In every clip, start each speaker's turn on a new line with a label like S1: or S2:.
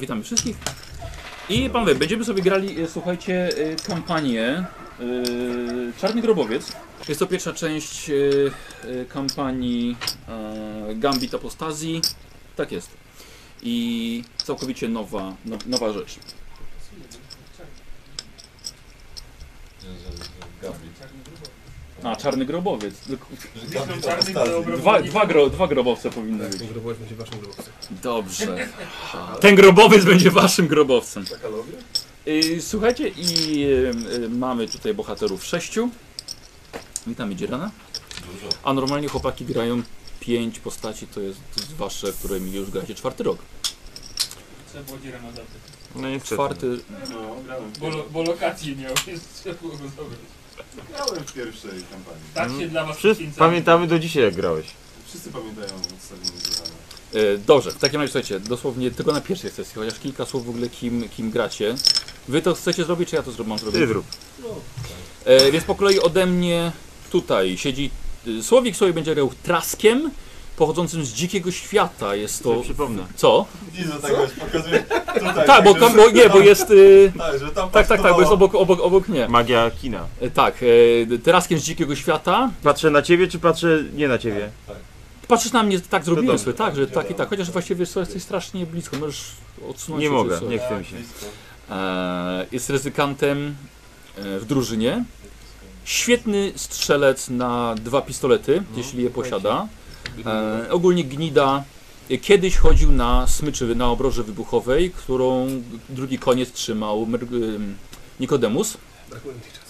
S1: witamy wszystkich. I panowie, będziemy sobie grali, e, słuchajcie, e, kampanię e, Czarny Grobowiec. Jest to pierwsza część e, e, kampanii e, Gambit Apostazji. Tak jest. I całkowicie nowa, no, nowa rzecz. A, Czarny Grobowiec. Tylko- Dwa, dwa, gro, dwa grobowce powinny być.
S2: Grobowiec będzie waszym grobowcem.
S1: Dobrze. Ten grobowiec będzie waszym grobowcem. Y, Słuchajcie, i y, y, mamy tutaj bohaterów sześciu. Witamy Dzierana. A normalnie chłopaki grają pięć postaci, to jest wasze, którymi już gracie czwarty rok.
S3: Trzeba było dzierę na daty.
S4: No nie
S1: Czwarty,
S4: czwarty.
S3: No, grałem. Bo, lo- bo lokacji miał, więc trzeba było go zabrać.
S5: Grałem w pierwszej kampanii.
S3: Tak się dla was
S4: Wszyscy
S3: poświęcamy.
S4: pamiętamy do dzisiaj jak grałeś.
S5: Wszyscy pamiętają odstawienie zadania.
S1: E, Dobrze, w takim razie słuchajcie, dosłownie tylko na pierwszej sesji, chociaż kilka słów w ogóle kim, kim gracie. Wy to chcecie zrobić, czy ja to zro- mam zrobić?
S4: Ty zrób.
S1: E, więc po kolei ode mnie tutaj siedzi y, Słowik, który będzie grał traskiem pochodzącym z dzikiego świata. Jest to.
S4: To przypomnę.
S1: Co?
S5: Widzę tak właśnie, pokazujesz tutaj.
S1: Tak, bo
S5: że-
S1: tam, bo, nie, bo jest. Y,
S5: Tak, że tam
S1: tak, tak, tak, bo jest obok, obok, obok mnie.
S4: Magia kina.
S1: E, tak, e, traskiem z dzikiego świata.
S4: Patrzę na ciebie, czy patrzę nie na ciebie?
S1: Patrzysz na mnie, tak zrobiłem
S4: dobrze,
S1: sobie, tak, że tak i
S5: wiadomo.
S1: tak. Chociaż właściwie co, jesteś strasznie blisko, możesz odsunąć
S4: Nie
S1: się
S4: mogę,
S1: co-
S4: nie chcę mi się.
S1: E, jest ryzykantem e, w drużynie. Świetny strzelec na dwa pistolety, jeśli je posiada. E, ogólnie gnida e, kiedyś chodził na smyczy na obroży wybuchowej, którą drugi koniec trzymał Myr- ym, Nikodemus.
S2: Brakuje mi tych czasów.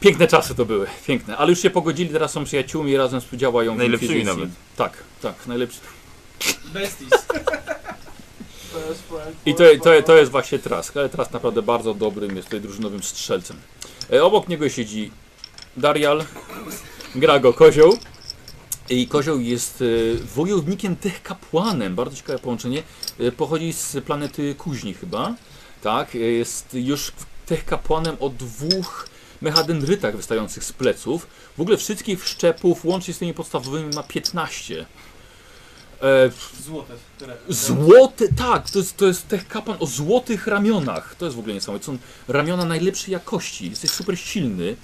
S1: Piękne czasy to były, piękne, ale już się pogodzili, teraz są przyjaciółmi i razem współdziałają. w
S4: Najlepszymi
S1: inkwizycji.
S4: nawet.
S1: Tak, tak, najlepszy.
S3: Besties.
S1: I to, to, to jest właśnie Trask, ale Trask naprawdę bardzo dobrym jest tutaj drużynowym strzelcem. E, Obok niego siedzi Darial, gra go Kozioł. I Kozioł jest e, wojownikiem tych kapłanem, bardzo ciekawe połączenie. E, Pochodzi z planety Kuźni chyba, tak? E, Jest już tych kapłanem o dwóch mechadendrytach wystających z pleców. W ogóle wszystkich szczepów, łącznie z tymi podstawowymi, ma 15. E,
S3: Złote.
S1: Złoty, tak, to jest, to jest tech kapan o złotych ramionach. To jest w ogóle niesamowite. Są ramiona najlepszej jakości. Jesteś super silny.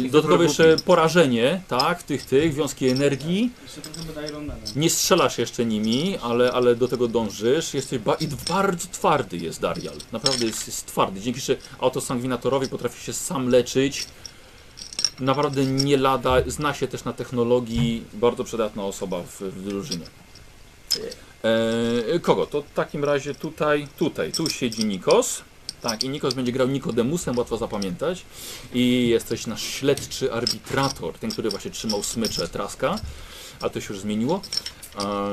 S1: E, dodatkowo jeszcze porażenie, tak, tych, tych, wiązki energii.
S3: Jeszcze trochę będę Ironmanem.
S1: Nie strzelasz jeszcze nimi, ale, ale do tego dążysz. Jesteś ba- i bardzo twardy jest Darial. Naprawdę jest, jest twardy. Dzięki że autosangwinatorowi potrafi się sam leczyć. Naprawdę nie lada. Zna się też na technologii. Bardzo przydatna osoba w, w drużynie. Eee, kogo? To w takim razie tutaj, tutaj, tu siedzi Nikos. Tak, i Nikos będzie grał Nikodemusem, łatwo zapamiętać. I jesteś nasz śledczy arbitrator, ten, który właśnie trzymał smycze Traska, a to się już zmieniło.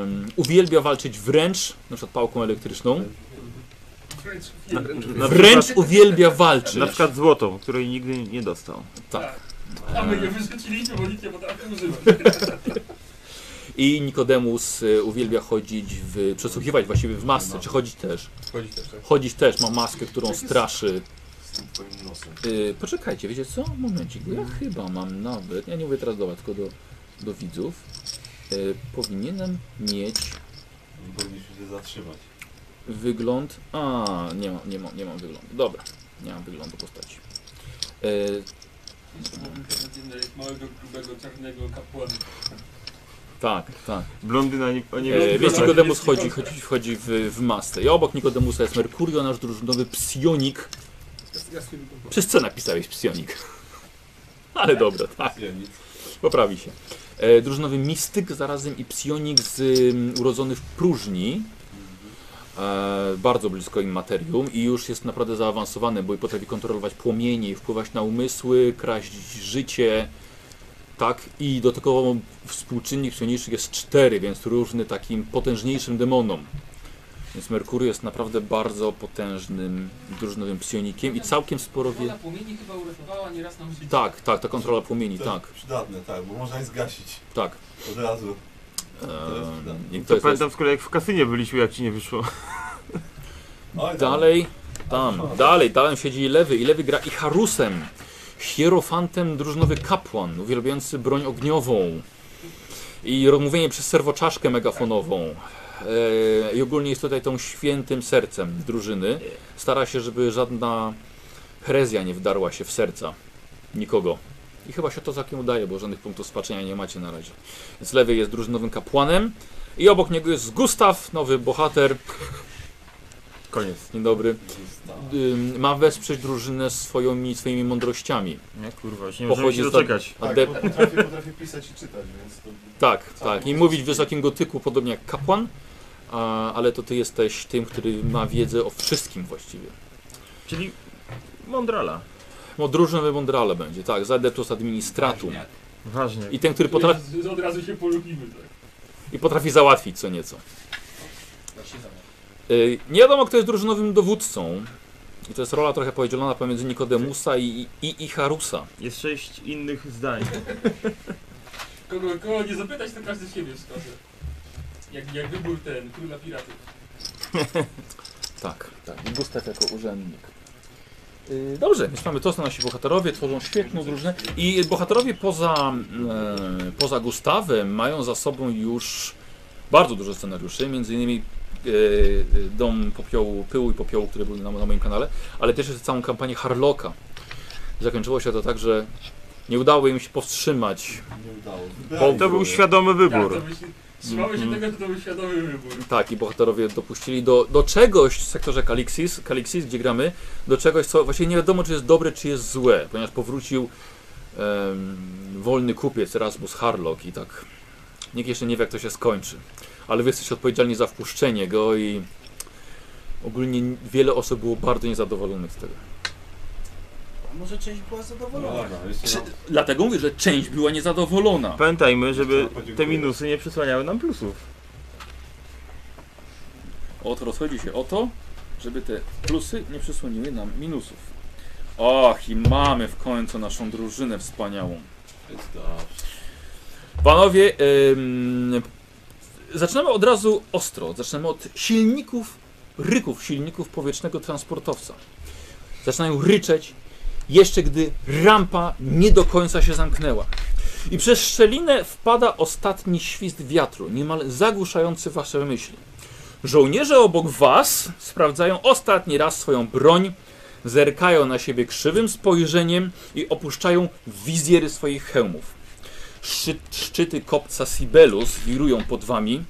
S1: Em, uwielbia walczyć wręcz, na przykład pałką elektryczną.
S4: Na
S1: Wręcz
S4: przykład,
S1: uwielbia walczyć.
S4: na przykład złotą, której nigdy nie dostał.
S1: tak.
S3: A my je wyrzuciliśmy, bo nikt nie potrafi używać.
S1: I Nikodemus e, uwielbia chodzić, w, przesłuchiwać właściwie w masce, czy chodzić też.
S2: Wchodzi też, tak?
S1: Chodzić też, ma maskę, którą straszy.
S5: Z tym twoim nosem.
S1: Yy, poczekajcie, wiecie co? Momencik, bo ja chyba mam nawet, ja nie mówię teraz do was, tylko do, do widzów. Yy, powinienem mieć
S5: Nie powinniśmy się zatrzymać.
S1: wygląd... A, nie mam, nie mam, nie mam wyglądu. Dobra, nie mam wyglądu postaci. Yy,
S3: Małego, grubego, czarnego kapłana.
S1: tak, tak.
S4: Blondyna nie, o nie
S1: Yy, więc
S3: wygląda-
S1: Nikodemus
S3: jest
S1: chodzi,
S3: Nikodemus.
S1: chodzi, chodzi w, w masce. I obok Nikodemusa jest Merkurio, nasz drużynowy psionik.
S2: Ja, ja z tym
S1: Przez co napisałeś psionik? Ale dobra, tak.
S5: Ja nic.
S1: Poprawi się. E, drużynowy mistyk, zarazem i psionik z, ym, urodzony w próżni. E, bardzo blisko im materium i już jest naprawdę zaawansowany, bo potrafi kontrolować płomienie, i wpływać na umysły, kraść życie. Tak, i dodatkowo współczynnik psionicznych jest 4, więc różny takim potężniejszym demonom. Więc Merkury jest naprawdę bardzo potężnym drużynowym psionikiem i całkiem sporo wie.
S3: Woda płomieni chyba uratowała nieraz nam życie.
S1: Tak, tak, ta kontrola płomieni,
S5: To
S1: tak,
S5: Przydatne, tak, bo można je zgasić
S1: tak.
S5: od razu.
S1: Ehm,
S5: Ehm,
S1: i to
S4: To
S1: jest,
S4: pamiętam z kolei jak w kasynie byliśmy, jak ci nie wyszło. No,
S5: Oj,
S1: dalej, tam, dalej, dalej siedzi lewy i lewy gra i Harusem, hierofantem drużynowy kapłan, uwielbiający broń ogniową i mówienie przez serwoczaszkę megafonową. E, I ogólnie jest tutaj tą świętym sercem drużyny. Stara się, żeby żadna herezja nie wdarła się w serca nikogo. I chyba się to całkiem udaje, bo żadnych punktów spaczenia nie macie na razie. Więc lewy jest drużynowym kapłanem i obok niego jest Gustaw, nowy bohater.
S4: Koniec.
S1: Dzień dobry.
S5: Został.
S1: Ym, Ma wesprzeć drużynę swoimi, swoimi mądrościami.
S4: Nie, kurwa, już nie
S1: Pochodzi
S4: możemy się
S1: z-
S4: doczekać.
S1: A
S5: Tak,
S1: de-
S5: bo potrafię, potrafię pisać i czytać, więc to...
S1: Tak, tak. I mówić w wysokim gotyku, podobnie jak kapłan, a, ale to ty jesteś tym, który ma wiedzę o wszystkim właściwie.
S4: Czyli mądrala.
S1: No, drużynowy Mondrale będzie, tak, za adeptus administratum.
S4: Ważnie.
S1: I ten, który potrafi,
S3: Z- z- Od razu się polubimy, tak.
S1: i potrafi załatwić co nieco.
S3: Ja się zamiast.
S1: Y, Nie wiadomo, kto jest drużynowym dowódcą. I to jest rola trochę podzielona pomiędzy Nikodemusa i, i, i Harusa.
S4: Jest sześć innych zdań.
S3: Kogo, kogo nie zapytać, to każdy siebie wskaże. Jak, jak wybór ten, króla piratów.
S1: Tak. tak. Gustaw jako urzędnik. Yy, Dobrze, więc mamy to, są nasi bohaterowie, tworzą świetną drużynę. I bohaterowie poza, e, poza Gustawem mają za sobą już bardzo dużo scenariuszy, między innymi e, e, Dom Popiołu, Pyłu i Popiołu, który był na, na moim kanale, ale też jest całą kampanię Harlocka. Zakończyło się to tak, że nie udało im się powstrzymać.
S5: Nie udało.
S1: Bo-
S4: To był świadomy wybór.
S3: Tak, to by się, trzymamy się
S4: Mhm.
S3: tego, że to był świadomy wybór.
S1: Tak, i bohaterowie dopuścili do, do czegoś w sektorze Kalixis, Kalixis, gdzie gramy, do czegoś, co właśnie nie wiadomo, czy jest dobre, czy jest złe, ponieważ powrócił em, wolny kupiec Rasmus Harlock i tak nikt jeszcze nie wie, jak to się skończy. Ale wy jesteście odpowiedzialni za wpuszczenie go i ogólnie wiele osób było bardzo niezadowolonych z tego.
S6: A może część była
S5: No
S6: zadowolona?
S5: dobra, jeszcze raz.
S1: Dlatego mówię, że część była niezadowolona.
S4: Pamiętajmy, żeby te
S5: Podziękuję.
S4: minusy nie przysłaniały nam plusów.
S1: Oto rozchodzi się o to, żeby te plusy nie przysłoniły nam minusów. Och, i mamy w końcu naszą drużynę wspaniałą.
S5: Jest dobrze.
S1: Panowie, ym, zaczynamy od razu ostro. Zaczynamy od silników, ryków silników powietrznego transportowca. Zaczynają ryczeć, jeszcze gdy rampa nie do końca się zamknęła. I przez szczelinę wpada ostatni świst wiatru, niemal zagłuszający wasze myśli. Żołnierze obok was sprawdzają ostatni raz swoją broń, zerkają na siebie krzywym spojrzeniem i opuszczają wizjery swoich hełmów. Szczy, szczyty kopca Sibelus wirują pod wami.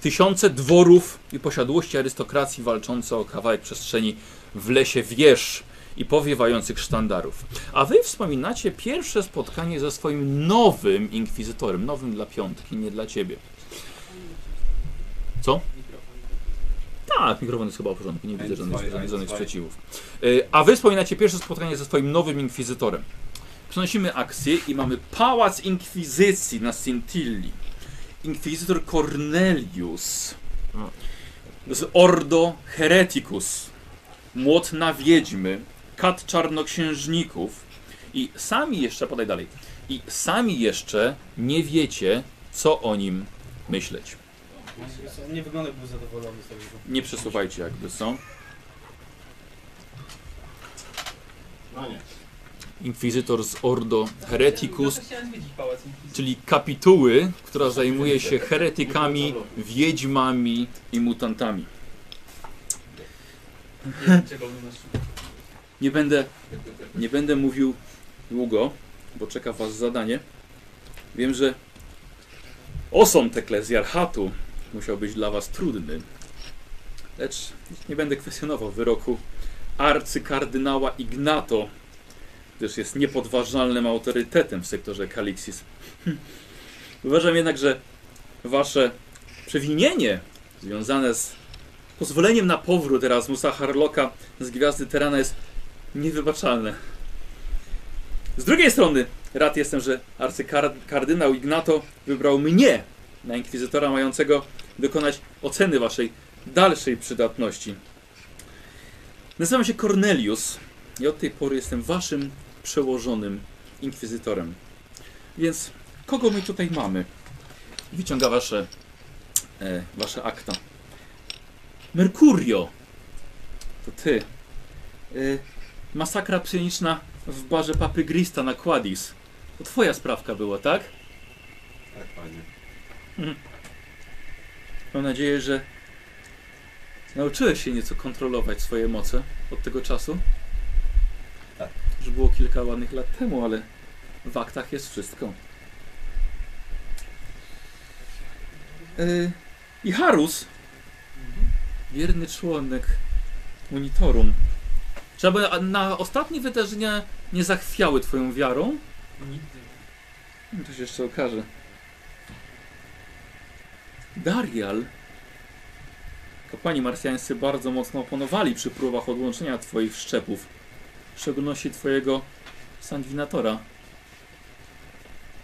S1: Tysiące dworów i posiadłości arystokracji walczące o kawałek przestrzeni w lesie wież i powiewających sztandarów. A wy wspominacie pierwsze spotkanie ze swoim nowym inkwizytorem. Nowym dla piątki, nie dla ciebie. Co? Tak, mikrofon jest chyba w porządku, nie widzę
S5: Ein,
S1: żadnych,
S5: zwei, ein,
S1: żadnych
S5: zwei.
S1: sprzeciwów. Y, A wy wspominacie pierwsze spotkanie ze swoim nowym inkwizytorem. Przenosimy akcję i mamy Pałac Inkwizycji na Sintilli. Inkwizytor Cornelius z Ordo Hereticus, Młot na Wiedźmy, Kat Czarnoksiężników i sami jeszcze, podaj dalej, i sami jeszcze nie wiecie, co o nim myśleć.
S6: Nie wygląda, był zadowolony z tego.
S1: Nie przesuwajcie jakby, co?
S5: No nie.
S1: Inkwizytor z Ordo Hereticus,
S3: Ja chciałem zwiedzić pałac Inkwizycji.
S1: czyli kapituły, która zajmuje się heretykami, wiedźmami i mutantami.
S3: Nie wiem, czego on nas szuka.
S1: Nie będę, nie będę mówił długo, bo czeka Was zadanie. Wiem, że osąd eklezjarchatu musiał być dla Was trudny, lecz nie będę kwestionował wyroku arcykardynała Ignato, gdyż jest niepodważalnym autorytetem w sektorze Kalixis. Hm. Uważam jednak, że Wasze przewinienie związane z pozwoleniem na powrót Erasmusa Harlocka z Gwiazdy Terana jest niewybaczalne. Z drugiej strony, rad jestem, że arcykardynał Ignato wybrał mnie na inkwizytora mającego dokonać oceny waszej dalszej przydatności. Nazywam się Cornelius i od tej pory jestem waszym przełożonym inkwizytorem. Więc kogo my tutaj mamy? Wyciąga wasze, e, wasze akta. Mercurio! To ty. E, masakra psioniczna w barze Papy Grista na Quadis. To tak? twoja sprawka była, tak?
S5: Tak, panie.
S1: Mam nadzieję, że nauczyłeś się nieco kontrolować swoje moce od tego czasu.
S3: Tak.
S1: Że było kilka ładnych lat temu, ale w aktach jest wszystko. Yy, I Harus, wierny członek monitorum. Czy aby a- na ostatnie wydarzenia nie zachwiały twoją wiarą?
S3: Nigdy.
S1: Hmm, To się jeszcze okaże. Darial. Kapłani marsjańscy bardzo mocno oponowali przy próbach odłączenia twoich szczepów. W szczególności twojego sandwinatora.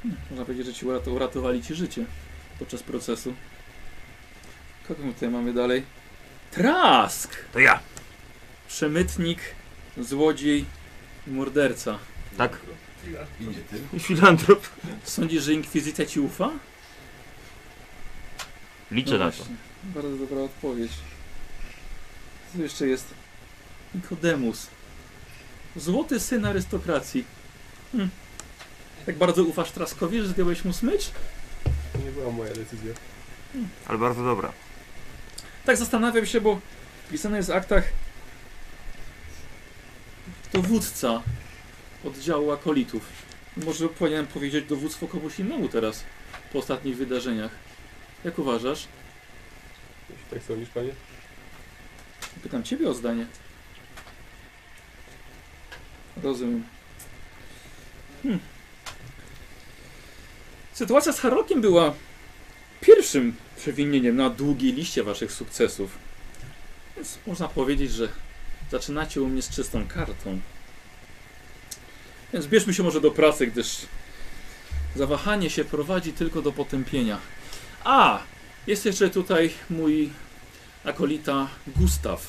S1: Hmm, można powiedzieć, że ci urat- uratowali ci życie podczas procesu. Kogo my tutaj mamy dalej? Trask!
S4: To ja.
S1: Przemytnik, złodziej i morderca.
S4: Tak.
S5: I nie ty.
S4: I Filantrop.
S1: Sądzisz, że inkwizycja ci ufa?
S4: Liczę na to.
S1: No właśnie. Bardzo dobra odpowiedź. Co tu jeszcze jest? Nikodemus. Złoty syn arystokracji. Hm. Tak bardzo ufasz Traskowi, że zdjąłeś mu smycz?
S2: To nie była moja decyzja.
S4: Ale bardzo dobra.
S1: Tak zastanawiam się, bo pisane jest w aktach dowódca oddziału akolitów. Może powinienem powiedzieć dowództwo komuś innemu teraz, po ostatnich wydarzeniach. Jak uważasz?
S2: Jeśli tak sądzisz, panie?
S1: Pytam ciebie o zdanie. Rozumiem. Hmm. Sytuacja z Harokiem była pierwszym przewinieniem na długiej liście waszych sukcesów. Więc można powiedzieć, że zaczynacie u mnie z czystą kartą. Więc bierzmy się może do pracy, gdyż zawahanie się prowadzi tylko do potępienia. A! Jest jeszcze tutaj mój akolita Gustaw,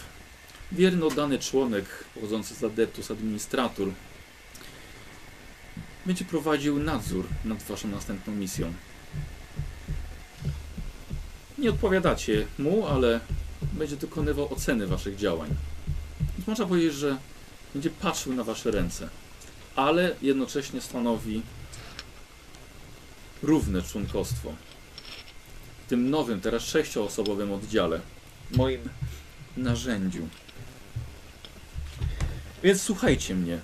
S1: wierno oddany członek pochodzący z adeptus administratur, będzie prowadził nadzór nad waszą następną misją. Nie odpowiadacie mu, ale będzie dokonywał oceny waszych działań. Więc można powiedzieć, że będzie patrzył na wasze ręce, ale jednocześnie stanowi równe członkostwo w tym nowym, teraz sześcioosobowym oddziale moim narzędziu. Więc słuchajcie mnie,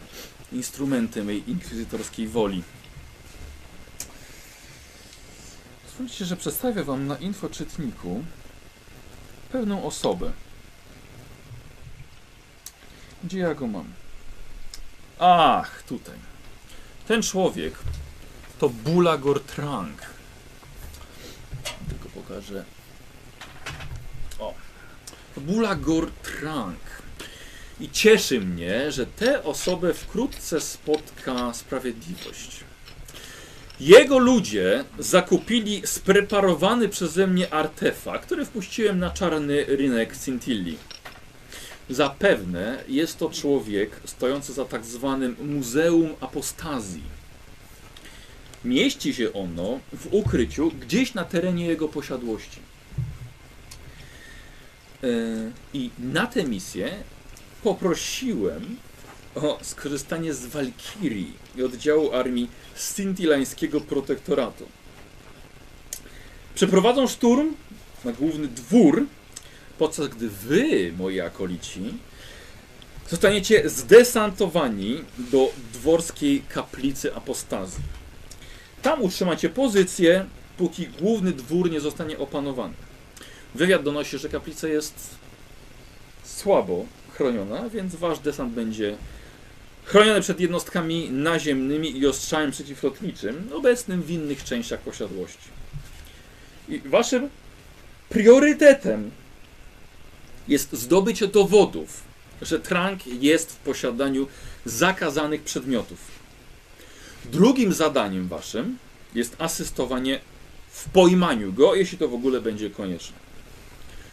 S1: instrumenty mej inkwizytorskiej woli. Pozwólcie, że przedstawię wam na infoczytniku pewną osobę. Gdzie ja go mam? Ach, tutaj. Ten człowiek to Bula Gortrang. Tylko pokażę Bulagor Trank. I cieszy mnie, że tę osobę wkrótce spotka sprawiedliwość. Jego ludzie zakupili spreparowany przeze mnie artefakt, który wpuściłem na czarny rynek Cintilli. Zapewne jest to człowiek stojący za tak zwanym Muzeum Apostazji. Mieści się ono w ukryciu gdzieś na terenie jego posiadłości. Yy, I na tę misję poprosiłem o skorzystanie z Walkirii i oddziału armii Scintillańskiego Protektoratu. Przeprowadzą szturm na główny dwór, podczas gdy wy, moi akolici, zostaniecie zdesantowani do dworskiej kaplicy apostazji. Tam utrzymacie pozycję, póki główny dwór nie zostanie opanowany. Wywiad donosi, że kaplica jest słabo chroniona, więc wasz desant będzie chroniony przed jednostkami naziemnymi i ostrzałem przeciwlotniczym, obecnym w innych częściach posiadłości. I waszym priorytetem jest zdobycie dowodów, że Trank jest w posiadaniu zakazanych przedmiotów. Drugim zadaniem waszym jest asystowanie w pojmaniu go, jeśli to w ogóle będzie konieczne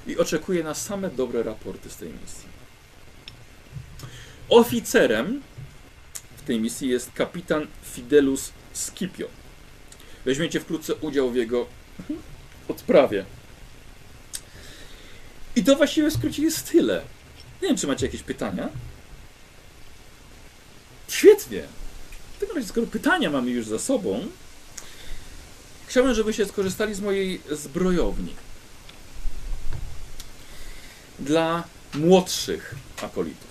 S1: i oczekuje na same dobre raporty z tej misji. Oficerem w tej misji jest kapitan Fidelus Scipio. Weźmiecie wkrótce udział w jego odprawie. I to właściwie w skrócie jest tyle. Nie wiem, czy macie jakieś pytania. Świetnie. W takim razie, skoro pytania mamy już za sobą, chciałbym, żebyście skorzystali z mojej zbrojowni. dla młodszych akolitów.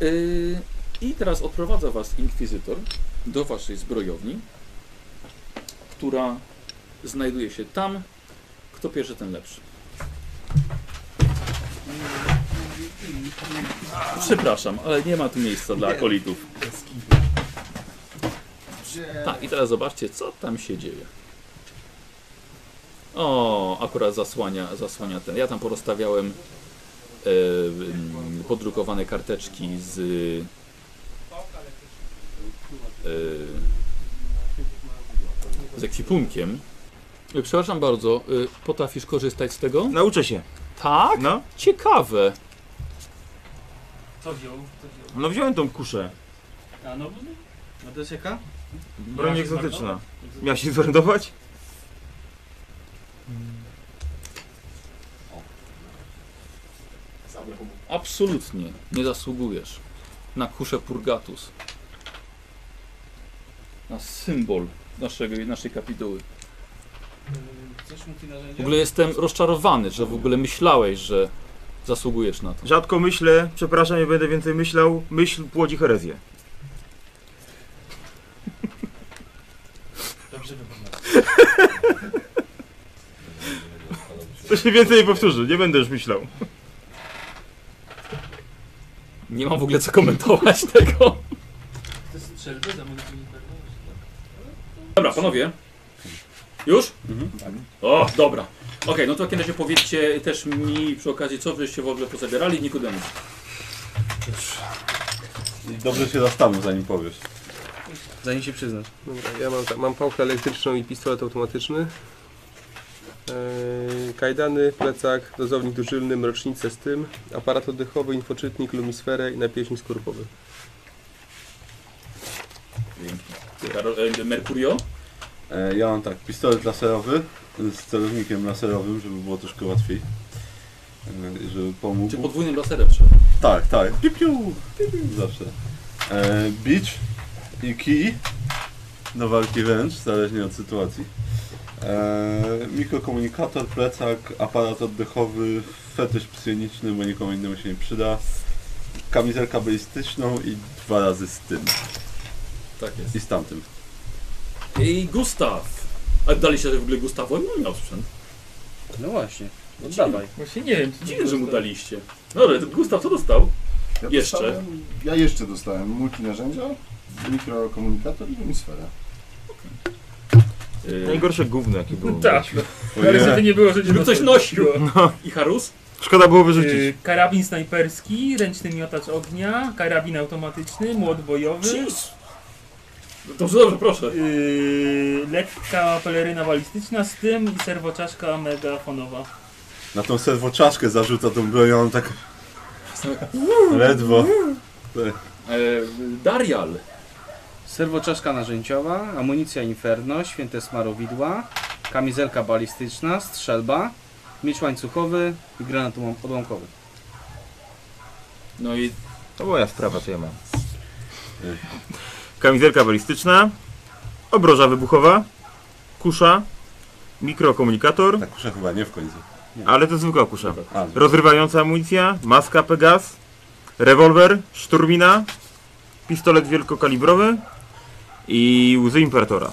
S1: Yy, I teraz odprowadza was inkwizytor do waszej zbrojowni, która znajduje się tam. Kto pierwszy, ten lepszy. Przepraszam, ale nie ma tu miejsca dla akolitów.
S5: Gdzie?
S1: Tak, i teraz zobaczcie, co tam się dzieje. O, akurat zasłania, zasłania ten. Ja tam porozstawiałem e, mm, podrukowane karteczki z. E, z ekwipunkiem. E, Przepraszam bardzo, e, potrafisz korzystać z tego?
S4: Nauczę się.
S1: Tak?
S4: No,
S1: Ciekawe.
S3: Co wziął? Co wziął?
S4: no wziąłem tą kuszę.
S3: A no, bo-
S6: A to jest jaka?
S4: Broń
S3: Miałeś
S4: egzotyczna.
S3: zmarnować?
S4: Miał się zmarnować?
S5: Sam lepo
S1: Absolutnie nie zasługujesz na kuszę Purgatus. Na symbol naszego, naszej kapituły.
S6: Yy, Coś mu ty
S1: W
S6: narzędzie?
S1: ogóle jestem rozczarowany, że w ogóle myślałeś, że zasługujesz na to.
S4: Rzadko myślę, przepraszam, nie będę więcej myślał. Myśl płodzi herezję.
S6: Dobrze wygląda.
S4: To się więcej nie powtórzy, nie będę już myślał.
S1: Nie mam w ogóle co komentować tego.
S3: To jest strzelby, zamówienie nie
S1: Dobra, panowie. Już? O, dobra. Okej, no to w takim razie powiedzcie też mi przy okazji, co wyście w ogóle pozabierali, Nikodemus.
S5: Dobrze się zastanów zanim powiesz.
S6: Zanim się przyznasz.
S2: Dobra, ja mam, tak, mam pałkę elektryczną i pistolet automatyczny. Eee, kajdany, plecak, dozownik dużylny, mrocznicę z tym, aparat oddechowy, infoczytnik, lumisferę i napieśnik skorupowy.
S1: Karol, e, Mercurio?
S5: E, ja mam tak, pistolet laserowy z celownikiem laserowym, żeby było troszkę łatwiej. E, żeby pomógł.
S1: Czy podwójnym laserem trzeba?
S5: Tak, tak. Piu, piu, piu, piu, zawsze. E, beach i kij do walki wręcz, zależnie od sytuacji. E, mikrokomunikator, plecak, aparat oddechowy, fetysz psioniczny, bo nikomu innemu się nie przyda. Kamizelkę balistyczną i dwa razy z tym.
S1: Tak jest.
S5: I z tamtym.
S1: I Gustaw. A dalej się w ogóle Gustawo nie miał sprzęt.
S6: No właśnie. Oddawaj.
S1: Właśnie nie wiem, dziwne, że mu daliście. No ale Gustaw co dostał?
S5: Ja
S1: Jeszcze.
S5: dostałem- Ja jeszcze dostałem multinarzędzia, mikrokomunikator i lumisferę.
S4: Najgorsze gówno jakie było.
S3: Tak. Ale niestety nie było, że
S1: Żeby coś nosił. I Harus?
S4: Szkoda było wyrzucić.
S3: Y, Karabin snajperski, ręczny miotacz ognia, karabin automatyczny, młot bojowy,
S1: Jeez. No Dobrze, dobrze, proszę.
S3: yy, lekka peleryna balistyczna z tym i serwoczaszka megafonowa.
S5: Na tą serwoczaszkę zarzuca tą broń, ja mam tak ledwo.
S1: E, Darial.
S6: Serwoczaszka narzędziowa, amunicja Inferno, święte smarowidła, kamizelka balistyczna, strzelba, miecz łańcuchowy i granat ułam- odłamkowy.
S1: No i
S4: To moja sprawa, co ja mam. Kamizelka balistyczna, obroża wybuchowa, kusza, mikrokomunikator,
S5: Na kuszę chyba Tak nie w końcu.
S4: ale to zwykła kusza.
S5: A,
S4: Rozrywająca amunicja, maska Pegas, rewolwer, szturmina, pistolet wielkokalibrowy i łzy Imperatora.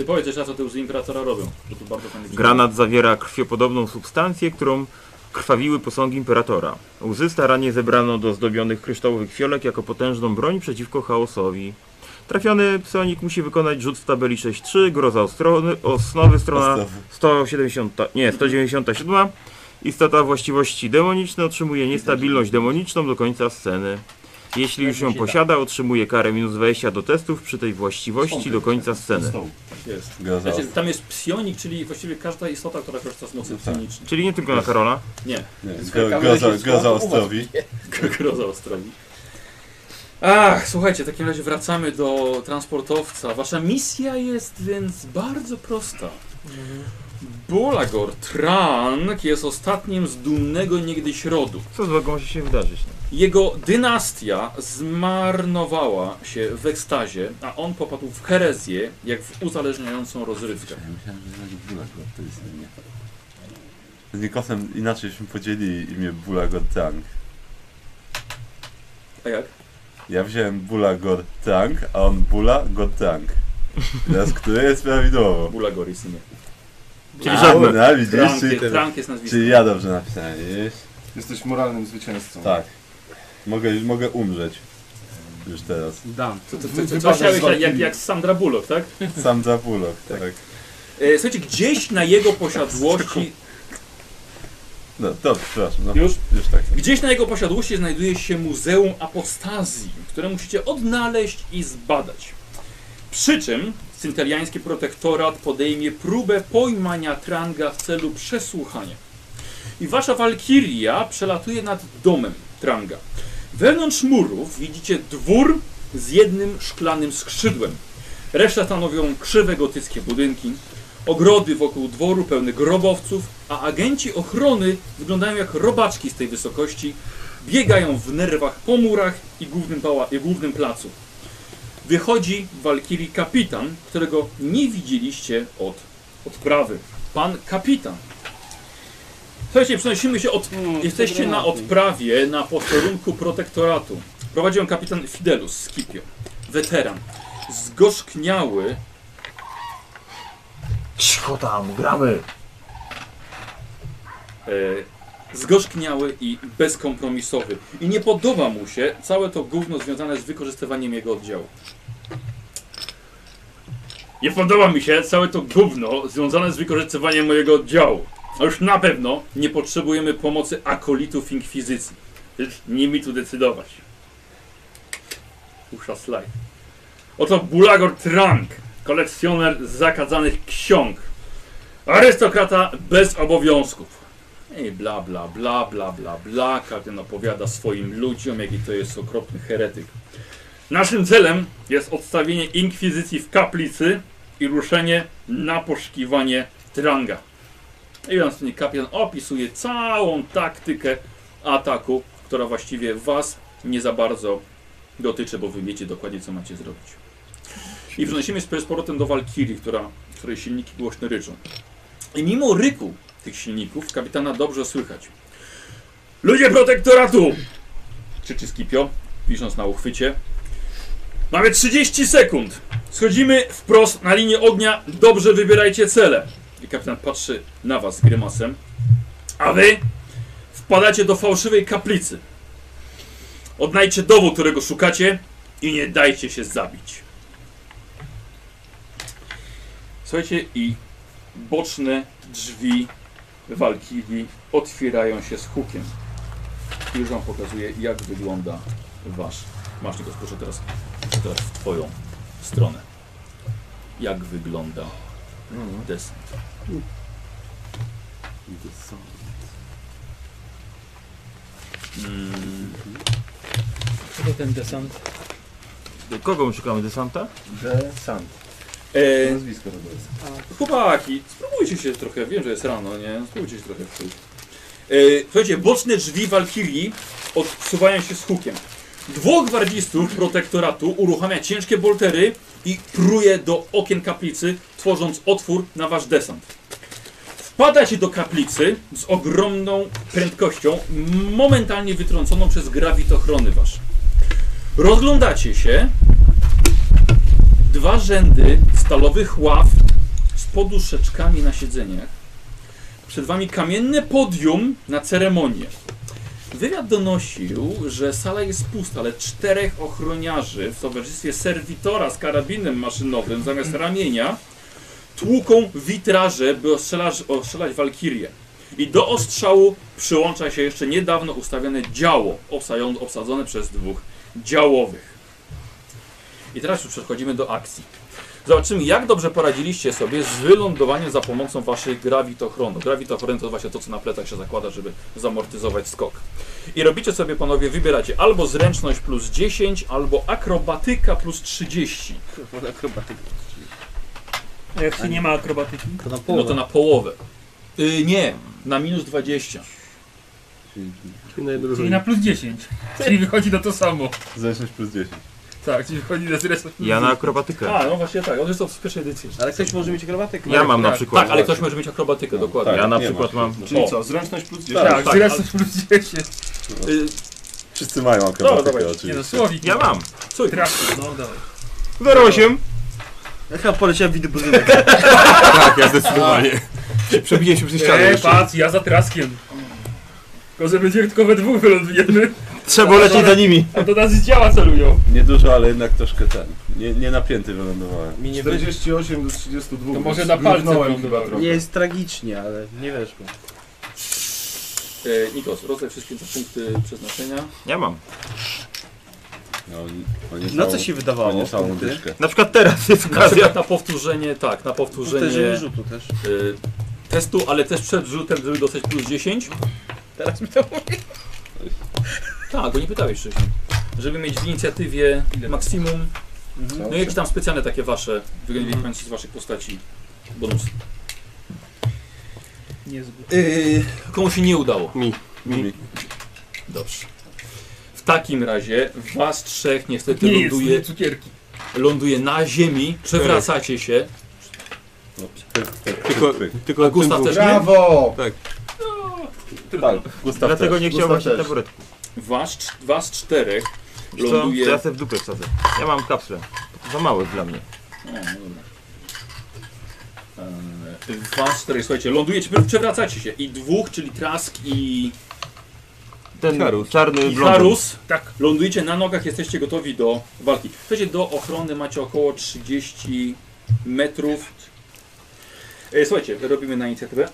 S1: e, powiedz jeszcze raz o tym, że Imperatora robią. Bo to bardzo fajnie brzmi.
S4: Granat zawiera krwiopodobną substancję, którą krwawiły posągi Imperatora. Łzy starannie zebrano do zdobionych kryształowych fiolek jako potężną broń przeciwko chaosowi. Trafiony psionik musi wykonać rzut w tabeli 6.3, groza ostrony, osnowy, strona
S5: Podstawy.
S4: 170, nie, 197. Istota właściwości demoniczne otrzymuje niestabilność demoniczną do końca sceny. Jeśli już ją posiada, otrzymuje karę minus 20 do testów przy tej właściwości do końca sceny.
S1: Jest.
S5: Groza.
S1: Znaczy, tam jest psionik, czyli właściwie każda istota, która korzysta z mocy
S5: No tak.
S1: psionicznej.
S4: Czyli nie tylko na Karola.
S1: Nie,
S5: Nie,
S6: Zerkamy
S5: gro- Groza,
S6: na
S5: groza
S6: środku,
S5: ostrowi.
S1: groza ostrowi. Tak. Ach, słuchajcie, w takim razie wracamy do transportowca. Wasza misja jest więc bardzo prosta. Bolagor Trank jest ostatnim z dumnego niegdyś rodu.
S4: Co złego może się wydarzyć? No?
S1: Jego dynastia zmarnowała się w ekstazie, a on popadł w herezję, jak w uzależniającą rozrywkę.
S5: Ja myślałem, że jednak Bulagor to jest imię. Z Nikosem inaczej byśmy podzielili imię Bulagor Tank.
S1: A jak?
S5: Ja wziąłem Bulagor Tank, a on Bula God Tank. Teraz które jest prawidłowo?
S1: Bulagor jest imię.
S4: Czyli żadne.
S5: No, widzisz,
S1: Trank,
S5: czyli,
S1: Trank jest nazwiskiem.
S5: czyli ja dobrze napisałem, widzisz?
S7: Jesteś moralnym zwycięzcą.
S5: Tak. Mogę, mogę umrzeć. Już teraz.
S6: Dam.
S1: Co, co, co,
S7: Wypadek
S1: co, co chciałeś,
S7: z
S1: jak,
S7: walki.
S1: jak, jak Sandra Bullock, tak?
S5: Sam za Bulog, tak.
S1: E, słuchajcie, gdzieś na jego posiadłości,
S5: No dobrze, przepraszam. No,
S7: Już?
S5: Już tak.
S1: gdzieś na jego posiadłości znajduje się Muzeum Apostazji, które musicie odnaleźć i zbadać. Przy czym cynteliański protektorat podejmie próbę pojmania Tranga w celu przesłuchania. I wasza walkiria przelatuje nad domem Tranga. Wewnątrz murów widzicie dwór z jednym szklanym skrzydłem. Reszta stanowią krzywe gotyckie budynki, ogrody wokół dworu pełne grobowców, a agenci ochrony wyglądają jak robaczki z tej wysokości, biegają w nerwach po murach i głównym, pała- i głównym placu. Wychodzi walkiri kapitan, którego nie widzieliście od odprawy. Pan kapitan. Słuchajcie, przenosimy się od
S6: Mm,
S1: Jesteście na
S6: granaty.
S1: odprawie na posterunku protektoratu. Prowadzi ją kapitan Fidelus Scipio, weteran. Zgorzkniały,
S4: Cicho tam, gramy!
S1: e, zgorzkniały i bezkompromisowy. I nie podoba mu się całe to gówno związane z wykorzystywaniem jego oddziału. Nie podoba mi się całe to gówno związane z wykorzystywaniem mojego oddziału. A już na pewno nie potrzebujemy pomocy akolitów inkwizycji. Lecz nimi tu decydować. Usza slajd. Oto Bulagor Trank, kolekcjoner zakazanych ksiąg. Arystokrata bez obowiązków. I bla, bla, bla, bla, bla, bla. Kapitan opowiada swoim ludziom, jaki to jest okropny heretyk. Naszym celem jest odstawienie inkwizycji w kaplicy i ruszenie na poszukiwanie Tranga. I następnie kapitan opisuje całą taktykę ataku, która właściwie was nie za bardzo dotyczy, bo wy wiecie dokładnie, co macie zrobić. I przenosimy się z powrotem do Walkirii, która, której silniki głośno ryczą. I mimo ryku tych silników kapitana dobrze słychać. Ludzie protektoratu! Krzyczy Skipio, pisząc na uchwycie. Mamy 30 sekund. Schodzimy wprost na linię ognia. Dobrze wybierajcie cele. I kapitan patrzy na was z grymasem. A wy wpadacie do fałszywej kaplicy. Odnajdźcie dowód, którego szukacie i nie dajcie się zabić. Słuchajcie, i boczne drzwi walkili otwierają się z hukiem. I Już wam pokazuję, jak wygląda wasz. Masz tylko proszę teraz, teraz w twoją stronę. Jak wygląda desant. Mm,
S8: Co ten desant?
S4: Kogo my szukamy? Desanta?
S7: Desant.
S1: e,
S7: Nazwisko to jest.
S1: Chłopaki, spróbujcie się trochę, wiem, że jest rano, nie? Spróbujcie się trochę wczuć. E, słuchajcie, boczne drzwi Walkirii odsuwają się z hukiem. Dwóch gwardzistów protektoratu uruchamia ciężkie boltery i pruje do okien kaplicy, tworząc otwór na wasz desant. Wpadacie do kaplicy z ogromną prędkością, momentalnie wytrąconą przez grawitochrony wasz. Rozglądacie się. Dwa rzędy stalowych ław z poduszeczkami na siedzeniach. Przed wami kamienne podium na ceremonię. Wywiad donosił, że sala jest pusta, ale czterech ochroniarzy w towarzystwie serwitora z karabinem maszynowym zamiast ramienia tłuką witraże, by ostrzelać, ostrzelać walkirię. I do ostrzału przyłącza się jeszcze niedawno ustawione działo, obsają- obsadzone przez dwóch działowych. I teraz już przechodzimy do akcji. Zobaczymy, jak dobrze poradziliście sobie z wylądowaniem za pomocą waszych grawitochronów. Grawitochron to właśnie to, co na plecach się zakłada, żeby zamortyzować skok. I robicie sobie, panowie, wybieracie albo zręczność plus 10, albo akrobatyka plus 30.
S6: Chyba tak.
S8: A
S3: E,
S8: jak się nie ma akrobatyki?
S6: To na
S1: No to
S6: połowę.
S1: na połowę. Y, nie, na minus 20.
S5: Czyli
S2: Czyli na jedno
S3: Czyli na plus 10. Czyli wychodzi na to samo.
S5: zręczność plus 10.
S3: Tak, czyli wychodzi na zresztą.
S4: Ja na akrobatykę.
S1: A, no właśnie tak, on jest to w pierwszej edycji.
S6: Ale ktoś może mieć akrobatykę.
S4: Ja mam na przykład.
S1: Tak, ale ktoś może mieć akrobatykę,
S5: No,
S1: dokładnie.
S5: tak.
S4: Ja na
S5: Nie
S4: przykład
S5: masz.
S4: mam.
S7: Czyli
S1: O.
S7: co, zręczność plus 10?
S1: Tak,
S3: Tak,
S1: tak,
S3: zresztą plus 10.
S1: Y,
S5: Wszyscy mają akrobatykę
S1: dawaj.
S3: Nie no,
S5: oczywiście.
S3: słowik.
S4: Ja mam.
S1: Cój,
S3: Trafił.
S8: No dawaj.
S4: 08.
S6: Ja chyba poleciałem widy budynek.
S4: Tak, ja zdecydowanie. Przebiję się przez ścianę.
S3: Nie,
S4: jeszcze.
S3: Eee, patrz, ja za traskiem. Tylko, że będzie tylko we dwóch wylądujemy,
S4: Trzeba lecieć za nimi.
S3: a to nas z działa celują.
S5: Niedużo, ale jednak troszkę ten. Nie, nie napięty wylądowałem.
S7: Mi nie 48 do 32.
S3: To może na palce
S7: Zrównałem
S3: wylądowało.
S7: chyba trochę.
S6: Nie jest tragicznie, ale nie weszło.
S1: e, Nikos, rozdaj wszystkie te punkty przeznaczenia.
S4: Ja mam.
S5: No, o niecałą-
S6: No co się
S5: o
S6: wydawało?
S5: niecałą
S6: punkty?
S5: dyszkę.
S4: Na przykład teraz jest
S1: Na
S4: okazja.
S1: przykład na powtórzenie, tak, na
S6: Powtórzenie
S1: powtórzenie
S6: rzutu też.
S1: y, testu, ale też przed rzutem, żeby dostać plus 10.
S6: Teraz mi to
S1: Tak, bo nie pytałeś wcześniej. Żeby mieć w inicjatywie maksimum, no i jakieś tam specjalne takie wasze, wynikające z waszych postaci bonusy.
S8: Niezbyt.
S1: Yy, komu się nie udało?
S2: Mi.
S5: Mi.
S1: Dobrze. W takim razie was trzech niestety
S3: Nie jest,
S1: ląduje,
S3: nie cukierki.
S1: ląduje na ziemi, przewracacie się.
S5: No, pyk, pyk,
S2: Tylko,
S5: pyk, pyk.
S2: tylko
S1: Gustaw
S2: tym
S1: też nie?
S7: Brawo!
S5: Tak, Gustaw
S4: Dlatego
S5: też.
S4: nie
S7: Gustaw
S4: chciał właśnie
S7: też.
S4: taburetki.
S1: Was, cz- was czterech
S4: Wiesz co? To
S1: ląduje...
S4: ja se w dupę wsadzę. Ja mam kapsle. Za mały dla mnie.
S1: O, no dobra. Eee, Was czterech, słuchajcie, lądujecie, przewracacie się. I dwóch, czyli Trask i,
S4: Ten
S2: Charus.
S4: czarny
S1: i
S4: blondyn.
S1: Harus,
S3: Tak.
S1: lądujecie na nogach, jesteście gotowi do walki. Słuchajcie, do ochrony macie około 30 metrów. Eee, Słuchajcie, robimy na inicjatywę.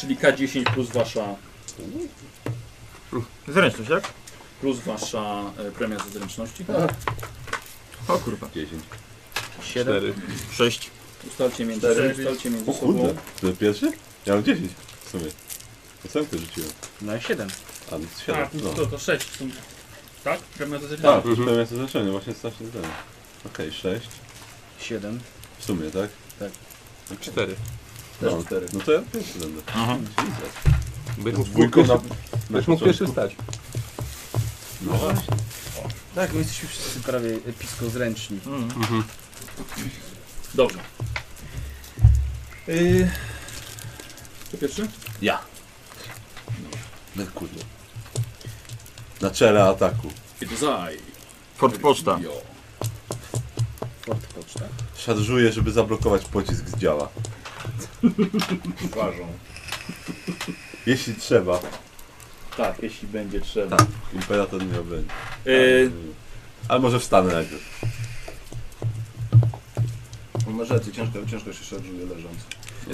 S1: Czyli K10 plus wasza,
S4: Zręczność, tak?
S1: plus wasza e, premia tak? ze zręczności.
S4: O kurwa.
S5: 10.
S6: 7.
S4: 6.
S1: Ustalcie między, ustalcie między
S5: O
S1: sobą.
S5: kurde, to pierwszy? Ja mam 10 w sumie. Ósemkę rzuciłem.
S6: No i 7.
S5: A, no,
S3: A,
S5: 7.
S3: to,
S5: No.
S3: to, to 6 w sumie. Tak? Premia do zerwania.
S5: Tak, to mhm. jest znaczenie, właśnie strasznie ten. Okej, 6
S6: 7.
S5: w sumie, tak?
S6: Tak.
S2: Cztery.
S7: Też
S5: No,
S7: cztery.
S5: no to ja pierwszy będę.
S4: Aha.
S2: Będziesz mógł
S5: Dwójką na,
S2: pierwszy-
S5: na
S2: będziesz mógł
S5: początku.
S2: pierwszy stać.
S5: No właśnie.
S6: Tak, my jesteśmy wszyscy prawie pisko zręczni.
S8: No,
S4: Mm.
S1: Dobrze. Yy, to pierwszy?
S5: Ja. No kurde. Na czele ataku.
S1: It's I.
S4: Fort Poczta.
S1: Yo.
S6: Fort Poczta.
S5: Szarżuję, żeby zablokować pocisk z działa.
S7: Ważą.
S5: Jeśli trzeba.
S1: Tak, jeśli będzie trzeba.
S5: Tak. Imperator nie obroni.
S1: Yy,
S5: Ale może wstanę najpierw.
S7: Na rzece ciężko, ciężko się szarżuje leżąc.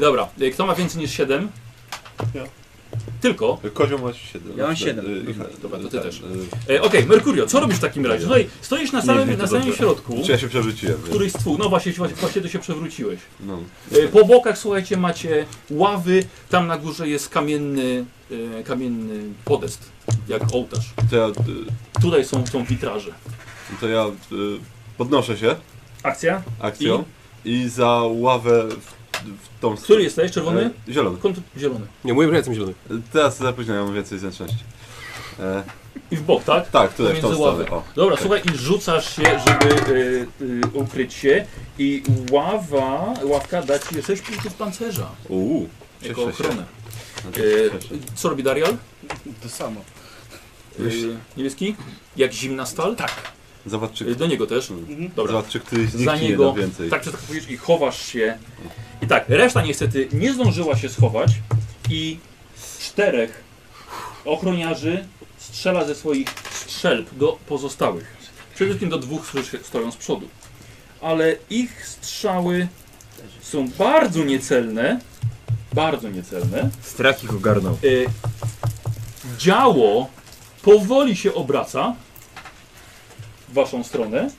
S1: dobra, Yy, kto ma więcej niż 7?
S5: Ja.
S1: Tylko.
S5: Kozioł ma Y, 7.
S6: Ja mam siedem.
S1: Dobra, to ty też.
S5: y,
S1: Yy, Okej, Merkurio, co robisz w takim razie? Tutaj stoisz na
S4: Nie,
S1: samym,
S4: nie, to
S1: na samym
S4: dobrze.
S1: środku.
S5: Czy ja się przewróciłem? więc-
S1: Któryś z dwóch, no właśnie, właśnie- właśnie to się przewróciłeś.
S5: No.
S1: Yy, Po bokach, słuchajcie, macie ławy, tam na górze jest kamienny, yy, kamienny podest, jak ołtarz.
S5: To ja, y,
S1: Tutaj są, są witraże.
S5: to ja y, podnoszę się
S3: Akcja?
S5: akcją i, za ławę w, w tą stronę.
S1: Który jesteś? Czerwony?
S5: E, zielony.
S1: Kąt zielony.
S2: Nie, mówię, że jestem zielony.
S5: E, Teraz za późno, ja mam więcej zręczności. E,
S1: I w bok, tak?
S5: tak, tutaj w tą
S1: Pomiędzy
S5: stronę.
S1: ławy.
S5: O.
S1: Dobra, słuchaj, i rzucasz się, żeby y, y, ukryć się i ława, ławka da ci 6 punktów pancerza
S5: Uuu,
S1: jako
S5: cieszę się.
S1: ochronę.
S5: No to
S1: Y,
S5: cieszę się.
S1: co robi Darial?
S6: To samo.
S1: Y, niebieski? Jak zimna stal? Tak.
S5: Zobacz, czy,
S1: Y, do niego też.
S6: Mhm.
S1: Dobra.
S5: zobacz, czy któryś z
S1: Za
S5: nich nie
S1: niego-
S5: da więcej.
S1: Tak przetakujesz i chowasz się. I tak, reszta niestety nie zdążyła się schować i czterech ochroniarzy strzela ze swoich strzelb do pozostałych. Przede wszystkim do dwóch, którzy stoją z przodu. Ale ich strzały są bardzo niecelne. Bardzo niecelne.
S4: Strach ich ogarnął.
S1: Y, działo powoli się obraca w waszą stronę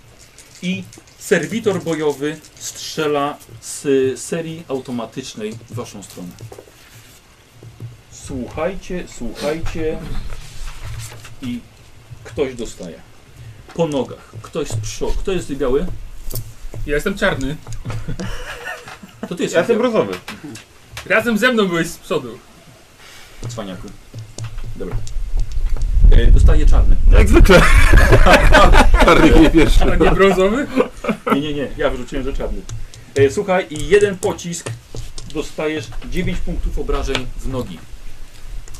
S1: i serwitor bojowy strzela z y, serii automatycznej w waszą stronę. Słuchajcie, słuchajcie i ktoś dostaje. Po nogach. Ktoś z przodu. Kto jest biały?
S8: Ja jestem czarny.
S1: To ty
S4: Ja
S1: jesteś
S4: jestem
S1: ja
S4: brązowy.
S8: Razem ze mną byłeś z przodu.
S1: cwaniaku. Dobra. E, dostaję czarny.
S4: Jak zwykle.
S9: Czarnik nie pierwszy.
S8: A nie brązowy?
S1: Nie, nie, nie, ja wyrzuciłem, że czarny. E, słuchaj, i jeden pocisk dostajesz 9 punktów obrażeń w nogi.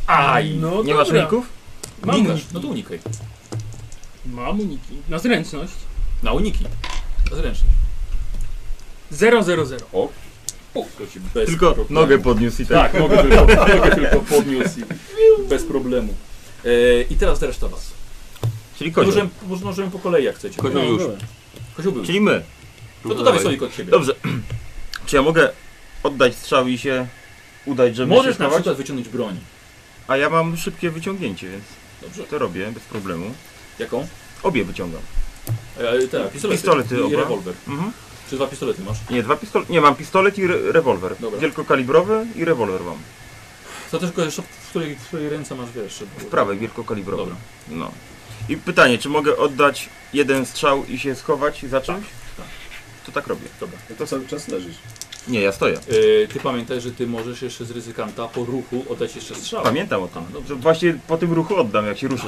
S1: Aj!
S8: No
S4: Nie masz
S8: dobra.
S4: uników?
S8: Mam
S1: Unikasz,
S8: uniki.
S1: no to unikaj.
S8: Mam uniki. Na zręczność.
S1: Na uniki. To Zręcznie.
S8: 0, 0, 0.
S1: To ci bez
S4: Tylko
S1: problemu.
S4: nogę podniósł i tak.
S1: Tak, mogę tylko, mogę tylko podniósł i bez problemu. E, I teraz reszta was.
S4: Czyli kozioł.
S1: Możemy, możemy po kolei jak chcecie.
S9: Kozioł już.
S1: Kozioł był.
S4: Czyli my.
S1: No to dawaj sobie od siebie.
S4: Dobrze. Czy ja mogę oddać strzał i się udać, żeby
S1: Możesz
S4: się
S1: na
S4: schować?
S1: przykład wyciągnąć broń.
S4: A ja mam szybkie wyciągnięcie, więc
S1: Dobrze.
S4: to robię bez problemu.
S1: Jaką?
S4: Obie wyciągam.
S1: E, tak, pistolety.
S4: Pistolety
S1: I
S4: oba.
S1: rewolwer.
S4: Mhm.
S1: Czy dwa pistolety masz?
S4: Nie, dwa pistolet. Nie, mam pistolet i re rewolwer.
S1: Dobra.
S4: Wielkokalibrowy i rewolwer mam.
S1: To tylko jeszcze w której, w której ręce masz wiesz?
S4: W prawej wielkokalibrowy.
S1: Dobra.
S4: No. I pytanie, czy mogę oddać jeden strzał i się schować za czymś?
S1: Tak.
S4: To tak robię.
S1: Dobra.
S7: No to cały czas leżysz.
S4: Nie, ja stoję.
S1: E, ty pamiętaj, że ty możesz jeszcze z ryzykanta po ruchu oddać jeszcze strzał.
S4: Pamiętam o tym.
S1: A, dobrze.
S4: Właśnie po tym ruchu oddam, jak się ruszę.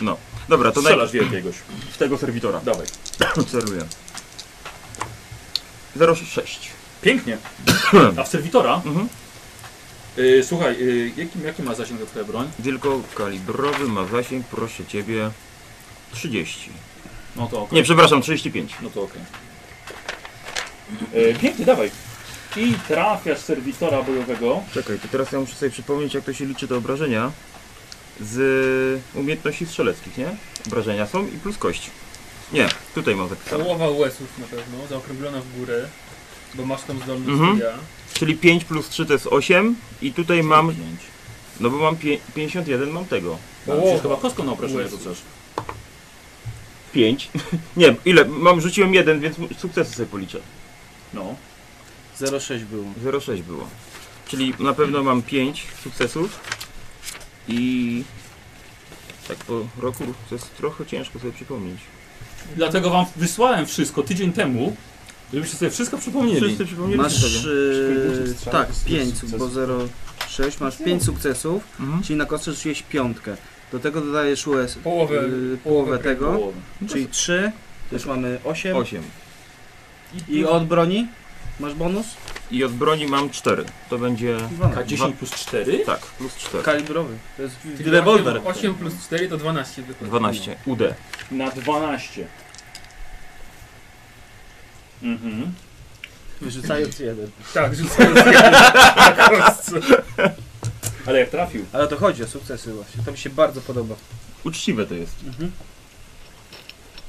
S4: No. Dobra, to
S1: Strzelasz
S4: najpierw
S1: w jakiegoś.
S4: w tego serwitora.
S1: Dawaj.
S4: Obserwuję. 06.
S1: Pięknie. A w serwitora?
S4: Mhm.
S1: E, słuchaj, e, jaki, jaki ma zasięg twoja broń?
S4: Wielkokalibrowy ma zasięg, proszę ciebie, 30.
S1: No to okej.
S4: Nie, przepraszam, 35.
S1: No to okej. E, pięknie, dawaj. I trafiasz serwitora bojowego.
S4: Czekaj, to teraz ja muszę sobie przypomnieć, jak to się liczy te obrażenia z umiejętności strzeleckich, nie? Obrażenia są i plus kość. Nie, tutaj mam zapisane.
S8: Połowa US-ów na pewno, zaokrąglona w górę. Bo masz tą zdolność
S4: Mhm.
S8: ja.
S4: Czyli 5 plus 3 to jest 8 i tutaj mam,
S1: Pięć.
S4: no bo mam pie- 51, mam tego.
S1: Tam
S8: Połowa.
S1: przecież chyba kostką na obrażenie
S8: Jezu.
S1: rzucasz.
S4: 5. Nie, ile? Mam, rzuciłem 1, więc sukcesy sobie policzę.
S1: No.
S6: 0,6 było.
S4: 0,6 było. Czyli na pewno mam 5 sukcesów i tak po roku to jest trochę ciężko sobie przypomnieć.
S1: Dlatego wam wysłałem wszystko tydzień temu, żebyście sobie wszystko przypomnieli.
S4: Wszyscy przypomnieli
S6: Masz
S4: sobie.
S6: yy,
S7: Strzał
S6: tak,
S7: jest
S6: 5,
S7: sukces.
S6: bo 0,6 masz 5 sukcesów,
S4: Mhm.
S6: czyli na kostce rzuciłeś piątkę. Do tego dodajesz US, yy,
S8: Połowę.
S6: połowę
S8: połowę
S6: tego, czyli 3, to już mamy 8.
S4: 8.
S6: I od broni masz bonus?
S4: I od broni mam 4. To będzie
S6: 12.
S1: K10 plus 4?
S4: tak, plus 4.
S6: Kalibrowy. To jest rewolwer.
S8: 8 plus 4 to 12 wychodzi.
S4: 12. UD.
S1: Na 12. Mhm.
S6: Wyrzucając jeden.
S8: Tak, rzucając jeden na kostce.
S1: Ale jak trafił?
S6: Ale to chodzi o sukcesy właśnie. To mi się bardzo podoba.
S4: Uczciwe to jest.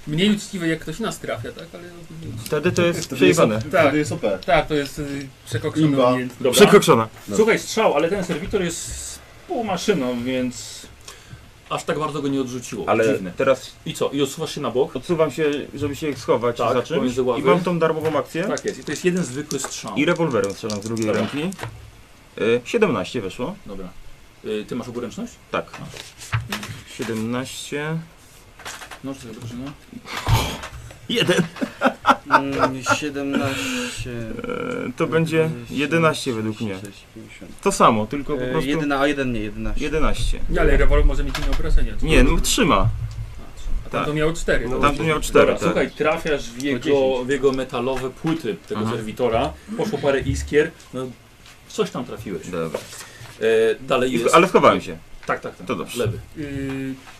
S8: Mniej uczciwe jak ktoś nas trafia, tak? Ale no,
S4: Wtedy to jest
S7: Wtedy jest,
S4: przejebane.
S7: wtedy jest OP.
S8: tak, to jest y, przekokszona
S7: Imba.
S8: umiejętność.
S1: Dobra.
S4: Przekokszona.
S1: Słuchaj, strzał, ale ten serwitor jest pół maszyną, więc... Aż tak bardzo go nie odrzuciło.
S4: Ale
S1: Dziwne.
S4: teraz
S1: I co? I odsuwasz się na bok?
S4: odsuwam się, żeby się schować
S1: Tak,
S4: za czymś
S1: pomiędzy ławy.
S4: i mam tą darmową akcję
S1: Tak jest. I to jest jeden zwykły strzał.
S4: i rewolwerem strzelam z drugiej
S1: Dobra.
S4: ręki. Y, 17 weszło.
S1: Dobra. Y, ty masz oburęczność?
S4: Tak. 17.
S1: No, czy dobrze, no.
S4: Jeden.
S6: Mm, 17.
S4: E, To będzie 11 według mnie. To samo, tylko po
S6: E,
S4: prostu
S6: Jedyna, a jeden nie, 11.
S4: 11.
S8: Nie, Ale rewolwer może mieć inne obrażenia. czy-
S4: Nie, no trzyma.
S8: A tam
S4: tak.
S8: to miało 4.
S9: No.
S4: Tam tu miał
S1: Dobra,
S4: 4, tak.
S1: słuchaj, trafiasz w jego,
S6: 10.
S1: w jego metalowe płyty tego
S4: Aha.
S1: serwitora. Poszło parę iskier. No, w coś tam trafiłeś.
S4: Dobra.
S1: E, dalej
S4: I-
S1: jest...
S4: Ale schowałem się.
S1: Tak, tak, tak.
S4: To dobrze.
S1: Lewy.
S8: Yy,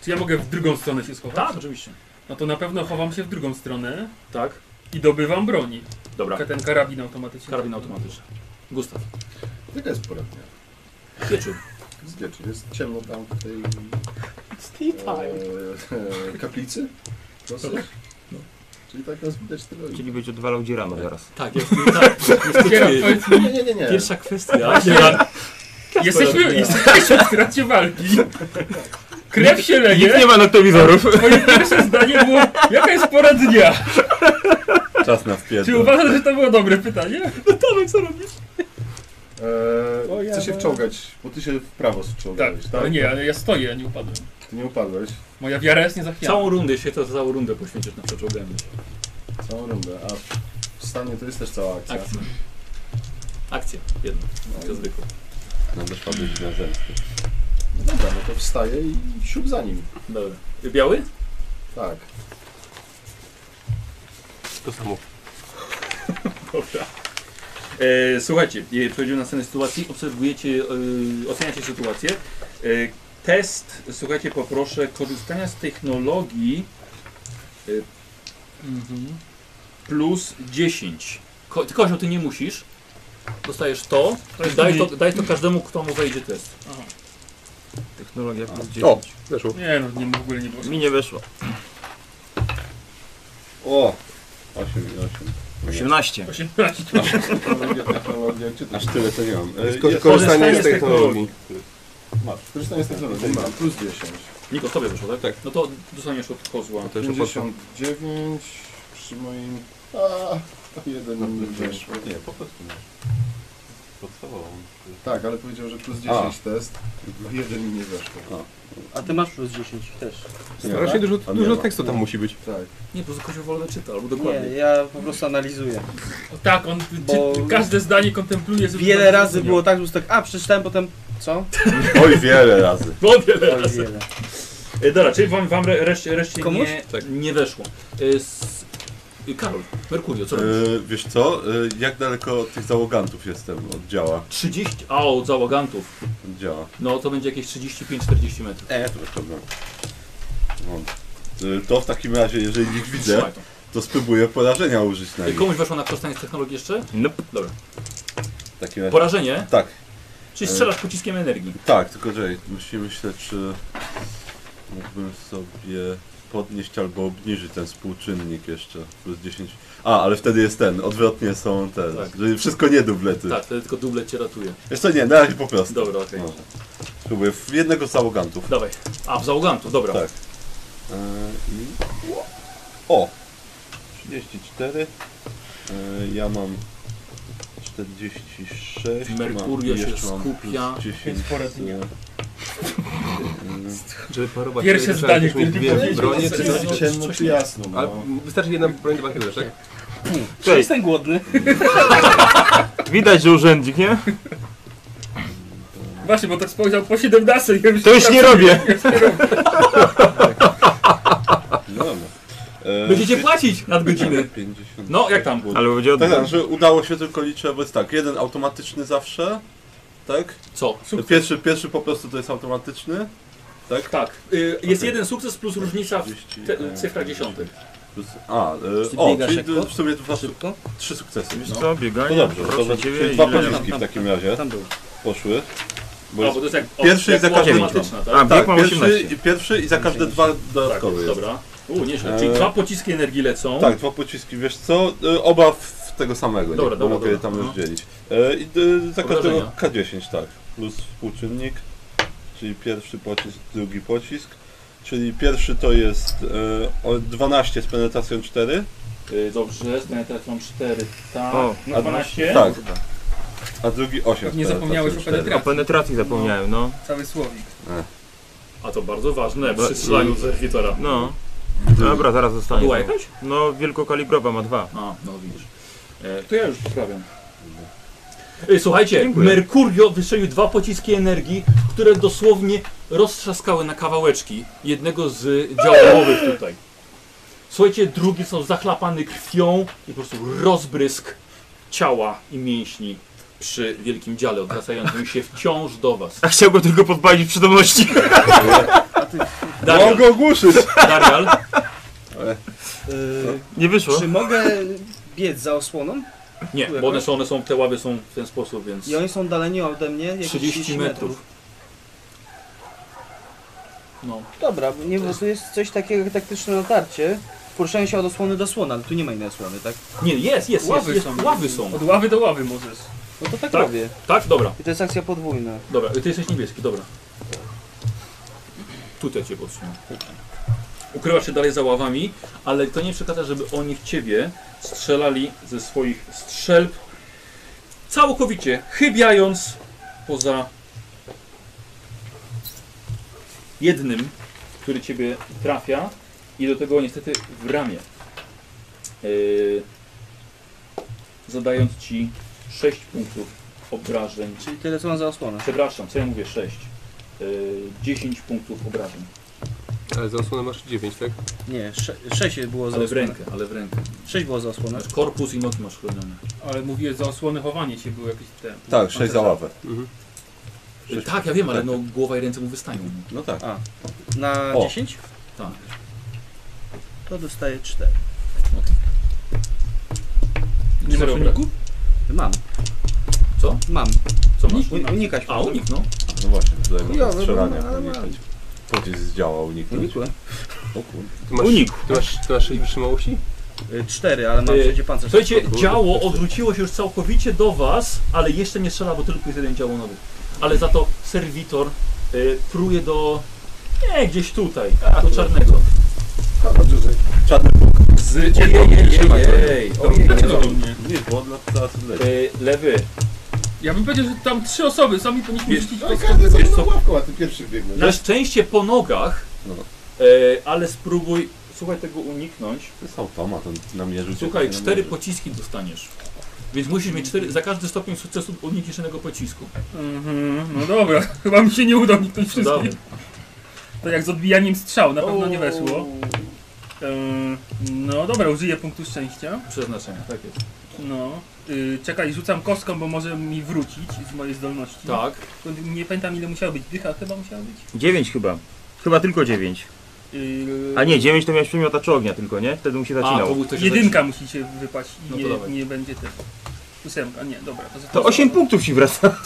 S8: czy ja mogę w drugą stronę się schować?
S1: Tak, oczywiście.
S8: No to na pewno chowam się w drugą stronę
S1: Tak.
S8: i dobywam broni.
S1: Dobra.
S4: Tak.
S8: Ten karabin automatyczny.
S1: Karabin automatyczny. Gustaw.
S7: Jaka jest pora dnia?
S1: Wieczór.
S7: Jest wieczór, jest ciemno tam w tej e, e, kaplicy. Dosyć.
S1: No.
S7: Czyli tak nas widać tyle.
S4: Czyli będzie odwalał dzierano zaraz.
S1: Tak, jest, tak.
S8: Kieram,
S1: Niestety,
S8: powiedz,
S7: Nie, nie, nie, nie.
S1: pierwsza kwestia.
S8: Właśnie. Jesteśmy, jesteśmy w trakcie walki. Krew się
S4: Nikt
S8: leje.
S4: nie ma noktowizorów.
S8: Moje pierwsze zdanie było, jaka jest pora dnia?
S5: Czas na
S8: Czy
S5: wpierdol.
S8: uważasz, że to było dobre pytanie? Tak,
S7: E, chcę się wciągać, bo ty się w prawo
S8: Tak,
S7: wciągałeś, tak?
S8: ale nie, ale ja stoję, a nie upadłem.
S7: Ty nie upadłeś
S8: Moja wiara jest niezachwiana.
S1: Całą rundę się to całą rundę poświęcisz na przeczołganie.
S7: całą rundę, a stanie, to jest też cała akcja.
S1: Akcja. Akcja, jedna, jak zwykle.
S5: No też padłeś na zemstę.
S7: No dobra, no to wstaje i siup za nim.
S1: Dobra. Biały?
S7: Tak.
S2: To samo.
S1: Dobra. E, słuchajcie, e, przechodzimy do następnej sytuacji. Obserwujecie, e, oceniacie sytuację. E, test, słuchajcie, poproszę korzystania z technologii e, plus 10. Ko Kozio, ty nie musisz. Dostajesz to.
S8: jest
S1: Daj to,
S8: mniej.
S1: daj to każdemu, kto mu wejdzie test.
S4: Technologia plus
S2: O,
S4: 10.
S2: weszło.
S3: Nie no, nie, w ogóle nie było.
S4: Mi nie weszło.
S5: O! 8 i 8.
S4: 18.
S3: 18.
S7: Technologia, technologia, gdzie to
S5: Aż tyle to nie mam. E,
S2: Ko- korzystanie
S5: jest-
S3: korzystanie
S2: z
S3: z
S2: technologii.
S7: Masz. Korzystanie z technologii. Mam plus 10.
S1: Niko, sobie wyszło, tak?
S2: Tak.
S1: No to dostaniesz od kozła.
S2: To jeszcze pod...
S7: 59 przy moim... A, jeden mi weszło.
S5: No, Nie, po prostu masz. Podstawową.
S7: Tak, ale powiedział, że plus 10 test. Jeden mi nie weszło.
S6: A ty masz plus 10 też.
S2: Strasznie dużo,
S5: A nie
S2: dużo
S5: ma.
S2: tekstu tam musi być.
S7: Tak.
S1: Nie, po prostu Kozio wolę czyta, albo dokładnie.
S6: Nie, ja po prostu analizuję.
S3: O tak, on ty,
S6: Bo-
S3: ty, każde zdanie kontempluje. żeby
S6: Wiele
S3: bardzo
S6: razy
S3: zrozumiał.
S6: było tak, że tak, a przeczytałem potem, co?
S5: Oj, wiele razy.
S1: No, wiele
S6: Oj,
S1: razy.
S6: wiele.
S1: E, Dobra, czyli wam, wam re- reszcie, reszcie
S6: Komuś?
S1: nie,
S2: Tak.
S1: nie weszło. E, s- e, Karol, Merkurio, co robisz?
S5: E, wiesz co, e, jak daleko od tych załogantów jestem od działa?
S1: 30, a od załogantów,
S5: Od działa.
S1: no to będzie jakieś 35-40 metrów.
S5: E, to bez problemu. No. E, To w takim razie, jeżeli ich widzę, Tak.
S1: Trzymaj to.
S5: to spróbuję porażenia użyć na
S1: E,
S5: nich.
S1: Komuś weszło na korzystanie z technologii jeszcze?
S4: Nope.
S1: Dobra.
S5: W takim razie.
S1: Porażenie,
S5: Tak,
S1: czyli strzelasz pociskiem energii.
S5: tak, tylko że musimy myśleć, czy mógłbym sobie podnieść albo obniżyć ten współczynnik jeszcze. Plus 10. A, ale wtedy jest ten, odwrotnie są te.
S1: Tak.
S5: Że wszystko nie dublety.
S1: Tak, wtedy tylko dublet cię ratuje.
S5: Jeszcze nie, na razie po prostu.
S1: Dobra, okej.
S5: Może. Spróbuję w jednego z załogantów.
S1: Dawaj. A, w załogantów, dobra.
S5: Tak. E, i... O! 34. E, ja mam 46.
S1: Merkurio
S5: mam,
S1: się
S5: jeszcze mam
S1: skupia.
S5: plus E, 10.
S3: Jest pora dnia.
S2: Żeby parować
S3: Pierwsze
S2: trzeba
S3: zdanie,
S2: jakieś mieć
S3: pierwsze
S2: dwie bronie, czy coś.
S1: coś-
S7: ciemno
S1: coś
S7: czy
S1: nie-
S7: jasno,
S2: Ale
S7: no.
S2: wystarczy jedna broń, dwa kilo, tak?
S6: Czy jestem głodny?
S4: Widać, że urzędnik, nie?
S3: Właśnie, bo tak spojrzał po 17. Ja
S4: To już nie
S8: tak
S4: robię.
S5: No dobra. E,
S1: Będziecie płacić nadgodziny.
S5: 50.
S1: No, jak tam?
S4: Ale będzie
S5: Tak, tak,
S4: oddać.
S5: że udało się tylko liczę, bo jest tak, jeden automatyczny zawsze, tak?
S1: Co?
S5: Pierwszy, pierwszy po prostu to jest automatyczny, tak?
S1: Tak. Y, Jest
S5: Okej.
S1: jeden sukces plus różnica w
S5: 30,
S1: te,
S5: e,
S1: cyfrach dziesiątych.
S5: Plus, a,
S6: Czy
S5: e, o,
S6: biegasz
S5: czyli
S6: jako?
S5: w sumie dwa,
S6: Szybko?
S5: trzy sukcesy.
S4: Wiesz co,
S5: No
S4: bieganie,
S5: dobrze,
S4: proszę
S5: to
S4: ciebie
S5: czyli
S4: i
S5: dwa
S4: lecisz.
S5: pociski w takim razie
S6: Tam był.
S5: poszły.
S1: A,
S5: Bo
S1: No, bo
S5: jest,
S1: to jest jak,
S5: Pierwszy
S1: jak
S5: jest za każdym
S1: automatyczna, tak?
S4: A, bieg
S5: tak,
S4: mam
S5: pierwszy,
S4: 18.
S5: i pierwszy i za każde dwa
S1: Tak,
S5: dodatkowe jest.
S1: dobra. U, nieźle. Czyli
S5: E,
S1: dwa pociski energii lecą.
S5: Tak, dwa pociski, wiesz co, e, oba w tego samego, nie?
S1: Dobra,
S5: bo
S1: dobra,
S5: mogę je
S1: dobra.
S5: tam
S1: No.
S5: rozdzielić. E, I e, za każdego
S1: Obrażenia.
S5: K10, tak, plus współczynnik, czyli pierwszy pocisk, drugi pocisk, czyli pierwszy to jest e, o 12 z penetracją 4,
S1: Y, Dobrze, stanę teraz mam 4, tak.
S4: O,
S1: na 12.
S5: tak, a drugi 8 z
S3: Nie zapomniałeś o
S5: penetracją 4.
S4: O penetracji zapomniałem, no.
S3: Cały słowik.
S1: A to bardzo ważne
S4: Dobra,
S1: przy strzelaniu z erwitora.
S4: No.
S6: Mhm.
S4: Dobra, zaraz zostanie.
S1: Była
S4: to.
S1: jakaś?
S4: No, wielkokalibrowa ma dwa.
S1: A, no widzisz. E, to ja już poprawiam. E, Słuchajcie,
S4: Dziękuję.
S1: Merkurio wystrzelił dwa pociski energii, które dosłownie roztrzaskały na kawałeczki jednego z działowych tutaj. Słuchajcie, drugi są zachlapany krwią i po prostu rozbrysk ciała i mięśni przy wielkim dziale, odwracającym się wciąż do was.
S4: A chciałbym tylko podpalić przytomności.
S1: Darial,
S5: go ogłuszyć!
S1: Darial,
S6: Yy,
S4: Nie wyszło.
S6: czy mogę biec za osłoną?
S1: nie, bo one są, one są, te ławy są w ten sposób, więc...
S6: I oni są daleni ode mnie jakieś
S1: 30 metrów. No.
S6: Dobra, bo nie, bo tu jest coś takiego jak taktyczne natarcie. Poruszanie się od osłony do osłony, ale tu nie ma innej osłony, tak?
S1: Nie, jest, jest,
S3: Ławy
S1: jest,
S3: są.
S1: jest. Ławy są.
S3: Od ławy do ławy możesz.
S6: No to tak,
S1: Tak.
S6: robię.
S1: Tak? Dobra,
S6: I to jest akcja podwójna.
S1: dobra. Ty jesteś niebieski, dobra. Tutaj cię podsunę. Ukrywasz się dalej za ławami, ale to nie przeszkadza, żeby oni w ciebie strzelali ze swoich strzelb, całkowicie chybiając poza jednym, który ciebie trafia i do tego niestety w ramię. Yy, E, zadając ci 6 punktów obrażeń.
S6: Czyli tyle co mam za osłonę.
S1: Przepraszam, co ja mówię 6? 10 punktów obrażeń.
S9: Ale za osłonę masz 9, tak?
S6: Nie, 6 było za
S1: Ale w
S6: osłonę.
S1: rękę, ale w rękę.
S6: 6 było za osłonę.
S1: Masz korpus i nogi masz chronione. E,
S10: Ale mówiłeś, za osłony chowanie się było jakieś te...
S5: Tak, 6 za ławę.
S9: Mhm.
S1: E, Tak, ja wiem, ale no głowa i ręce mu wystają.
S5: No tak.
S6: A, na
S5: O.
S6: 10?
S1: Tak.
S6: To dostaję 4.
S1: Nie masz uniku?
S6: Mam.
S1: Co?
S6: Mam.
S1: Co masz?
S6: Unik- unikać
S1: A, unik, no.
S5: No właśnie, tutaj
S6: Ja,
S5: mamy strzelania
S6: no, no, no.
S5: unikać. Pocisk zdziała uniknąć.
S6: Unikłem.
S5: O kurde.
S9: Ty masz,
S4: Unikł.
S9: Ty masz, ty masz 6 wytrzymałości?
S6: 4, ale mam
S1: Y,
S6: trzecie pancerz.
S1: Słuchajcie, działo odwróciło się już całkowicie do was, ale jeszcze nie strzela, bo tylko jest jeden działo nowy. Ale za to serwitor y, pruje do... Nie, gdzieś tutaj, do czarnego.
S5: Z...
S1: Ojej,
S5: Nie, bo dla teraz leci.
S1: ojej. E, Lewy,
S8: Ja bym powiedział, że tam trzy osoby, sami powinniśmy
S1: Wiesz-
S8: rzucić
S7: Ale każdy
S1: Wiesz
S7: sobie
S1: co?
S7: na ławką, a ty pierwszy biegniesz.
S1: na szczęście po nogach,
S5: No.
S1: y, ale spróbuj, słuchaj, tego uniknąć.
S5: To jest automat, on namierzył cię.
S1: Słuchaj,
S5: nie
S1: cztery
S5: namierzy.
S1: pociski dostaniesz. Więc musisz mieć cztery, za każdy stopień sukcesu unikniesz jednego pocisku.
S8: Mhm, no dobra, chyba mi się nie udało niknąć
S1: Dobra.
S8: wszystkich. To jak z odbijaniem strzał, na pewno nie weszło. Ym, no dobra, użyję punktu szczęścia.
S1: Przeznaczenie, tak jest.
S8: No. Yy, czekaj, rzucam kostką, bo może mi wrócić z mojej zdolności.
S1: Tak.
S8: Nie pamiętam ile musiało być. Dycha chyba musiała być?
S4: 9 chyba. Chyba tylko 9.
S8: Yy,
S4: A nie, 9 to miałeś przemiotacz ognia tylko, nie? Wtedy mu się
S1: A,
S4: zacinał.
S1: był ktoś
S8: Jedynka musi się wypaść i
S1: No to
S8: nie,
S1: dawaj.
S8: nie będzie tego. Ósemka, nie, dobra. To,
S4: To 8 punktów ci wraca.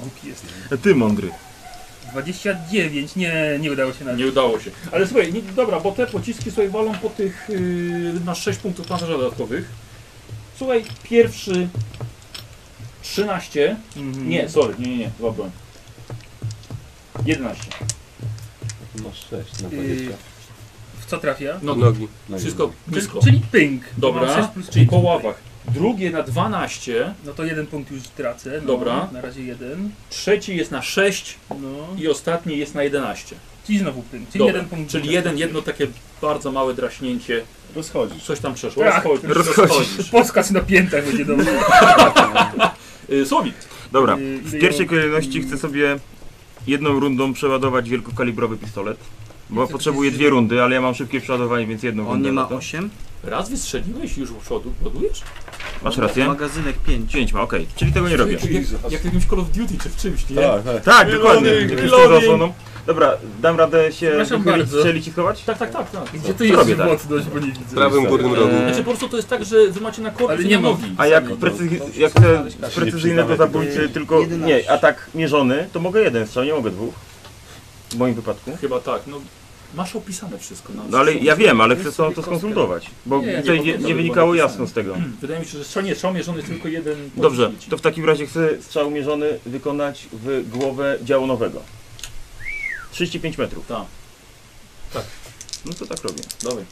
S8: Głupi jest.
S4: Ty mądry.
S8: 29, nie, nie udało się na
S1: Nie udało się. Ale słuchaj, nie, dobra, bo te pociski sobie walą po tych yy, na 6 punktów pancerza dodatkowych. Słuchaj, pierwszy 13.
S8: Mhm.
S1: Nie, sorry, nie, nie, nie, chyba broń. 11.
S5: Masz 6 na
S8: Yy,
S5: 20.
S8: w co trafia?
S1: No,
S9: Nogi.
S5: Na
S1: wszystko blisko.
S8: Czyli ping.
S1: Dobra,
S8: Mam 6 plus
S1: Czyli
S8: czyli
S1: po ławach. Drugie na 12,
S8: No to jeden punkt już tracę. No,
S1: Dobra.
S8: Na razie jeden.
S1: trzeci jest na 6
S8: No.
S1: i ostatni jest na 11.
S8: Czyli znowu ping. Czyli
S1: Dobra,
S8: jeden punkt.
S1: Czyli
S8: tracę.
S1: jeden, jedno takie bardzo małe draśnięcie.
S5: Rozchodzisz.
S1: Coś tam przeszło.
S8: Tak,
S1: Rozchodzisz.
S4: rozchodzisz.
S1: rozchodzisz.
S8: Podskacz na piętach będzie dobrze.
S1: Yy, Słowik.
S4: Dobra,
S8: Yy,
S4: w pierwszej
S8: wyjął-
S4: kolejności chcę sobie jedną rundą przeładować wielkokalibrowy pistolet. Bo potrzebuję dwie rundy, ale ja mam szybkie przeładowanie, więc jedną
S6: On
S4: rundę.
S6: nie ma
S4: na to.
S6: 8,
S1: Raz wystrzeliłeś i już przodu, ładujesz?
S4: Masz rację?
S6: magazynek 5.
S4: 5 ma, okej. Czyli tego nie robię.
S1: Czyli Jak, jak w jakimś Call of Duty czy w czymś, nie?
S5: Tak, tak.
S4: Tak, dokładnie.
S1: Reloading,
S4: Jak jestem za
S1: reloading.
S4: osłoną. Dobra, dam radę się
S8: Przepraszam
S4: wychylić,
S8: bardzo.
S4: strzelić i schować?
S1: Tak, tak, tak, tak.
S8: Gdzie
S4: Co
S8: ty jesteś
S4: robię tak?
S8: mocność, bo nie widzę.
S9: W prawym górnym rogu.
S4: Eee,
S1: Znaczy po prostu to jest tak, że wy macie na
S8: Ale
S1: korpus
S8: nie
S1: nie
S8: mam.
S1: nogi.
S4: A jak, precyz- jak chcę precyzyjne to zabójcy, tylko nie, atak mierzony, to mogę jeden strzał, nie mogę dwóch. W moim wypadku.
S1: Chyba tak, no masz opisane wszystko. Na
S4: No ale ja wiem, ale chcę z tobą to skonsultować, bo
S1: Nie,
S4: tutaj
S1: nie,
S4: nie,
S1: to
S4: nie
S1: by
S4: wynikało
S1: było
S4: jasno z tego.
S1: Wydaje mi się, że strzał, nie, strzał mierzony jest tylko jeden.
S4: Dobrze,
S1: pocisk.
S4: to w takim razie chcę strzał mierzony wykonać w głowę działu nowego. 35 metrów.
S1: Tak. Tak.
S4: No to tak robię.
S1: Dawaj.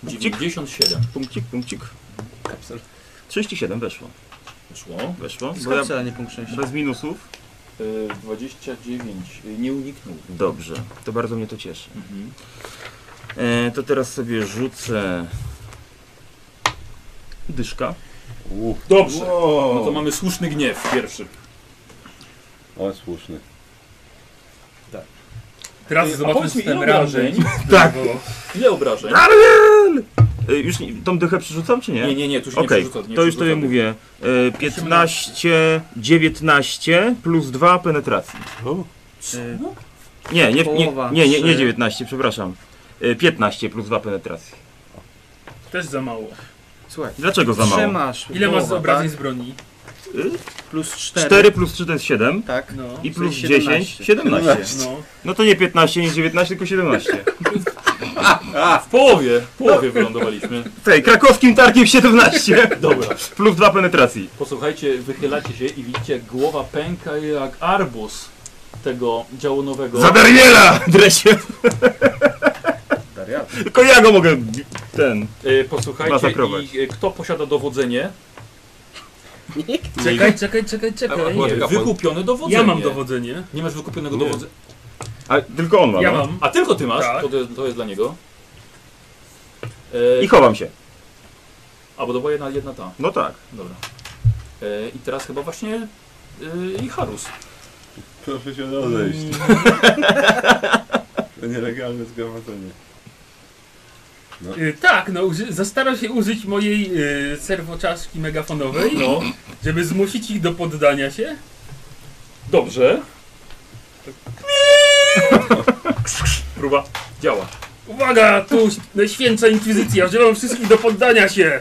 S4: Punkcik.
S1: 97.
S4: Punkcik, punkcik. 37 weszło.
S1: Wyszło.
S4: Weszło. Bo ja
S6: Skapsel, a nie punkt 6.
S4: bez minusów.
S1: Y, 29. Y, Nie uniknął.
S4: Dobrze, to bardzo mnie to cieszy.
S1: Mhm.
S4: E, to teraz sobie rzucę dyszka.
S5: Uff,
S1: Dobrze. No to mamy słuszny gniew pierwszy.
S5: ale słuszny.
S8: Teraz
S1: A powiedz
S8: zobaczysz
S1: mi,
S8: ten
S1: ile
S8: rażeń.
S1: obrażeń?
S4: Tak.
S1: Ile obrażeń?
S4: E, już nie, tą dychę przerzucam, czy nie?
S1: Nie, nie, nie, tu się nie
S4: Okej,
S1: przerzuca. nie
S4: to już
S1: przerzuca.
S4: tobie mówię. E, 15, 19 plus 2 penetracji.
S6: Y,
S1: No.
S4: Nie, nie, nie,
S6: Połowa,
S4: nie, nie, nie
S6: trzy.
S4: 19, przepraszam. E, 15 plus 2 penetracji.
S8: Też za mało.
S6: Słuchaj,
S4: Dlaczego za mało?
S6: trzymasz.
S8: Ile masz
S6: połowę,
S8: obrażeń z
S6: tak?
S8: broni?
S6: Plus 4.
S4: 4 plus 3 to jest 7
S6: Tak.
S8: No.
S4: i
S6: To
S4: plus
S6: jest 17.
S4: 10, 17.
S8: No.
S4: No to nie 15, nie 19, tylko 17.
S1: W połowie, w
S4: No.
S1: połowie wylądowaliśmy.
S4: Tej, krakowskim targiem 17
S1: Dobra.
S4: plus 2 penetracji.
S1: Posłuchajcie, wychylacie się i widzicie, jak głowa pęka jak arbus tego działonowego.
S4: Za Dariela! Dresie!
S7: Dariat.
S4: Tylko ja go mogę. Ten.
S1: E,
S4: Masa
S1: Posłuchajcie,
S4: krować.
S1: i e, kto posiada dowodzenie?
S8: Czekaj, czekaj, czekaj, czekaj.
S9: Masz
S1: Nie,
S9: kapłan.
S1: wykupione dowodzenie.
S8: Ja mam dowodzenie.
S1: Nie masz wykupionego
S9: Nie.
S1: dowodzenia.
S4: A tylko on ma.
S8: Ja
S4: no.
S8: mam.
S1: A tylko ty masz,
S8: Tak.
S1: to, to jest dla niego. E,
S4: I chowam się.
S1: A, bo to była jedna, jedna ta.
S4: No tak.
S1: Dobra. E, I teraz chyba właśnie e, i Harus.
S5: Proszę się
S1: Mm.
S5: odejść. To nielegalne zgromadzenie.
S8: Y, tak, no uży- zastaram się użyć mojej y, serwoczaszki megafonowej, no, żeby zmusić ich do poddania się.
S1: Dobrze. Próba. Działa.
S8: Uwaga, tu święca inkwizycja, wzywam wszystkich do poddania się!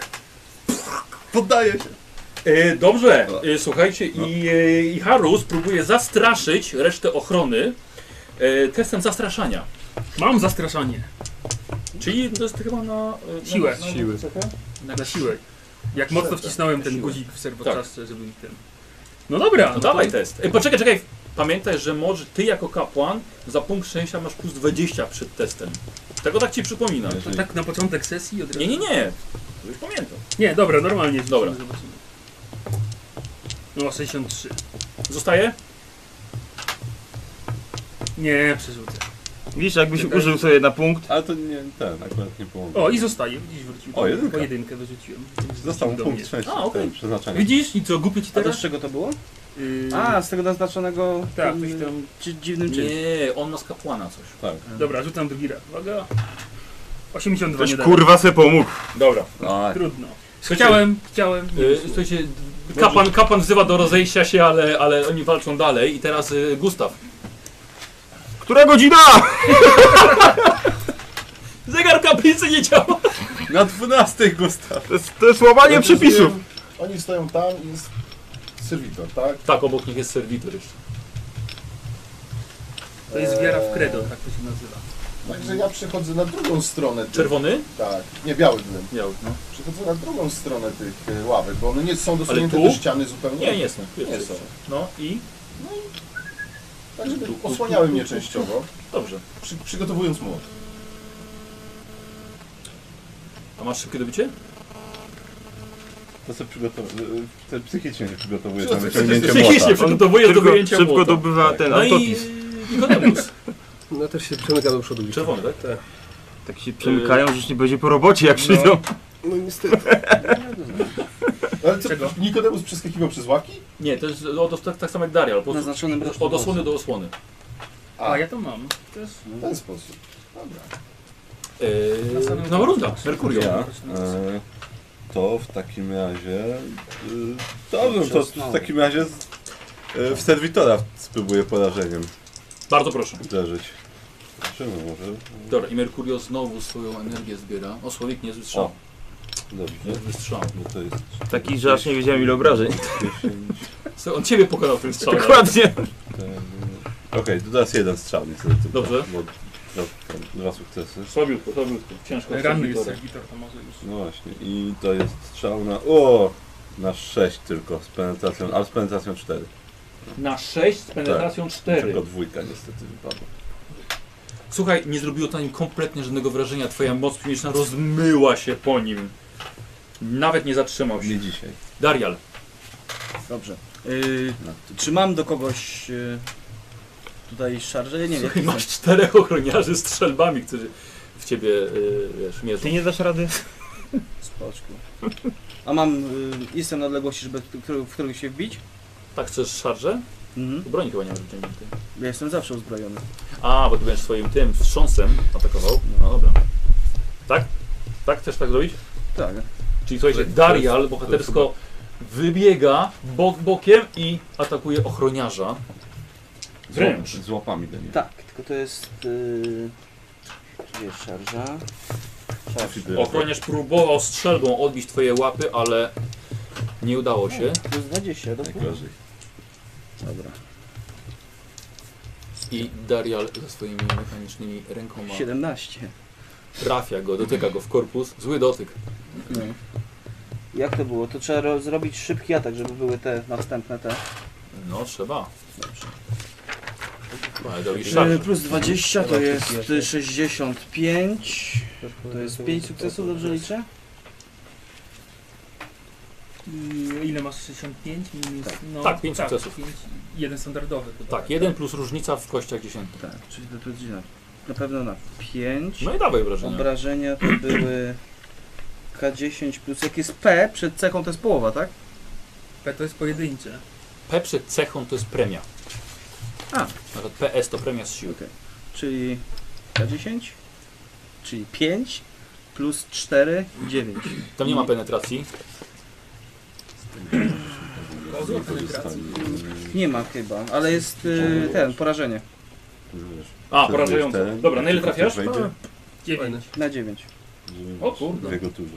S5: Poddaję się!
S1: E, dobrze. E, słuchajcie, i, e, i Harus próbuje zastraszyć resztę ochrony e, testem zastraszania.
S8: Mam zastraszanie,
S1: Czyli to jest chyba na... e, na
S8: Siłę.
S1: na- tak? na-
S7: Siły.
S8: na zasiłek. Jak mocno wcisnąłem ten
S1: Siłę. Tak.
S8: guzik w serwoczaszce, żeby ich ten... No dobra,
S1: No
S8: no
S1: dawaj
S8: to...
S1: test. E, poczekaj, czekaj. Pamiętaj, że może ty jako kapłan za punkt szczęścia masz plus 20 przed testem. Tego tak ci przypominam.
S8: to tak na początek sesji od razu.
S1: Nie, nie, nie. To Już pamiętam.
S8: Nie, dobra, normalnie. wrzucimy,
S1: Dobra.
S8: Zobaczymy. No, 63.
S1: Zostaje?
S8: Nie, przerzucę.
S4: Widzisz, jakbyś użył sobie na punkt.
S5: Ale to nie ten, akurat nie pomogło.
S8: O, i zostaje, widzisz, wrócił.
S5: O, jedynka.
S8: Po jedynkę wyrzuciłem.
S5: Został
S8: Do
S5: punkt
S8: mnie.
S5: szczęścia.
S1: A, okej.
S5: ten, przeznaczenia.
S8: Widzisz? I co, głupie ci
S6: A to z
S8: teraz?
S6: czego to było?
S8: Yy,
S6: A, yy, z tego naznaczonego
S8: Tak,
S6: tym,
S8: coś tam-
S6: dzi- dziwnym czymś.
S1: Nie, on ma z kapłana coś.
S5: Tak.
S8: Dobra, rzucam drugi raz. Uwaga. 82
S4: Ktoś
S8: nie da.
S4: kurwa se pomógł.
S1: Dobra.
S5: Aj.
S8: Trudno. Chciałem, chciałem. nie
S1: Y,
S8: wyszło.
S1: słuchajcie, kapłan, kapłan wzywa do rozejścia się, ale, ale oni walczą dalej. I teraz y, Gustaw.
S4: Która godzina?
S1: Zegar kaplicy nie działa.
S5: Na 12 Gustaw!
S4: To jest, to jest łamanie
S7: Ja też
S4: przepisów.
S7: wiem, Oni stoją tam i jest serwitor, tak?
S1: Tak, obok nich jest serwitor jeszcze.
S8: To jest wiara w credo, tak to się nazywa.
S7: Także ja przechodzę na drugą stronę. Tych,
S1: Czerwony?
S7: Tak, nie biały dym.
S1: Miał. No.
S7: Przechodzę na drugą stronę tych e, ławek, bo one nie są dosunięte
S1: tu?
S7: do ściany zupełnie.
S1: Nie, nie są.
S7: Nie są.
S1: No i?
S7: Tak, żeby osłaniały mnie częściowo,
S1: Dobrze.
S7: przy, przygotowując młot.
S1: A masz szybkie dobicie?
S5: To sobie przygotowuje. Te psychicznie się przygotowuje
S7: Co,
S5: na
S7: co,
S5: wyciągnięcie
S1: Psychicznie
S5: młota.
S1: przygotowuje do
S4: Szybko,
S1: wyjęcia
S4: szybko
S1: młota.
S4: dobywa ten
S1: No i
S4: autotis.
S1: Nikodemus.
S2: No też się przemyka do przodu. liczę.
S1: Czerwony, tak?
S4: Tak się przemykają, że już nie będzie po robocie jak przyjdą.
S2: No niestety.
S7: Ale co,
S8: Czego?
S7: Nikodemus przeskakiwał przez ławki?
S1: Nie, to jest od, tak, tak samo jak Darial. Po prostu
S6: Naznaczonym
S1: od osłony do osłony.
S8: A ja to mam. To jest
S7: W ten sposób. Dobra.
S1: Yy, nowa runda. Merkurio.
S5: Ja, e, to w takim razie. E, dobrze, to w takim razie z, e, w serwitora spróbuję porażeniem
S1: Bardzo proszę.
S5: uderzyć. Czemu może?
S1: Dobra, i Merkurio znowu swoją energię zbiera. O, słowik niezły
S5: O,
S1: strzał.
S5: dobrze.
S1: Niezły strzał.
S5: Bo to jest
S4: Taki, że aż nie wiedziałem ile obrażeń.
S5: 10.
S1: Co, On ciebie pokonał tym strzałem.
S4: Dokładnie.
S5: ten- Okej, to teraz jeden strzał niestety. tylko,
S1: Dobrze.
S5: Bo, no, tam dwa sukcesy.
S1: Słabiutko, słabiutko. Ciężko.
S8: ranny jest serwitor, to może już.
S5: No właśnie, i to jest strzał na. O! Na 6 tylko, z penetracją, ale z penetracją 4.
S1: Na 6 z penetracją 4.
S5: Tylko dwójka niestety wypadła.
S1: Słuchaj, nie zrobiło to na nim kompletnie żadnego wrażenia. Twoja moc piwniczna rozmyła się po nim. Nawet nie zatrzymał się.
S5: Nie dzisiaj.
S1: Darial.
S6: Dobrze. Y, czy mam do kogoś y, tutaj szarże? Nie wiem.
S1: Słuchaj, masz czterech ochroniarzy strzelbami, którzy w ciebie yy, wiesz, mierzą.
S4: Ty nie dasz rady?
S6: Spoczku. A mam... Y, jestem na odległości, żeby, który, w którym się wbić?
S1: Tak chcesz szarże?
S6: Mhm.
S1: Broń chyba nie masz wyciągniętej.
S6: Ja jestem zawsze uzbrojony.
S1: A, bo ty będziesz swoim tym wstrząsem atakował. No dobra. Tak? Tak chcesz tak zrobić?
S6: Tak.
S1: Czyli słuchajcie, Darial bohatersko wybiega bok bokiem i atakuje ochroniarza.
S5: Z,
S1: Wręcz.
S5: łap- z łapami do niej.
S6: Tak, tylko to jest... Y, wiesz, szarża... Szarża.
S1: Ochroniarz próbował strzelbą odbić twoje łapy, ale nie udało się.
S6: To jest 20, do pół.
S5: Najgorzej.
S6: Dobra.
S1: I Darial ze swoimi mechanicznymi rękoma
S6: 17.
S1: trafia go, dotyka go w korpus. Zły dotyk.
S6: No. Jak to było? To trzeba ro- zrobić szybki atak, żeby były te następne te.
S1: No trzeba. Ale tak. dał i
S6: E,
S1: szarż.
S6: Plus 20 to jest e, 65. To jest 5 sukcesów, dobrze liczę?
S8: I Yy, ile masz 65 minus. No,
S1: Tak, pięć sukcesów.
S8: pięć. jeden standardowy chyba.
S1: Tak, jeden plus różnica w kościach dziesiętnych.
S6: Tak, czyli to będzie na, na pewno na 5.
S1: No i dawaj wrażenia.
S6: Obrażenia to były K10 plus jak jest P przed cechą to jest połowa, tak?
S8: P to jest pojedyncze.
S1: P przed cechą to jest premia.
S6: A.
S1: Nawet PS to premia z siły.
S6: Czyli K10, czyli 5 plus 4, 9.
S1: Tam nie ma penetracji.
S8: Kozło penetracji.
S5: Korzystanie.
S6: Nie ma chyba, ale jest y, ten, porażenie
S11: A, porażające. Dobra, na ile trafiasz?
S5: Wejdzie,
S8: Dziewięć.
S6: na 9.
S5: żeby
S11: O kurde.
S5: Dwie gotowe.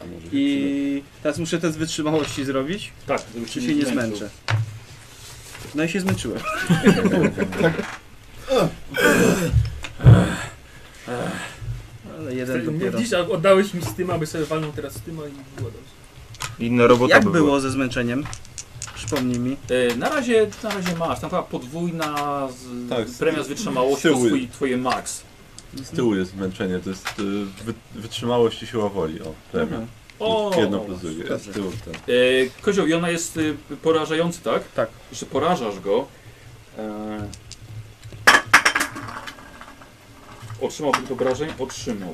S5: A może się przyda.
S6: I teraz muszę test wytrzymałości zrobić,
S11: Tak, żeby
S6: czy się nie
S11: zmęczył.
S6: zmęczę. No i się zmęczyłem. Ale jeden dopiero.
S8: Widzisz, a oddałeś mi z tym, aby sobie walnął teraz z tym, a i było dobrze.
S4: Inna robota
S6: Jak
S4: by
S6: było ze zmęczeniem? Przypomnij mi.
S1: E, na, razie, na razie masz. Tam chyba podwójna z,
S5: Tak, z-
S1: premia z wytrzymałością
S5: z tyłu.
S1: twój, twoje max.
S5: Z tyłu jest zmęczenie, to jest y, wy, wytrzymałość i siła woli. O,
S11: Mhm.
S5: premia.
S1: O!
S5: Jedno plus drugie. jest Z tyłu tak. ten.
S1: E, Kozioł, i ona jest y, porażający, tak?
S6: Tak.
S1: Jeszcze porażasz go. E... Otrzymał tylko obrażeń? Otrzymał.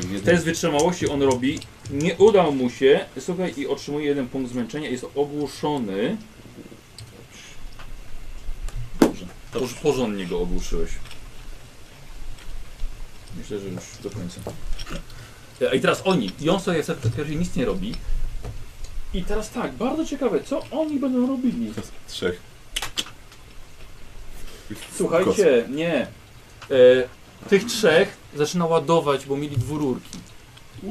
S5: Ten jeden-
S1: Test wytrzymałości on robi. Nie udał mu się. Słuchaj, i otrzymuje jeden punkt zmęczenia. Jest ogłuszony. Dobrze. Dobrze. Porządnie go ogłuszyłeś. Myślę, że już do końca. E, I teraz oni. I on sobie w pierwszej nic nie robi. I teraz tak, bardzo ciekawe, co oni będą robili.
S5: Trzech.
S1: Słuchajcie, nie. E, tych trzech zaczyna ładować, bo mieli dwururki.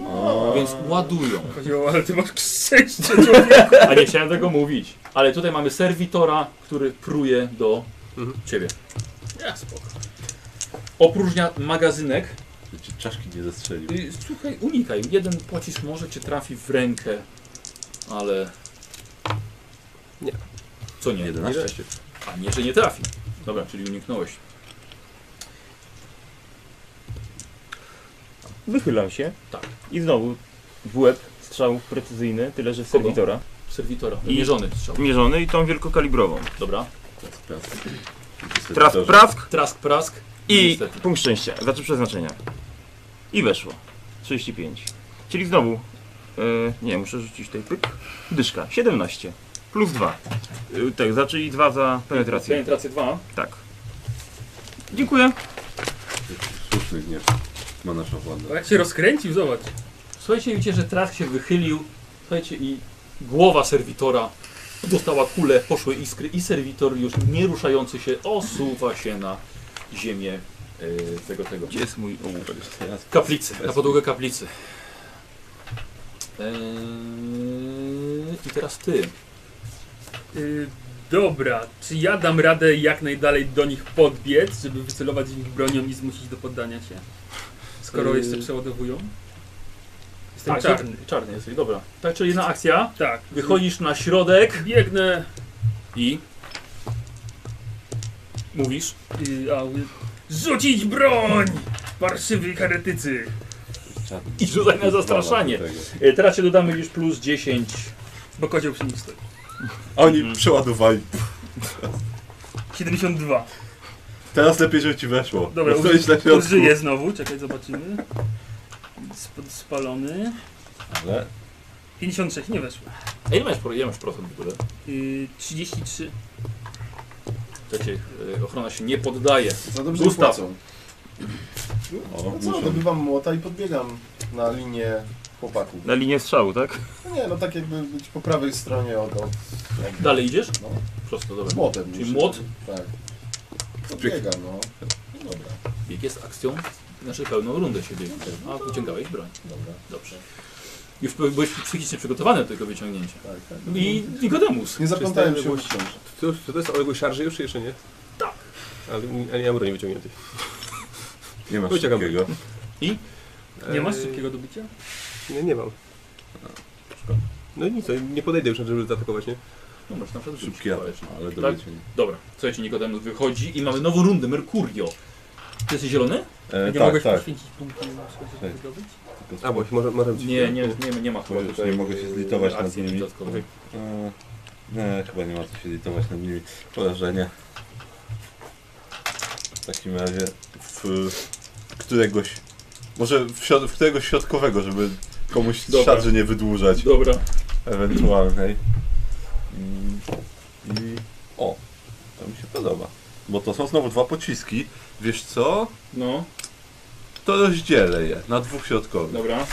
S5: O.
S1: Więc ładują.
S8: Kozioł, ale ty masz szczęście, człowieku.
S1: A nie chciałem tego mówić. Ale tutaj mamy serwitora, który pruje do ciebie.
S8: Ja, spoko.
S1: Opróżnia magazynek.
S5: Cię czaszki nie zastrzelił.
S1: Y, Słuchaj, unikaj. Jeden pocisk może cię trafi w rękę, ale.
S2: Nie.
S1: Co nie?
S5: 11 się.
S1: A nie, że nie trafi. Dobra, czyli uniknąłeś.
S4: Wychylam się.
S1: Tak.
S4: I znowu w łeb strzał precyzyjny, tyle że z
S1: Kogo?
S4: serwitora.
S1: Serwitora.
S4: I-
S1: Mierzony strzał.
S4: Mierzony i tą wielkokalibrową.
S1: Dobra.
S5: Teraz prask.
S4: Traf, prask
S1: Trask, prask.
S4: i
S1: Niestety.
S4: punkt szczęścia, znaczy przeznaczenia. I weszło. 35. Czyli znowu, e, nie, muszę rzucić tutaj pyk. Dyszka, 17. Plus 2. E, tak, znaczy i 2 za penetrację.
S1: Penetracja 2.
S4: Tak. Dziękuję.
S5: Słuszny gniew. Ma nasza władza.
S8: Bo jak się rozkręcił, zobacz.
S1: Słuchajcie, widzicie, że Trask się wychylił. Słuchajcie, i głowa serwitora dostała kulę, poszły iskry i serwitor już nie ruszający się osuwa się na ziemię e, tego, tego
S4: Gdzie jest mój ołówek?
S5: Teraz
S1: kaplicy, na podłogę kaplicy. Eee, I teraz ty.
S8: Y, dobra, czy ja dam radę jak najdalej do nich podbiec, żeby wycelować ich bronią i zmusić do poddania się? Skoro
S1: Y,
S8: jeszcze przeładowują? Jestem
S1: Tak,
S8: czarny.
S1: Czarny jesteś, dobra. Tak, czyli jedna akcja.
S8: Tak.
S1: Wychodzisz na środek
S8: Biegnę.
S1: i mówisz.
S8: Y, a, y, rzucić broń! Parszywy heretycy!
S5: czarny.
S1: I rzucaj na zastraszanie.
S5: Dwa lata No, tego.
S1: E, teraz się dodamy już plus 10
S8: Bo kozioł przy nich stoi.
S11: Mhm.
S5: Oni przeładowali.
S8: 72.
S5: Teraz lepiej, żeby ci weszło.
S8: Dobra,
S5: Bo stoisz na środku.
S8: Użyję znowu, czekaj, zobaczymy. Sp- spalony.
S5: Ale
S8: 56, nie weszło.
S1: A ile masz, pro- ile masz procent w ogóle?
S8: Y, 33.
S1: Słuchajcie, e, ochrona się nie poddaje.
S7: Za dobrze
S1: Gustaw.
S7: Gustaw. płacą.
S5: O,
S7: No co,
S5: muszą.
S7: dobywam młota i podbiegam na linię chłopaków.
S4: Na linię strzału, tak?
S7: No nie, no tak jakby być po prawej stronie od... od jakby,
S1: Dalej idziesz?
S7: No,
S1: Prosto, dobra.
S7: młotem.
S1: Czyli
S7: muszę-
S1: młot?
S7: Tak. Podbiegam, no. No Dobra,
S1: Bieg jest akcją, znaczy pełną rundę się biegnie. A wyciągałeś broń.
S7: dobra.
S1: Dobrze. Już by- byłeś psychicznie przygotowany do tego wyciągnięcia. No
S7: Tak, tak.
S1: I Nikodemus.
S7: Nie zaplątałem się
S2: Przestań
S7: wciąż.
S2: To, to jest o jego szarży już, jeszcze nie?
S1: Tak.
S2: Ale nie- ale nie mam broni wyciągniętej.
S5: nie masz
S2: Uciekam.
S5: takiego.
S8: Nie masz
S2: Eee,
S8: szybkiego dobicia?
S2: Nie, nie mam. No i nic, no, nie podejdę już, żeby zaatakować, nie?
S1: No masz na przykład
S5: Szybki
S1: rzucić,
S5: atak,
S1: waleczny.
S5: ale do
S1: Tak?
S5: tak?
S1: Dobra, słuchajcie, Nikodemus wychodzi i mamy nową rundę, Mercurio. Ty jesteś zielony?
S5: E,
S8: nie
S5: tak,
S8: mogłeś
S5: tak.
S8: poświęcić punktu na przykład,
S5: Tak.
S8: żeby to zdobyć?
S2: A, bo może, może być.
S1: Nie, nie, nie, nie ma chyba
S5: Już nie
S1: tutaj,
S5: mogę się
S1: e,
S5: zlitować nad
S1: akcji
S5: nimi.
S1: dodatkowej.
S5: E, nie, chyba nie ma co się litować nad nimi. Porażenie. W takim razie w, któregoś. Może w, środ- w któregoś środkowego, żeby komuś
S11: Dobra.
S5: szadrze nie wydłużać
S11: Dobra.
S5: ewentualnej. Mm, I o, to mi się podoba. Bo to są znowu dwa pociski. Wiesz co?
S11: No,
S5: To rozdzielę je na dwóch środkowych.
S11: dobra.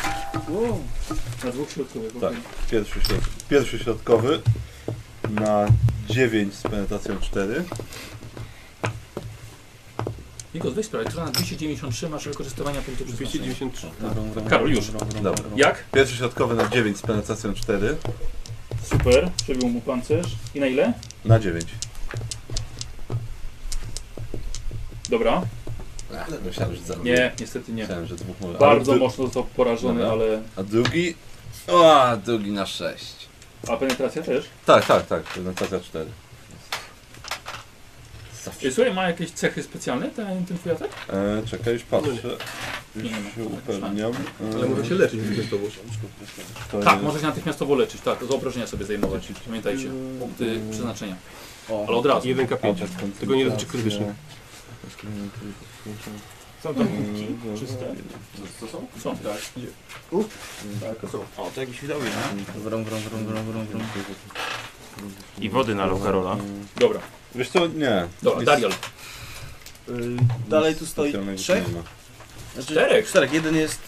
S11: Na dwóch środkowych.
S5: Tak. Pierwszy, środ pierwszy środkowy na 9 z penetracją 4.
S1: Nikos, weź sprawę, która na 293 masz wykorzystywania punktu No, przeznaczenia.
S2: 293.
S11: Karol, już.
S5: Dobra.
S11: Jak?
S5: Pierwszy środkowy na 9 z penetracją 4.
S11: Super. Przebił mu pancerz. I na ile?
S5: Na 9.
S11: Dobra.
S5: Ale no myślałem, że zarobię.
S11: Nie, niestety nie.
S5: Myślałem, że dwóch może.
S11: Bardzo
S5: Tak. ale dru-
S11: mocno został porażony,
S5: Dobra.
S11: ale...
S5: A drugi? O, drugi na 6.
S11: A penetracja też?
S5: Tak, tak, tak. Penetracja 4. Zawsze.
S11: E, Słuchaj, ma jakieś cechy specjalne ten, ten twój atak?
S5: E, czekaj, już patrzę. Już się upewniam. E,
S2: Ale może się leczyć z tobą.
S5: to
S1: Tak,
S5: jest-
S1: może się natychmiastowo leczyć, tak, z obrażenia sobie zajmować. Pamiętajcie,
S5: Yy,
S1: punkty przeznaczenia. Ale od razu.
S2: 1 k
S5: Atak, koncentracja.
S2: Tego nie dotyczy krytyczny.
S11: Są
S5: e,
S11: tam kubki czyste. Są, tak.
S4: O, to jakiś widowie, nie?
S6: Wrą, wrą, wrą, wrą, wrą, wrą.
S4: I wody nalał Karola.
S1: Dobra,
S5: Wiesz co, nie.
S1: dobra,
S5: Nic-
S1: Darial.
S6: Y, Dalej tu stoi
S5: specjalnego
S6: trzech?
S5: nie ma.
S6: Znaczy,
S1: Czterech.
S6: Czterech, jeden jest...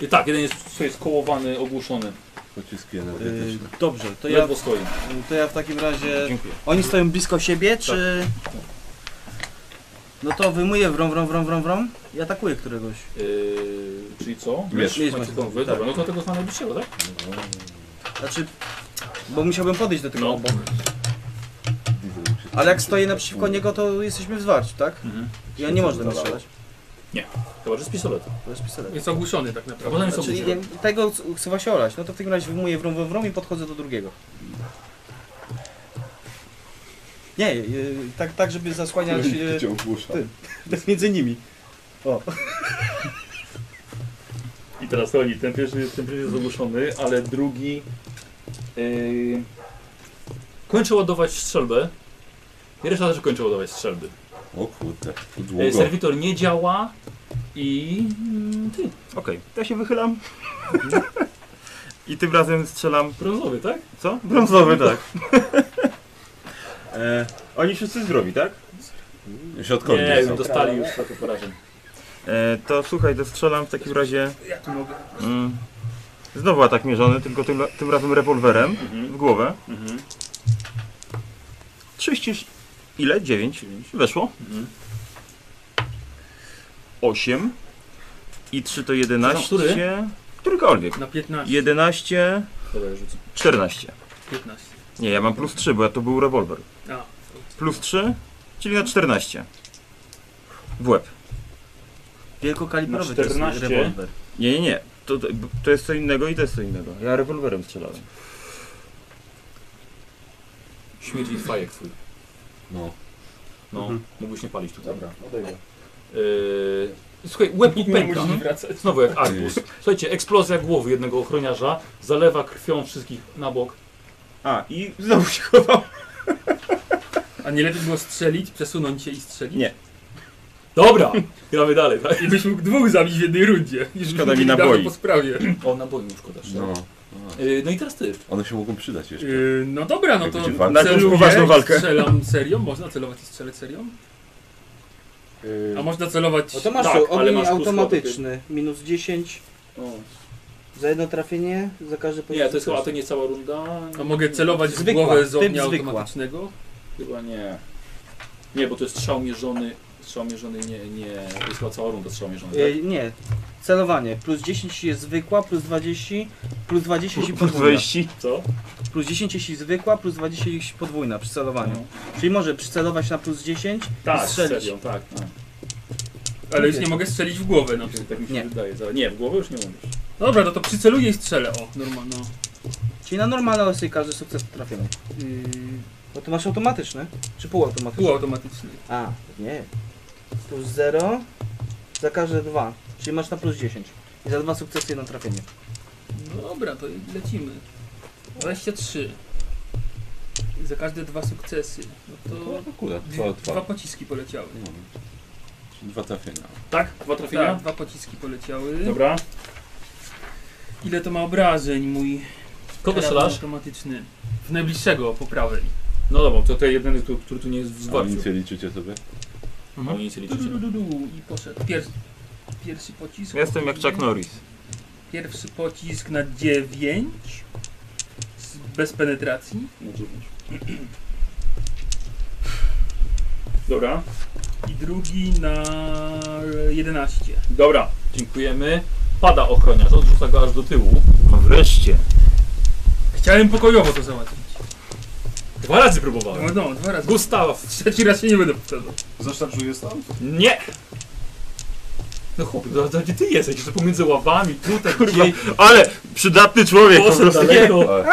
S1: I tak, jeden jest, słuchaj, skołowany, ogłuszony.
S5: Pociski
S6: Y,
S5: energetyczne.
S6: dobrze, to ja,
S1: Ledwo stoi.
S6: to ja w takim razie...
S4: Dziękuję.
S6: Oni stoją blisko siebie, czy... No to wyjmuję wrą, wrą, wrą, wrą, wrą i atakuję któregoś.
S1: Yy, czyli co?
S5: Miecz.
S6: Miecz
S1: Macie
S6: macie.
S1: tą- Dobra, no to tego znamy najbliższego, tak?
S6: Znaczy... Bo musiałbym podejść do tego
S1: No.
S6: obok. Ale jak stoję naprzeciwko niego, to jesteśmy w zwarciu, tak?
S1: Mhm.
S6: Ja nie można mi strzelać.
S1: Chyba, że z pistoletu.
S6: To jest pistolet.
S8: Jest ogłuszony tak
S1: A
S8: naprawdę.
S1: potem jest
S6: Znaczy,
S1: ogłuszony.
S6: jak tego ch- chcę właśnie orać, no to w takim razie wyjmuję wrą, wrą, wrą i podchodzę do drugiego. Nie, yy, tak, tak żeby zasłaniać yy,
S5: Cię ogłusza.
S6: ty. między nimi.
S11: I teraz oni, ten pierwszy, ten pierwszy jest ogłuszony, ale drugi... Yy,
S1: Kończy ładować strzelbę. I Reszta też kończy ładować strzelby.
S5: O kurde, to
S1: Yy,
S5: długo.
S1: serwitor nie działa i mm, ty,
S4: Okej, ja się wychylam.
S11: Mhm.
S4: I tym razem strzelam,
S1: brązowy, tak?
S4: co? Brązowy, tak. e, oni wszyscy zdrowi, tak?
S5: Środkowy
S1: Nie,
S5: nie,
S1: już dostali już trochę porażeń.
S4: E, to słuchaj, dostrzelam w takim razie. Mm, znowu atak mierzony, tylko tym, tym razem rewolwerem
S1: Mhm,
S4: w głowę. 30. Ile? 9. Weszło. 8 i 3 to 11.
S1: który?
S4: Którykolwiek.
S8: Na 15.
S4: 11,
S1: Dobra, ja rzucę.
S4: 14.
S8: 15.
S4: Nie, ja mam plus 3, bo ja to był rewolwer.
S8: A.
S4: Plus 3, czyli na 14. W łeb.
S6: Wielkokalibrowy
S11: Na
S6: to jest
S11: 14.
S6: rewolwer.
S4: Nie, nie, nie. To, to- to jest co innego i to jest co innego. Ja rewolwerem strzelałem.
S1: Śmierdzi fajek twój.
S5: No.
S1: No, mógłbyś nie palić tutaj.
S7: Dobra, odejdę.
S1: Yy, słuchaj, łeb mu pęka.
S8: Musisz wracać.
S1: Znowu jak arbuz. Słuchajcie, eksplozja głowy jednego ochroniarza zalewa krwią wszystkich na bok.
S4: A, i znowu się chował.
S8: A nie lepiej było strzelić, przesunąć się i strzelić?
S4: Nie.
S1: Dobra, gramy dalej, tak?
S8: I byś mógł dwóch zabić w jednej rundzie. Już byśmy
S4: Szkoda mi
S8: byli dawno
S4: naboi.
S8: Po sprawie.
S1: O, na boju szkoda. No.
S5: No.
S1: Yy, no i teraz ty.
S5: One się mogą przydać jeszcze.
S8: Yy, no dobra, no
S5: Jak
S8: to
S5: będzie walka.
S4: Na jakąś
S8: celuję,
S4: poważną walkę.
S8: strzelam serią. Można celować i strzelać serią? A można celować...
S6: No to masz
S1: Tak,
S6: tak,
S1: ale
S6: ogień
S1: masz plus
S6: automatyczny. Minus 10 za jedno trafienie, za każde
S1: Nie, to jest chyba to nie cała runda.
S8: A mogę celować w
S6: Zwykła,
S8: głowę z
S6: typ
S8: ognia
S6: zwykła.
S8: automatycznego?
S1: Chyba nie. Nie, bo to jest strzał mierzony. Strzał mierzony nie, nie. To jest chyba cała runda strzał mierzony. Tak?
S6: E, nie, celowanie. Plus 10 jest zwykła, plus 20, plus 20 jeśli
S4: Plus
S6: podwójna.
S4: 20.
S1: Co?
S6: Plus 10 jeśli zwykła, plus 20 jeśli podwójna przy celowaniu.
S1: No.
S6: Czyli może przycelować na plus 10
S1: Tak,
S6: i strzelić.
S1: strzelił, tak. tak.
S8: Ale już nie mogę strzelić w głowę na przykład.
S1: Tak mi się
S6: Nie.
S1: wydaje. za- Nie, w głowę już nie mówisz.
S8: No dobra, no to przyceluję i strzelę. O, normalno.
S6: Czyli na normalne losy każdy sukces trafiony.
S8: Yy,
S6: Bo to masz automatyczny? Czy półautomatyczny?
S8: półautomatyczny.
S6: A, nie. Plus 0 za każde 2. Czyli masz na plus 10. I za dwa sukcesy jedno trafienie.
S8: No dobra, to lecimy. 23. Za każde dwa sukcesy. No to
S5: No, Akurat,
S8: dwie,
S5: to
S8: dwa Tak,
S5: dwa.
S8: pociski poleciały.
S5: No. Dwa trafienia.
S11: Tak? Dwa trafienia?
S8: Tak, dwa pociski poleciały.
S11: Dobra.
S8: Ile to ma obrażeń mój
S1: Kogo
S8: karabin
S1: strzelasz?
S8: automatyczny? W najbliższego, po prawej.
S1: No dobra, to ten jedyny, który, który tu No, nie jest w zwarciu. Mhm.
S5: Amunicję liczycie sobie?
S1: Oni nic nie
S8: Du, du,
S1: liczycie.
S8: du, du, du. I poszedł. Pierwszy, pierwszy pocisk.
S4: Ja jestem jak Chuck Norris.
S8: Pierwszy pocisk na 9. Z- Bez penetracji.
S11: Na dziewięć. Dobra.
S8: I drugi na 11.
S11: Dobra.
S1: Dziękujemy. Pada ochroniarz, odrzuca go aż do tyłu.
S4: No wreszcie.
S8: Chciałem pokojowo to załatwić.
S1: Dwa razy
S8: No,
S1: próbowałem.
S8: no dwa razy.
S1: Gustaw!
S8: Trzeci raz się nie będę powtarzał.
S7: Zaszarżuję stąd?
S1: Nie! No chłopie, no, no, gdzie ty jesteś? Jeszcze pomiędzy ławami, tutaj, gdzie...
S4: Ale przydatny człowiek po
S1: Poszedł
S4: prostu.
S1: daleko.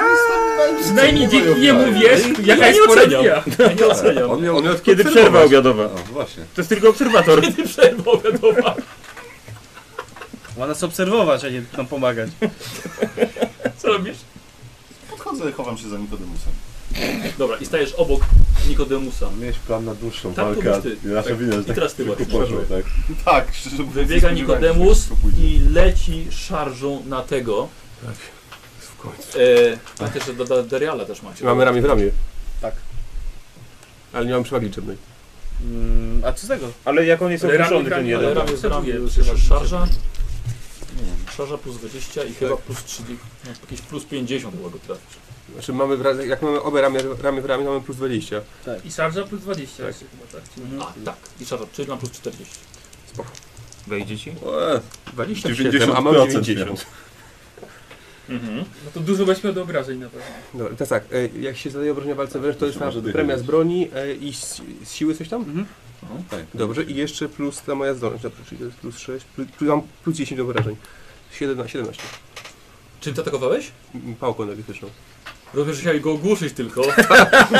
S8: Przynajmniej dzięki niemu wiesz,
S1: Ja
S8: jaka
S1: nie
S8: jest pora dnia.
S1: oceniam. Ja nie oceniam.
S2: On miał, on miał
S4: Kiedy przerwa obiadowa.
S5: O, właśnie.
S4: To jest tylko obserwator.
S1: Kiedy przerwał, wiadomo.
S6: Ma nas obserwować, a nie nam pomagać.
S1: Co robisz?
S7: Podchodzę, chowam się za Nikodemusem.
S1: Dobra, i stajesz obok Nikodemusa.
S5: Miałeś plan na dłuższą
S1: Tak,
S5: walkę.
S1: to byś ty.
S5: a Nasza
S1: Tak.
S5: wina, że
S1: I
S5: tak
S1: teraz ty
S5: szybko
S1: właśnie.
S5: poszło, tak.
S7: Tak, szczerze mówiąc,
S1: Wybiega
S7: nie spodziewałem się,
S1: Nikodemus
S7: że to pójdzie.
S1: i leci szarżą na tego. Tak, w końcu. E, pamiętaj, że do- do Dariala też macie.
S2: Mamy ramię w ramię.
S7: Tak.
S2: Ale nie mam przewagi liczebnej.
S6: Mm, a co z tego?
S4: Ale jak on jest
S8: Ale
S4: opuszczony,
S8: ramię-
S4: to nie
S1: Ale
S4: dobra.
S1: ramię z ramię,
S8: Obserwuję,
S1: jest jeszcze
S8: obserwuję.
S1: szarża. Nie wiem, Szarża plus 20 i chyba plus 30, no, jakieś plus 50 chyba go trafić.
S2: Znaczy mamy, w ra- jak mamy obie ramię, ramię w ramię, to mamy plus 20.
S8: I szarża plus 20
S2: Tak.
S8: jeszcze chyba, tak? Mhm.
S1: A, tak. I szarża, czyli na plus 40.
S4: Wejdzie ci?
S5: O,
S2: 27,
S5: 90%
S2: a mamy 90.
S5: miał.
S1: Mhm.
S8: No to dużo weźmie od obrażeń na pewno.
S2: Dobra, teraz tak, e, jak się zadaje obrażenia w walce wręcz, to jest
S5: Może
S2: na
S5: dychę
S2: premia z
S5: mieć.
S2: broni e, i z, z siły coś tam?
S4: Mhm.
S5: No, tak.
S2: Dobrze, i jeszcze plus ta moja zdolność, dobrze, czyli to jest plus 6, plus, plus, mam plus 10 do obrażeń. 17, 17.
S1: Czym ty atakowałeś?
S2: M, Pałką energetyczną.
S1: Rozumiesz, że chciałem go ogłuszyć tylko.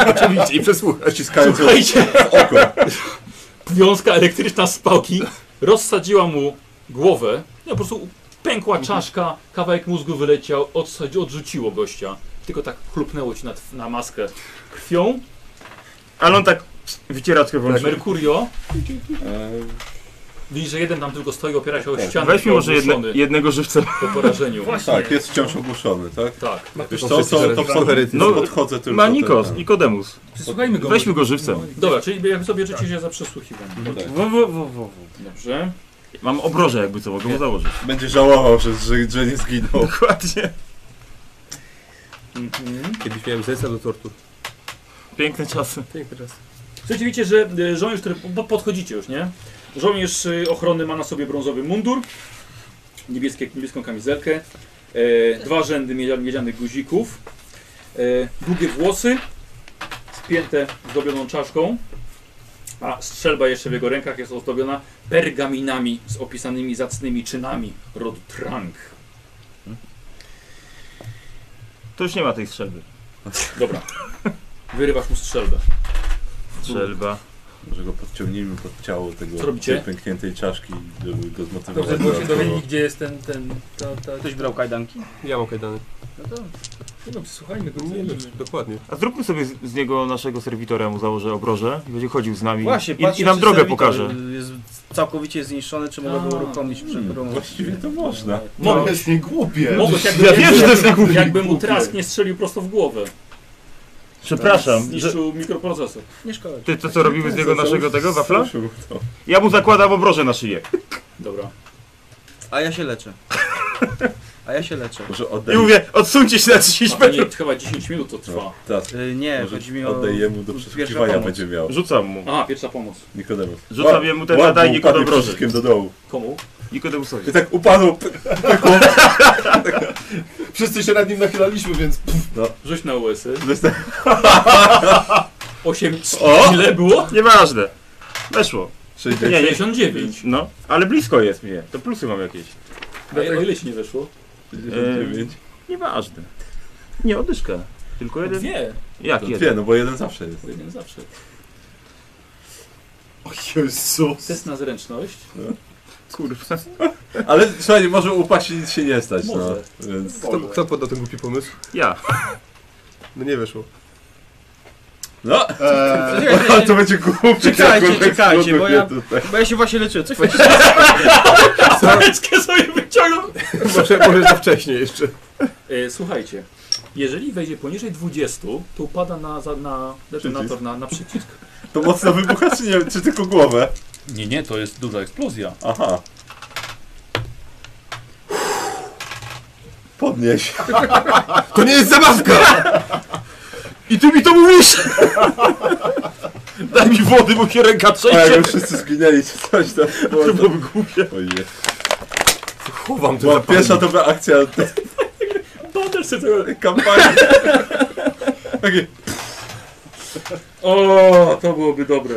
S2: Oczywiście, i przesłuchać.
S5: Ściskając ją
S1: Słuchajcie,
S5: w oko.
S1: wiązka elektryczna z pałki rozsadziła mu głowę. No po prostu pękła
S4: Mhm.
S1: czaszka, kawałek mózgu wyleciał, odsadzi, odrzuciło gościa. Tylko tak chlupnęło ci na, tw- na maskę krwią.
S4: Ale on tak wycieraczkę
S1: Tak,
S4: włączy.
S1: Merkurio,
S5: E,
S1: widzisz, że jeden tam tylko stoi, opiera się o ścianę.
S4: Eee. Tak, Weźmy może
S1: ogłuszony
S4: jedne, jednego żywca.
S1: Po porażeniu.
S5: Tak, jest wciąż ogłuszony, tak?
S1: Tak.
S5: Wiesz co, to, to wchodzę,
S4: No,
S5: no, podchodzę tylko.
S4: Ma Nikos,
S5: tak, tak.
S4: Nikodemus.
S8: Przesłuchajmy go.
S4: Weźmy go żywcem.
S1: Dobra, czyli jak sobie życzycie się za
S4: No
S1: przesłuchiwanie.
S6: Wo, wo, wo, wo.
S1: Dobrze.
S4: Mam obroże jakby co, mogę mu założyć.
S5: Będzie żałował, że, że, że nie zginął.
S4: Dokładnie.
S1: Mhm.
S2: Kiedyś miałem zestaw do tortur.
S4: Piękne czasy.
S2: Piękny czas.
S1: Słuchajcie, widzicie, że e, żołnierz, który po- podchodzicie już, nie? Żołnierz e, ochrony ma na sobie brązowy mundur, niebieskie, niebieską kamizelkę, e, dwa rzędy miedzia- miedzianych guzików, e, długie włosy, spięte zdobioną czaszką, a strzelba jeszcze w jego rękach jest ozdobiona pergaminami z opisanymi zacnymi czynami rodu Trank.
S4: To już nie ma tej strzelby.
S1: Dobra. Wyrywasz mu strzelbę.
S4: Strzelba.
S5: Może go podciągnijmy pod ciało tego
S1: Co robicie?
S5: tej pękniętej czaszki, żeby go zmotywować.
S8: Dobrze było się
S5: dodatkowo.
S8: dowiedzieć, gdzie jest ten, ten, ta, ta...
S6: Ktoś brał kajdanki?
S2: Ja mam kajdany.
S8: No to, nie tak. no, przesłuchajmy go, co
S2: Nie,
S8: robimy.
S2: dokładnie.
S4: A zróbmy sobie z, z niego naszego serwitora, mu założę obroże i będzie chodził z nami
S6: Właśnie,
S4: i,
S6: patrzę,
S4: i nam
S6: czy
S4: drogę
S6: serwitor
S4: pokaże.
S6: Jest całkowicie zniszczony, czy mogę
S1: A,
S6: go uruchomić przy
S5: Hmm,
S6: promocji?
S5: właściwie to można.
S1: Mogę.
S7: To jest nie głupie.
S1: Mogłeś, jakby,
S4: Ja wiem, że to jest
S1: jakby,
S4: niegłupie.
S1: jakby mu trask nie strzelił prosto w głowę.
S4: Przepraszam, że
S1: Zniszczył mikroprocesor.
S6: Nie szkoda.
S4: Tak. ty to co robimy z niego naszego tego wafla?
S5: Zaszył to.
S4: Ja mu zakładam obroże na szyję
S1: Dobra.
S6: A ja się leczę. A ja się leczę.
S5: Może
S4: i
S5: oddaj,
S4: mówię odsuńcie się na 10
S1: A, nie,
S4: metrów.
S1: chyba 10 minut to trwa.
S5: teraz,
S6: Y, nie,
S5: może
S6: chodzi mi o...
S5: oddaj jemu do
S6: pierwsza
S5: przeszukiwania
S6: pomoc.
S5: będzie miał.
S4: Rzucam mu.
S1: Aha, pierwsza pomoc.
S5: Nikodemus.
S4: Rzucam
S5: Łap-
S4: jemu ten
S5: łap,
S4: nadajnik
S5: bo upadnie
S4: od obroży.
S5: wszystkim do dołu.
S1: Komu?
S4: Nikodemusowi.
S5: I tak upadł.
S7: Wszyscy się nad nim nachylaliśmy, więc
S1: Rzuć na Y. USy.
S5: Dosta-
S1: 8.
S4: O!
S1: Ile było?
S4: Nieważne. Weszło.
S5: Przejdzie.
S4: Nie, nie.
S1: 69.
S4: No, ale blisko jest mnie. To plusy mam jakieś.
S1: A o ile ci nie weszło?
S5: 99.
S4: Nieważne. Nie, odyszka. Tylko jeden.
S1: Dwie.
S4: Jak
S5: To
S4: jeden?
S5: dwie, no bo jeden zawsze jest.
S1: Jeden zawsze.
S7: O Jezus.
S1: Test na zręczność.
S4: Kurwa.
S5: Ale słuchaj, może upaść i nic się nie stać. No,
S1: Może.
S5: więc...
S2: Kto, kto podał ten głupi pomysł?
S4: Ja.
S2: No nie weszło.
S5: No,
S7: Eee,
S5: to będzie głupie.
S6: Czekajcie,
S5: jak on
S6: czekajcie,
S5: eksploduje
S6: bo ja-
S5: tutaj.
S6: Bo ja się właśnie leczyłem, co chwilę.
S1: Pareczkę sobie wyciągnął.
S2: Może, może za wcześnie jeszcze.
S1: E, słuchajcie, jeżeli wejdzie poniżej 20, to upada na, za- na detonator, na, na przycisk.
S5: To mocno wybucha, czy nie? Czy tylko głowę?
S11: Nie, nie, to jest duża eksplozja.
S5: Aha. Podnieś.
S2: To nie jest zabawka! I ty mi to mówisz! Daj mi wody, bo się ręka
S5: A
S2: trzęsie.
S5: jakby wszyscy zginęli czy coś tam. To byłoby głupie. Ojej.
S2: Chowam to
S5: Była pierwsza dobra akcja
S1: Podejdź sobie tego.
S5: tej kampanii. Takie,
S11: O, to byłoby dobre.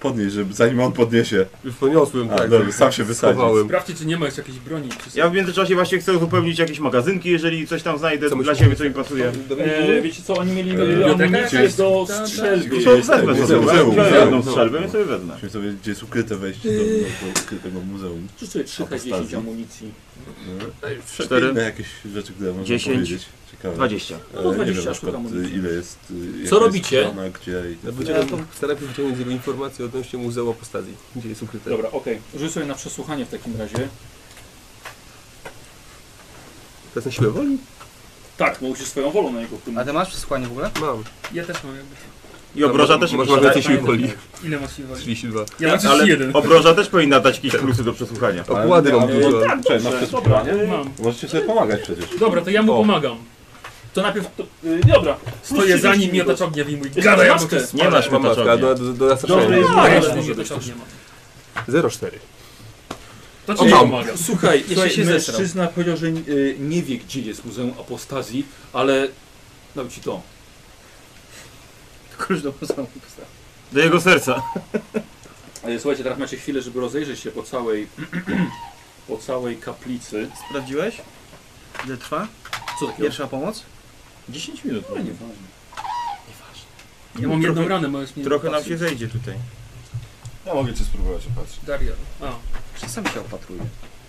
S5: Podnieś, żeby, zanim on podniesie.
S2: Już poniosłem,
S5: A,
S2: tak.
S5: dobrze, sam się wysadził.
S2: Schowałem.
S8: Sprawdźcie, czy nie ma jeszcze jakiejś broni. Czy
S4: Ja w międzyczasie właśnie chcę uzupełnić jakieś magazynki, jeżeli coś tam znajdę
S2: Co
S4: dla
S2: musimy-
S4: siebie, co mi pasuje.
S1: E, wiecie co, oni mieli e,
S8: biblioteka
S1: amunicję
S8: jakaś?
S1: do
S8: Ta, ta.
S1: strzelby.
S5: Gdzie
S4: To
S5: jest to
S4: wezmę sobie,
S5: muzeum?
S4: wezmę
S5: Muzeum,
S4: jedną
S5: muzeum.
S4: strzelbę i sobie wezmę.
S5: Musimy sobie, gdzie jest ukryte wejście do, do ukrytego muzeum.
S1: Rzucę 3 10
S5: Apostazji.
S1: amunicji.
S4: Cztery.
S5: Inne jakieś rzeczy, które można
S4: Dziesięć.
S5: powiedzieć. Ciekawe.
S4: 20.
S5: E,
S1: No,
S5: nie wiem
S1: 20 sztuk
S5: na przykład
S1: amunicji.
S5: y, ile jest... y, jaka jest
S1: robicie?
S5: strona, gdzie i...
S2: Ja wyciągam- Staram się wyciągnąć z jego informacje odnośnie Muzeum Apostazji, gdzie jest ukryte.
S1: Dobra, okej. Rzuć sobie na przesłuchanie w takim razie.
S2: Teraz na siłę woli?
S1: Tak, bo musisz swoją wolą na niego
S6: A
S1: wpłynąć.
S6: ty masz przesłanie w ogóle?
S2: Mam.
S8: Ja też mam jakby.
S4: I obroża też Tak.
S2: Może mam więcej siły woli.
S8: Ile masz siły woli?
S2: 32.
S8: Ja mam
S4: ale
S8: 31.
S4: obroża też powinna dać jakieś plusy do przesłuchania.
S2: Okłady mam
S5: Ale-
S2: dużo.
S5: Czekaj, masz
S1: Tak, Dobra,
S5: przesłuchanie?
S1: e,
S8: Mam.
S5: Możecie sobie pomagać przecież.
S8: Dobra, to ja mu
S2: O.
S8: pomagam.
S1: to najpierw... To, y, dobra.
S8: Stoję za nim i
S1: to
S8: otaczognia w mój
S1: Jeszcze
S8: gada ja
S1: maskę.
S8: mogę.
S4: Nie masz
S2: Mam matka,
S4: mataczowni.
S2: do, do, do zastraszenia.
S5: Dobry.
S8: Tak,
S1: Ale-
S8: jeszcze może to czognia ma.
S2: 0,4.
S8: To czy nie
S2: mam.
S8: pomagam?
S1: Słuchaj,
S6: Słuchaj,
S1: Słuchaj się
S6: mężczyzna
S1: mężczyzna powiedział, że y, nie wie gdzie jest Muzeum Apostazji, ale dał ci to.
S6: Klucz do muzeum postawię.
S4: Do jego serca.
S1: Ale słuchajcie, teraz macie chwilę, żeby rozejrzeć się po całej po całej kaplicy.
S6: Sprawdziłeś? Ile trwa?
S1: Co takiego?
S6: Pierwsza pomoc?
S1: 10 minut. No, nieważne.
S8: Ja mam jedną
S4: Trochę-
S8: ranę, możesz mnie
S4: Trochę nam
S8: opatrzyć.
S4: się zejdzie tutaj.
S7: Ja mogę cię spróbować opatrzyć.
S8: Daria. A,
S6: Czasami się opatruje.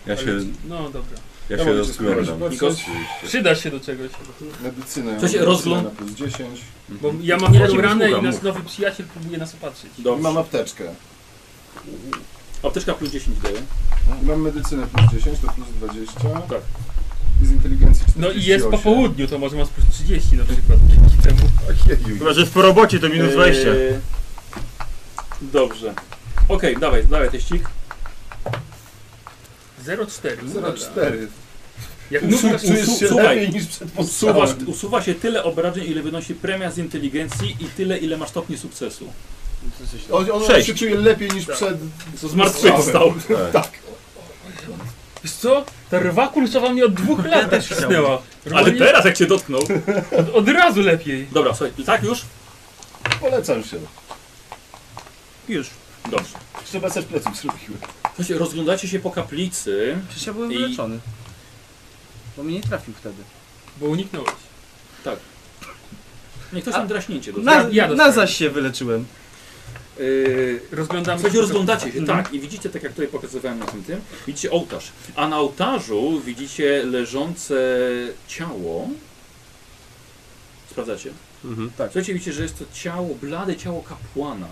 S5: Ja się,
S8: no dobra.
S5: ja
S7: Ja
S5: się
S7: mogę cię spróbować
S5: rozglądam.
S7: opatrzyć.
S8: Przydasz się do czegoś.
S7: Mhm. Medycyna.
S1: Co się
S7: medycyna
S1: rozgląd-
S7: na plus 10.
S8: Bo ja mam jedną
S4: ci
S8: ranę i
S4: wysłucham,
S8: nasz
S4: mów.
S8: nowy przyjaciel próbuje nas opatrzyć.
S7: I
S1: Dobrze.
S7: mam apteczkę.
S1: Apteczka plus 10 daje.
S7: I mam medycynę plus 10, to plus 20.
S1: Tak.
S7: I z inteligencji 48.
S8: No i jest po południu, to może masz plus 30 na przykład dzięki temu.
S7: Ojeju.
S4: Chyba, że jest po robocie, to minus 20.
S1: Eee, Dobrze. Okej, dawaj, dawaj teścik.
S8: 0,4. dobra.
S7: 0,4.
S8: Jak
S1: Usu-
S8: nóż
S1: usu-
S7: Czujesz się
S1: słuchaj,
S7: lepiej niż przed
S1: Usuwa,
S7: podstawą.
S1: usuwa się tyle obrażeń, ile wynosi premia z inteligencji i tyle, ile masz stopni sukcesu.
S7: On, on
S4: Sześć.
S7: się czuje lepiej niż
S8: Tak.
S7: przed...
S1: Co zmartwychwstał.
S8: Wiesz co? Ta rwa kurczowa mnie od dwóch lat też ścisnęła.
S1: Ale
S8: Normalnie
S1: teraz jak cię dotknął.
S8: Od, od razu lepiej.
S1: Dobra, słuchaj, tak już?
S7: Polecam się.
S6: Już.
S1: Dobrze.
S7: Trzeba też pleców zrobiły.
S1: Słuchajcie, rozglądacie się po kaplicy.
S6: Przecież ja byłem
S1: I-
S6: wyleczony. Bo mnie nie trafił wtedy.
S8: Bo uniknąłeś.
S1: Niech ktoś tam draśnięcie dostał.
S6: Na,
S8: ja dostałem.
S6: na zaś się wyleczyłem.
S1: Yy,
S8: Rozglądamy
S1: Słuchajcie, rozglądacie się, tak, i widzicie, tak jak tutaj pokazywałem na tym tym, widzicie ołtarz. A na ołtarzu widzicie leżące ciało. Sprawdzacie?
S2: Mhm.
S1: Słuchajcie, widzicie, że jest to ciało, blade ciało kapłana,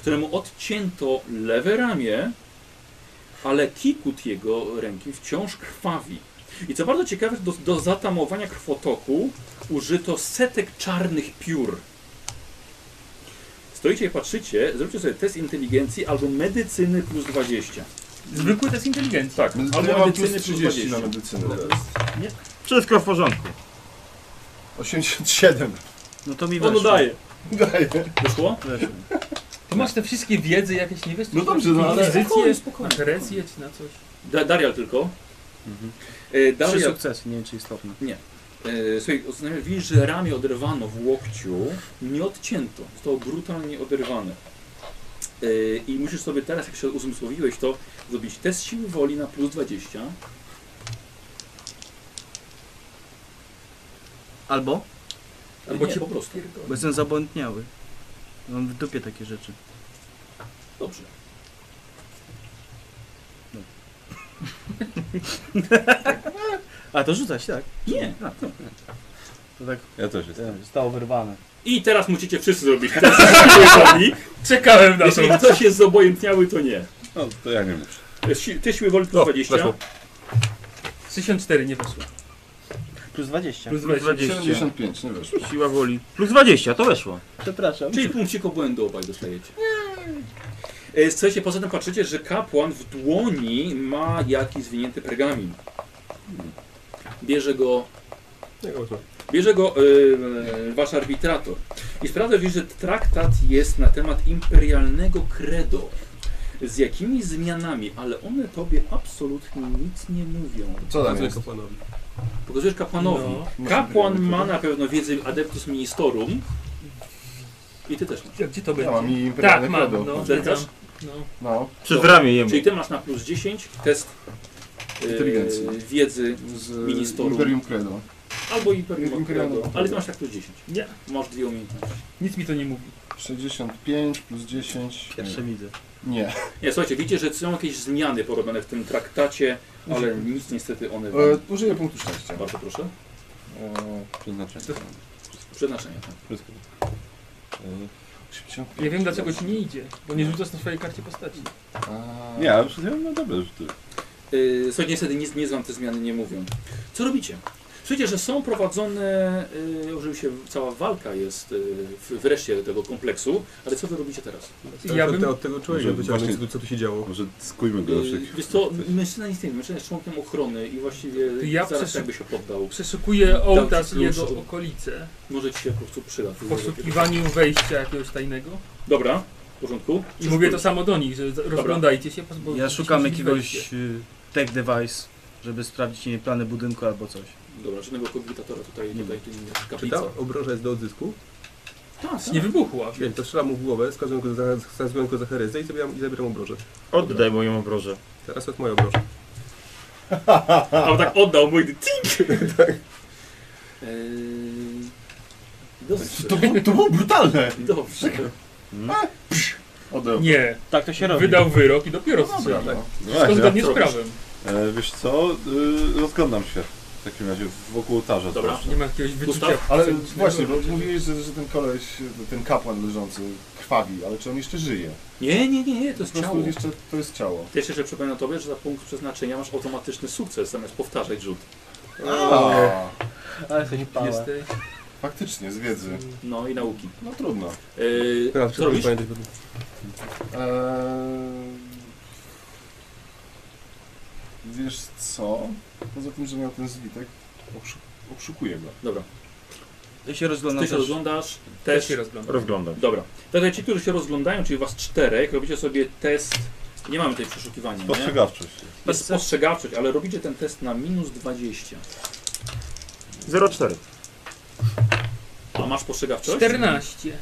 S1: któremu odcięto lewe ramię, ale kikut jego ręki wciąż krwawi. I co bardzo ciekawe, do, do zatamowania krwotoku użyto setek czarnych piór. Stoicie i patrzycie, zróbcie sobie test inteligencji albo medycyny plus 20.
S8: Zwykły test inteligencji.
S1: Tak,
S7: Medycyna
S1: albo
S7: ja mam plus no,
S1: medycyny
S7: 30 na medycynę teraz.
S4: Wszystko w porządku.
S7: 87.
S6: No to mi
S1: Ono
S6: weszło.
S1: daje.
S7: Daję.
S1: Wyszło?
S8: To masz te wszystkie wiedzy jakieś, nie wiesz?
S7: No dobrze, no ale-
S1: Spokojnie,
S8: Pozycje,
S1: spokojnie.
S8: konferencje czy na coś.
S1: Da, Darial tylko. E,
S6: Trzy
S1: Darial,
S6: sukcesy, nie wiem czy istotne.
S1: e, słuchaj, oznajmia- widzisz, że ramię oderwano w łokciu, nie odcięto, zostało brutalnie oderwane. E, I musisz sobie teraz, jak się uzmysłowiłeś, to zrobić test siły woli na plus 20.
S6: Albo?
S1: Albo
S8: Albo
S1: nie,
S8: cię
S1: po prostu.
S6: Bo jestem zabłątniały. Mam w dupie takie rzeczy.
S1: Dobrze.
S6: A to rzucać, tak?
S1: Nie.
S6: To tak
S1: tak?
S5: Ja też jestem.
S6: tak, e, zostało wyrwane.
S1: I teraz musicie wszyscy zrobić test. siły woli.
S8: Czekałem na to.
S1: Jeśli ktoś jest zobojętniały, to nie.
S5: No to ja nie muszę.
S1: To jest si- Ty siły woli plus
S12: O,
S1: 20.
S12: weszło.
S8: 64 nie weszło.
S6: Plus 20.
S8: Plus 20.
S4: 20.
S7: 75, nie wiesz.
S4: Siła woli. Plus 20, to weszło.
S6: Przepraszam.
S1: Czyli punkcik obłędu obaj dostajecie. E, Słuchajcie, poza tym patrzycie, że kapłan w dłoni ma jakiś zwinięty pergamin. Bierze go Bierze go e, wasz arbitrator i sprawdza, że traktat jest na temat imperialnego credo. Z jakimi zmianami, ale one tobie absolutnie nic nie mówią.
S7: Co tam jest?
S1: Pokazujesz kapłanowi.
S7: No.
S1: Kapłan ma na pewno wiedzę adeptus ministerum. I ty też masz.
S8: Gdzie to
S7: Ja
S8: będzie?
S7: mam i imperialne
S8: tak, mam.
S7: kredo.
S8: No,
S1: Zerkasz?
S8: No.
S7: No.
S4: Przez ramię jemu.
S1: Czyli ty masz na plus 10 test e,
S7: Inteligencji.
S1: wiedzy
S7: Z
S1: Ministerum.
S7: Imperium Credo.
S1: albo imperium
S7: Imperialnego
S1: credo.
S7: credo.
S1: Ale ty masz na plus 10.
S8: Nie.
S1: Masz dwie umiejętności.
S8: Nic mi to nie mówi.
S7: 65 plus 10.
S6: Pierwsze widzę.
S7: Nie. nie.
S1: Nie, słuchajcie, widzicie, że są jakieś zmiany porobione w tym traktacie, ale nic niestety one wam
S7: E, użyję punktu szczęścia.
S1: Bardzo proszę.
S7: E,
S5: Przeznaczenie.
S1: Przeznaczenie.
S5: Wszystko. E,
S7: 85.
S8: Ja wiem dlaczego ci nie idzie, bo nie rzucasz na swojej karcie postaci.
S7: A,
S5: Nie, ale przecież no dobre rzuty.
S1: Yy, słuchajcie, niestety nic, nic wam te zmiany nie mówią. Co robicie? Słuchajcie, że są prowadzone, yy, oczywiście cała walka jest yy, w, wreszcie tego kompleksu, ale co wy robicie teraz?
S8: Ja bym...
S5: Może właśnie, co tu się działo? Może skujmy go No do
S1: Yy,
S5: wszystkich.
S1: wiesz co, mężczyzna nic nie wie, mężczyzna jest członkiem ochrony i właściwie
S8: Ja
S1: zaraz
S8: przesu-
S1: jakby się poddał.
S8: Przeszukuję ołtarz
S1: Dam ci
S8: i jego
S1: klucz.
S8: okolice
S1: Może ci się po prostu przyda.
S8: w poszukiwaniu wejścia jakiegoś tajnego.
S1: Dobra, w porządku.
S8: I mówię to samo do nich, że rozglądajcie się. bo-
S6: Ja
S8: bo-
S6: szukam
S8: bo-
S6: jakiegoś y, tech device, żeby sprawdzić nie wiem, plany budynku albo coś.
S1: Dobra, żadnego kognitatora tutaj, tutaj, tu nie kaplica.
S9: obroża jest do odzysku.
S1: Tak,
S8: Nie wybuchła.
S9: Więc to strzelam mu w głowę, skazuję go za, skazuję go za herezję i zabieram, i zabieram obrożę.
S4: Oddaj moją obrożę.
S9: Teraz jest moja obroża.
S1: A on tak oddał mój cink! tak. Dobrze.
S5: To, było- to było brutalne!
S1: Dobrze.
S7: Odeł.
S8: Nie,
S6: Tak to się robi.
S8: wydał wyrok i dopiero strzelał. To
S5: Właśnie.
S8: zgodnie z prawem.
S5: E, wiesz co, y, rozglądam się w takim razie wokół ołtarza.
S1: Dobra.
S5: też.
S8: Nie ma jakiegoś wyczucia.
S1: Gustaw?
S7: Ale
S8: psychicznego,
S7: właśnie, bo
S8: że-
S7: no, mówiłeś, że, że ten koleś, ten kapłan leżący krwawi, ale czy on jeszcze żyje?
S1: Nie, nie, nie, nie, to
S7: Po
S1: jest ciało.
S7: prostu jeszcze to jest ciało.
S1: Też jeszcze przypominam tobie, że za punkt przeznaczenia masz automatyczny sukces, zamiast powtarzać rzut.
S7: A,
S6: Ale coś pała.
S8: Jesteś...
S7: faktycznie, z wiedzy.
S1: No i nauki.
S7: No trudno.
S1: Yy,
S9: Teraz
S1: co robisz?
S9: pamiętać, bo-
S7: Eee, wiesz co? Poza tym, że miał ten zwitek, obszu- obszukuję go.
S1: Dobra.
S6: Ja się rozglądam
S1: Ty się
S6: też.
S1: rozglądasz,
S8: Też
S1: też.
S8: się rozglądam.
S4: Rozglądam.
S1: Dobra. Także ci, którzy się rozglądają, czyli was czterech, robicie sobie test. Nie mamy tutaj przeszukiwania. Nie?
S5: Spostrzegawczość.
S1: Jest spostrzegawczość, ale robicie ten test na minus 20.
S4: 0,4.
S1: A masz spostrzegawczość?
S8: 14.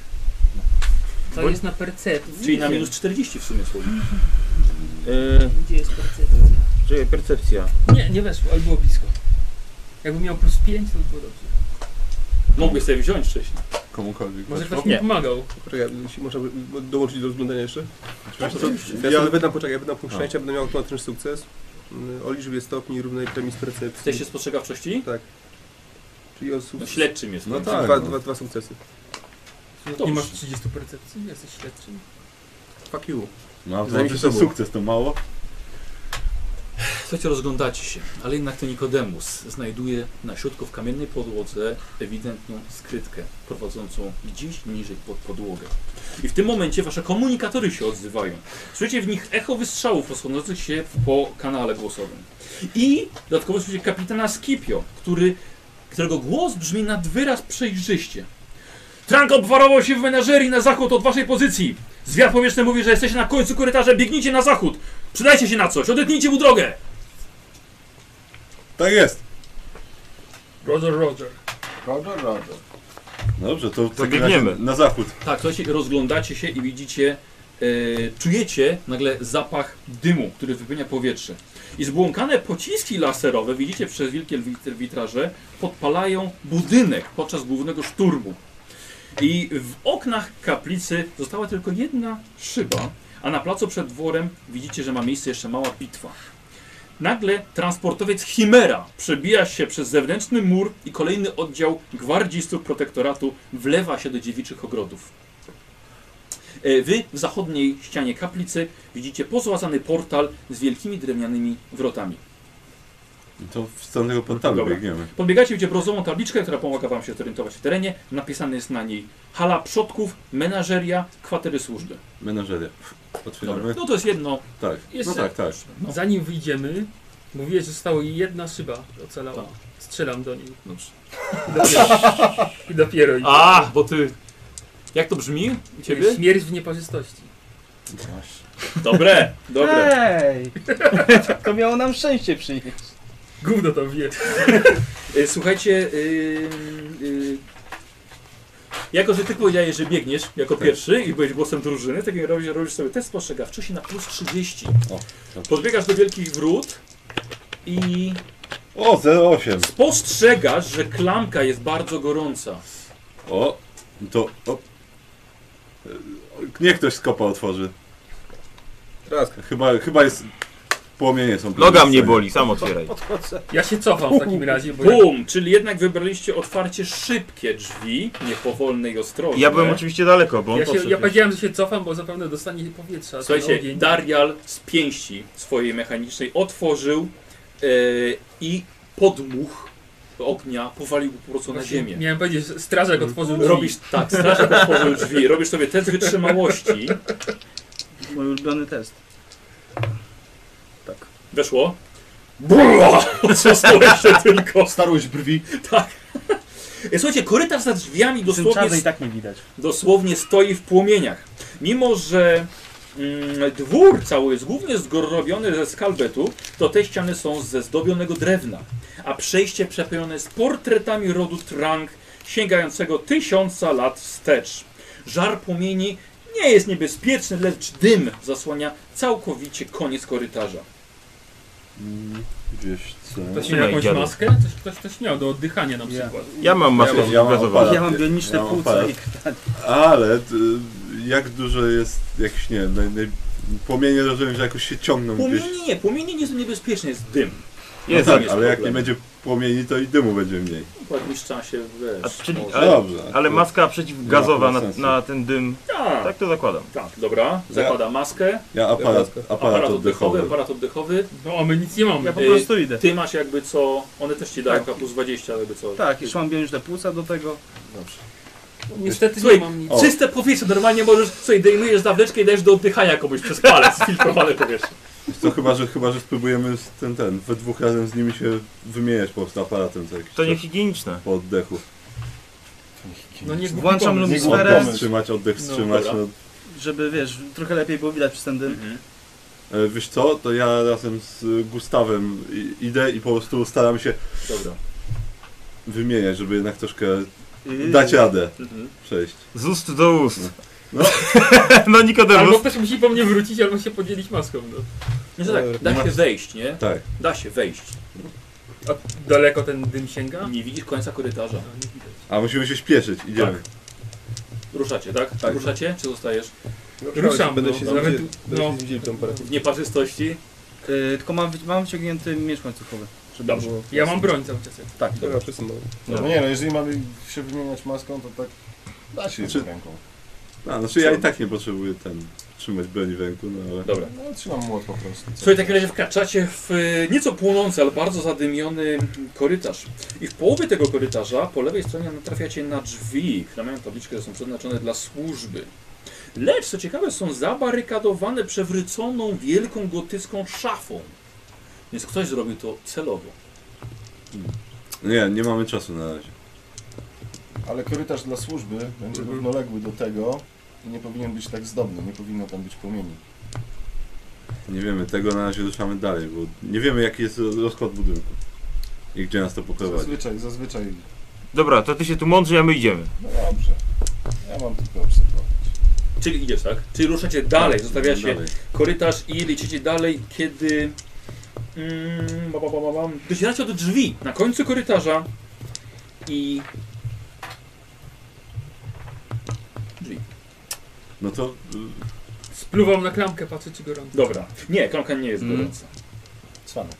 S8: To
S1: Bo-
S8: jest na percepcji.
S1: Czyli na minus 40 w sumie słowo.
S4: Yy,
S8: Gdzie jest percepcja?
S4: czyli percepcja.
S8: Nie, nie weszło, ale było blisko. Jakbym miał plus 5, to by było dobrze.
S1: Mogłeś sobie wziąć wcześniej.
S5: Komukolwiek.
S8: Może
S5: weszło.
S8: ktoś mi
S4: Nie.
S8: pomagał.
S9: Poczekaj, jeśli można by- bo- dołączyć do rozglądania jeszcze?
S5: Wiesz co,
S9: Ja,
S5: ja-
S9: sobie wydam, poczekaj, ja wydam punkt
S5: No.
S9: szczęścia, będę miał automatyczny sukces. Mm, O liczbie stopni równej premii z percepcji.
S1: Jesteście spostrzegawczości?
S9: Czyli o sukces.
S1: No, śledczym jest.
S5: No
S1: No,
S5: tak.
S9: dwa,
S5: no.
S9: dwa, dwa sukcesy.
S1: Dobrze.
S8: Nie masz 30 percepcji, jesteś śledczym.
S9: Fuck you.
S5: No, to
S9: Zanim się
S5: jest
S9: to było.
S5: sukces, to mało.
S1: Słuchajcie, rozglądacie się, ale jednak to Nikodemus znajduje na środku w kamiennej podłodze ewidentną skrytkę prowadzącą gdzieś niżej pod podłogę. I w tym momencie wasze komunikatory się odzywają. Słyszycie w nich echo wystrzałów rozchodzących się po kanale głosowym. I dodatkowo słyszycie kapitana Skipio, który, którego głos brzmi nad wyraz przejrzyście. Trank obwarował się w menażerii na zachód od waszej pozycji. Zwiat powietrzny mówi, że jesteście na końcu korytarza, biegnijcie na zachód. Przydajcie się na coś, odetnijcie mu drogę.
S5: Tak jest.
S8: Roger, Roger.
S7: Roger, Roger.
S5: Dobrze, to w takim
S4: Zabiegniemy.
S5: razie na zachód.
S1: Tak, słuchajcie, rozglądacie się i widzicie, e, czujecie nagle zapach dymu, który wypełnia powietrze. I zbłąkane pociski laserowe, widzicie przez wielkie wit- witraże, podpalają budynek podczas głównego szturmu. I w oknach kaplicy została tylko jedna szyba, a na placu przed dworem widzicie, że ma miejsce jeszcze mała bitwa. Nagle transportowiec Chimera przebija się przez zewnętrzny mur i kolejny oddział gwardzistów protektoratu wlewa się do dziewiczych ogrodów. E, Wy w zachodniej ścianie kaplicy widzicie pozłacany portal z wielkimi drewnianymi wrotami.
S5: To w stronę tego portalu
S1: Dobra.
S5: biegniemy.
S1: Podbiegacie gdzie brązową tabliczkę, która pomaga wam się zorientować w terenie. Napisane jest na niej hala przodków, menażeria, kwatery służby.
S5: Menażeria. Otwieramy?
S1: Dobra. No to jest jedno.
S5: Tak, no
S13: Jeszcze-
S5: tak, tak.
S1: No.
S8: Zanim wyjdziemy, mówiłeś, że została jedna szyba ocalała.
S1: Tak.
S8: Strzelam do niej.
S1: Dobrze.
S8: I dopiero- I dopiero idę.
S1: A, bo ty... Jak to brzmi u ciebie?
S8: Śmierć w nieparzystości.
S1: Dobre, dobre.
S6: Ej! To miało nam szczęście przynieść.
S8: Gówno tam wie.
S1: E, Słuchajcie, ym, y, jako że ty powiedziałeś, że biegniesz jako pierwszy i byłeś głosem drużyny, w takim razie robisz sobie test spostrzegawczości na plus 30.
S5: O, tak.
S1: Podbiegasz do wielkich wrót i
S5: O, 08.
S1: spostrzegasz, że klamka jest bardzo gorąca.
S5: O, to... O. E, Niech ktoś z kopa otworzy.
S9: Teraz.
S5: Chyba, chyba jest... Płomienie są... po
S4: Noga
S5: drugiej
S4: mnie
S5: stronie.
S4: boli, sam otwieraj.
S8: Ja się cofam w takim razie, bo jak,
S1: Bum! Czyli jednak wybraliście otwarcie szybkie drzwi, nie powolne i ostrożne.
S4: Ja byłem oczywiście daleko, bo on
S8: ja, się,
S4: podszedł
S8: ja
S4: już.
S8: powiedziałem, że się cofam, bo zapewne dostanie powietrza. ten
S1: no Słuchajcie,
S8: ogień.
S1: Darial z pięści swojej mechanicznej otworzył e, i podmuch ognia powalił po prostu na
S8: Właśnie
S1: ziemię.
S8: Miałem powiedzieć, że strażak otworzył drzwi.
S1: Robisz tak, strażak otworzył drzwi, robisz sobie test wytrzymałości.
S6: Mój ulubiony test.
S1: Weszło. Bula! Odsłonąłeś się tylko. Tak.
S14: Starłeś brwi.
S1: E, Słuchajcie, korytarz za drzwiami
S6: Przy czym
S1: dosłownie
S6: czarnej i tak nie widać.
S1: dosłownie stoi w płomieniach. Mimo, że mm, dwór cały jest głównie zgorobiony ze skalbetu, to te ściany są ze zdobionego drewna, a przejście przepełnione jest portretami rodu Trang sięgającego tysiąca lat wstecz. Żar płomieni nie jest niebezpieczny, lecz dym zasłania całkowicie koniec korytarza.
S5: Mm, Wiesz co...
S8: Ktoś miał
S4: Trzymaj,
S8: jakąś
S4: dziadu.
S8: maskę? Coś, ktoś, ktoś miał do oddychania na
S6: Ja.
S8: przykład.
S4: Ja mam maskę
S5: Ja mam
S4: gazowaną.
S5: aparat.
S6: Ja mam bioniczne
S5: Ja mam
S6: płuca i
S5: Ale y, jak dużo jest, jakiś nie wiem, naj, naj, płomienie rozumiem, że jakoś się ciągną gdzieś.
S1: Płomienie nie, płomienie nie są niebezpieczne, jest dym.
S5: No
S4: Jest,
S5: tak,
S1: jest
S5: ale jak nie
S1: problem.
S5: będzie płomieni, to i dymu będzie mniej.
S1: Po jakimś czasie
S4: A
S1: wiesz.
S4: czyli-
S1: może-
S4: Ale-
S5: no dobrze.
S4: ale maska przeciwgazowa
S5: Nie ma
S4: na,
S5: sensu.
S4: na ten dym,
S1: Tak,
S4: tak to zakładam.
S1: tak, dobra, zakłada maskę.
S5: Ja aparat, aparat
S1: Aparat oddechowy,
S5: oddechowy.
S1: aparat oddechowy.
S8: No a my nic nie mamy.
S6: Ja po
S1: Ej,
S6: prostu idę.
S1: Y, Ty masz jakby co. One też ci dają
S6: Tak.
S1: plus 20, jakby co.
S6: Tak, jeszcze mam bioniczne płuca do tego.
S8: Niestety
S1: Słuchaj,
S8: nie mam nic.
S5: O.
S1: Czyste powietrze, normalnie możesz. Słuchaj, dejmujesz zawleczkę i dajesz do oddychania komuś przez palec. Filtrowane powietrze.
S5: To chyba, że chyba, że spróbujemy z ten, ten, we dwóch razem z nimi się wymieniać po prostu aparatem co jakiś
S4: To
S5: czas
S4: niehigieniczne.
S5: po oddechu.
S8: No nie głupi
S6: Włączam
S8: pomysł.
S5: Nie
S6: Sferę-
S5: głupio wstrzymać, oddech wstrzymać.
S1: dobra.
S5: No,
S6: Żeby wiesz, trochę lepiej było widać przez ten dym.
S5: E, Wiesz co, to ja razem z y, Gustawem i- idę i po prostu staram się
S1: Dobra.
S5: wymieniać, żeby jednak troszkę dać radę
S1: Mhm.
S5: przejść.
S4: Z ust do ust.
S5: No.
S4: No Nikodemus.
S8: Albo ktoś musi po mnie wrócić, albo się podzielić maską. No.
S1: Nie, że
S6: E,
S1: tak, da się wejść, nie?
S5: Tak.
S1: Da się wejść.
S8: A daleko ten dym sięga?
S1: Nie widzisz końca korytarza.
S8: No,
S6: Tak.
S8: nie widać.
S5: A musimy się śpieszyć, idziemy.
S1: Tak. Ruszacie, tak?
S5: Tak.
S1: Ruszacie? Czy zostajesz
S8: Ruszam,
S9: Będę
S8: no,
S9: się
S8: nawet-
S9: znudził- będę
S8: no.
S9: się znudził tą parę.
S1: w nieparzystości?
S6: Yy, tylko mam, wy- mam wyciągnięty miecz łańcuchowy. Żeby
S1: Dobrze.
S6: było-
S8: Ja mam broń cały czas.
S6: Tak,
S9: Dobra, przesunął.
S7: No nie, no jeżeli mamy się wymieniać maską, to tak da się
S5: Czy-
S7: jedną ręką.
S5: A, znaczy ja i tak nie potrzebuję ten trzymać broni w ręku, no ale.
S1: Dobra.
S7: No trzymam młot po prostu.
S1: Słuchaj, w takim razie wkraczacie w e, nieco płonący, ale bardzo zadymiony korytarz. I w połowie tego korytarza, po lewej stronie, natrafiacie na drzwi, które mają tabliczkę, że są przeznaczone dla służby. Lecz, co ciekawe, są zabarykadowane przewróconą wielką gotycką szafą. Więc ktoś zrobił to celowo.
S5: Nie, nie mamy czasu na razie.
S7: Ale korytarz dla służby będzie
S1: Mhm.
S7: równoległy do tego i nie powinien być tak zdobny, nie powinno tam być płomieni.
S5: Nie wiemy tego, na razie ruszamy dalej, bo nie wiemy jaki jest rozkład budynku. I gdzie nas to poprowadzi.
S7: Zazwyczaj, zazwyczaj.
S4: Dobra, to ty się tu mądrzy, a my idziemy.
S7: No dobrze. Ja mam tylko obserwować.
S1: Czyli idziesz, tak? Czyli ruszacie dalej, zostawiacie
S5: Dalej.
S1: korytarz i lecicie dalej, kiedy. Mm, ba, ba, ba, ba, bam. docieracie do drzwi na końcu korytarza i. Drzwi.
S5: No to. y,
S8: Spluwam na klamkę, patrzę czy gorąco.
S1: Dobra. Nie, klamka nie jest
S6: Mm.
S1: gorąca.
S7: Cwany.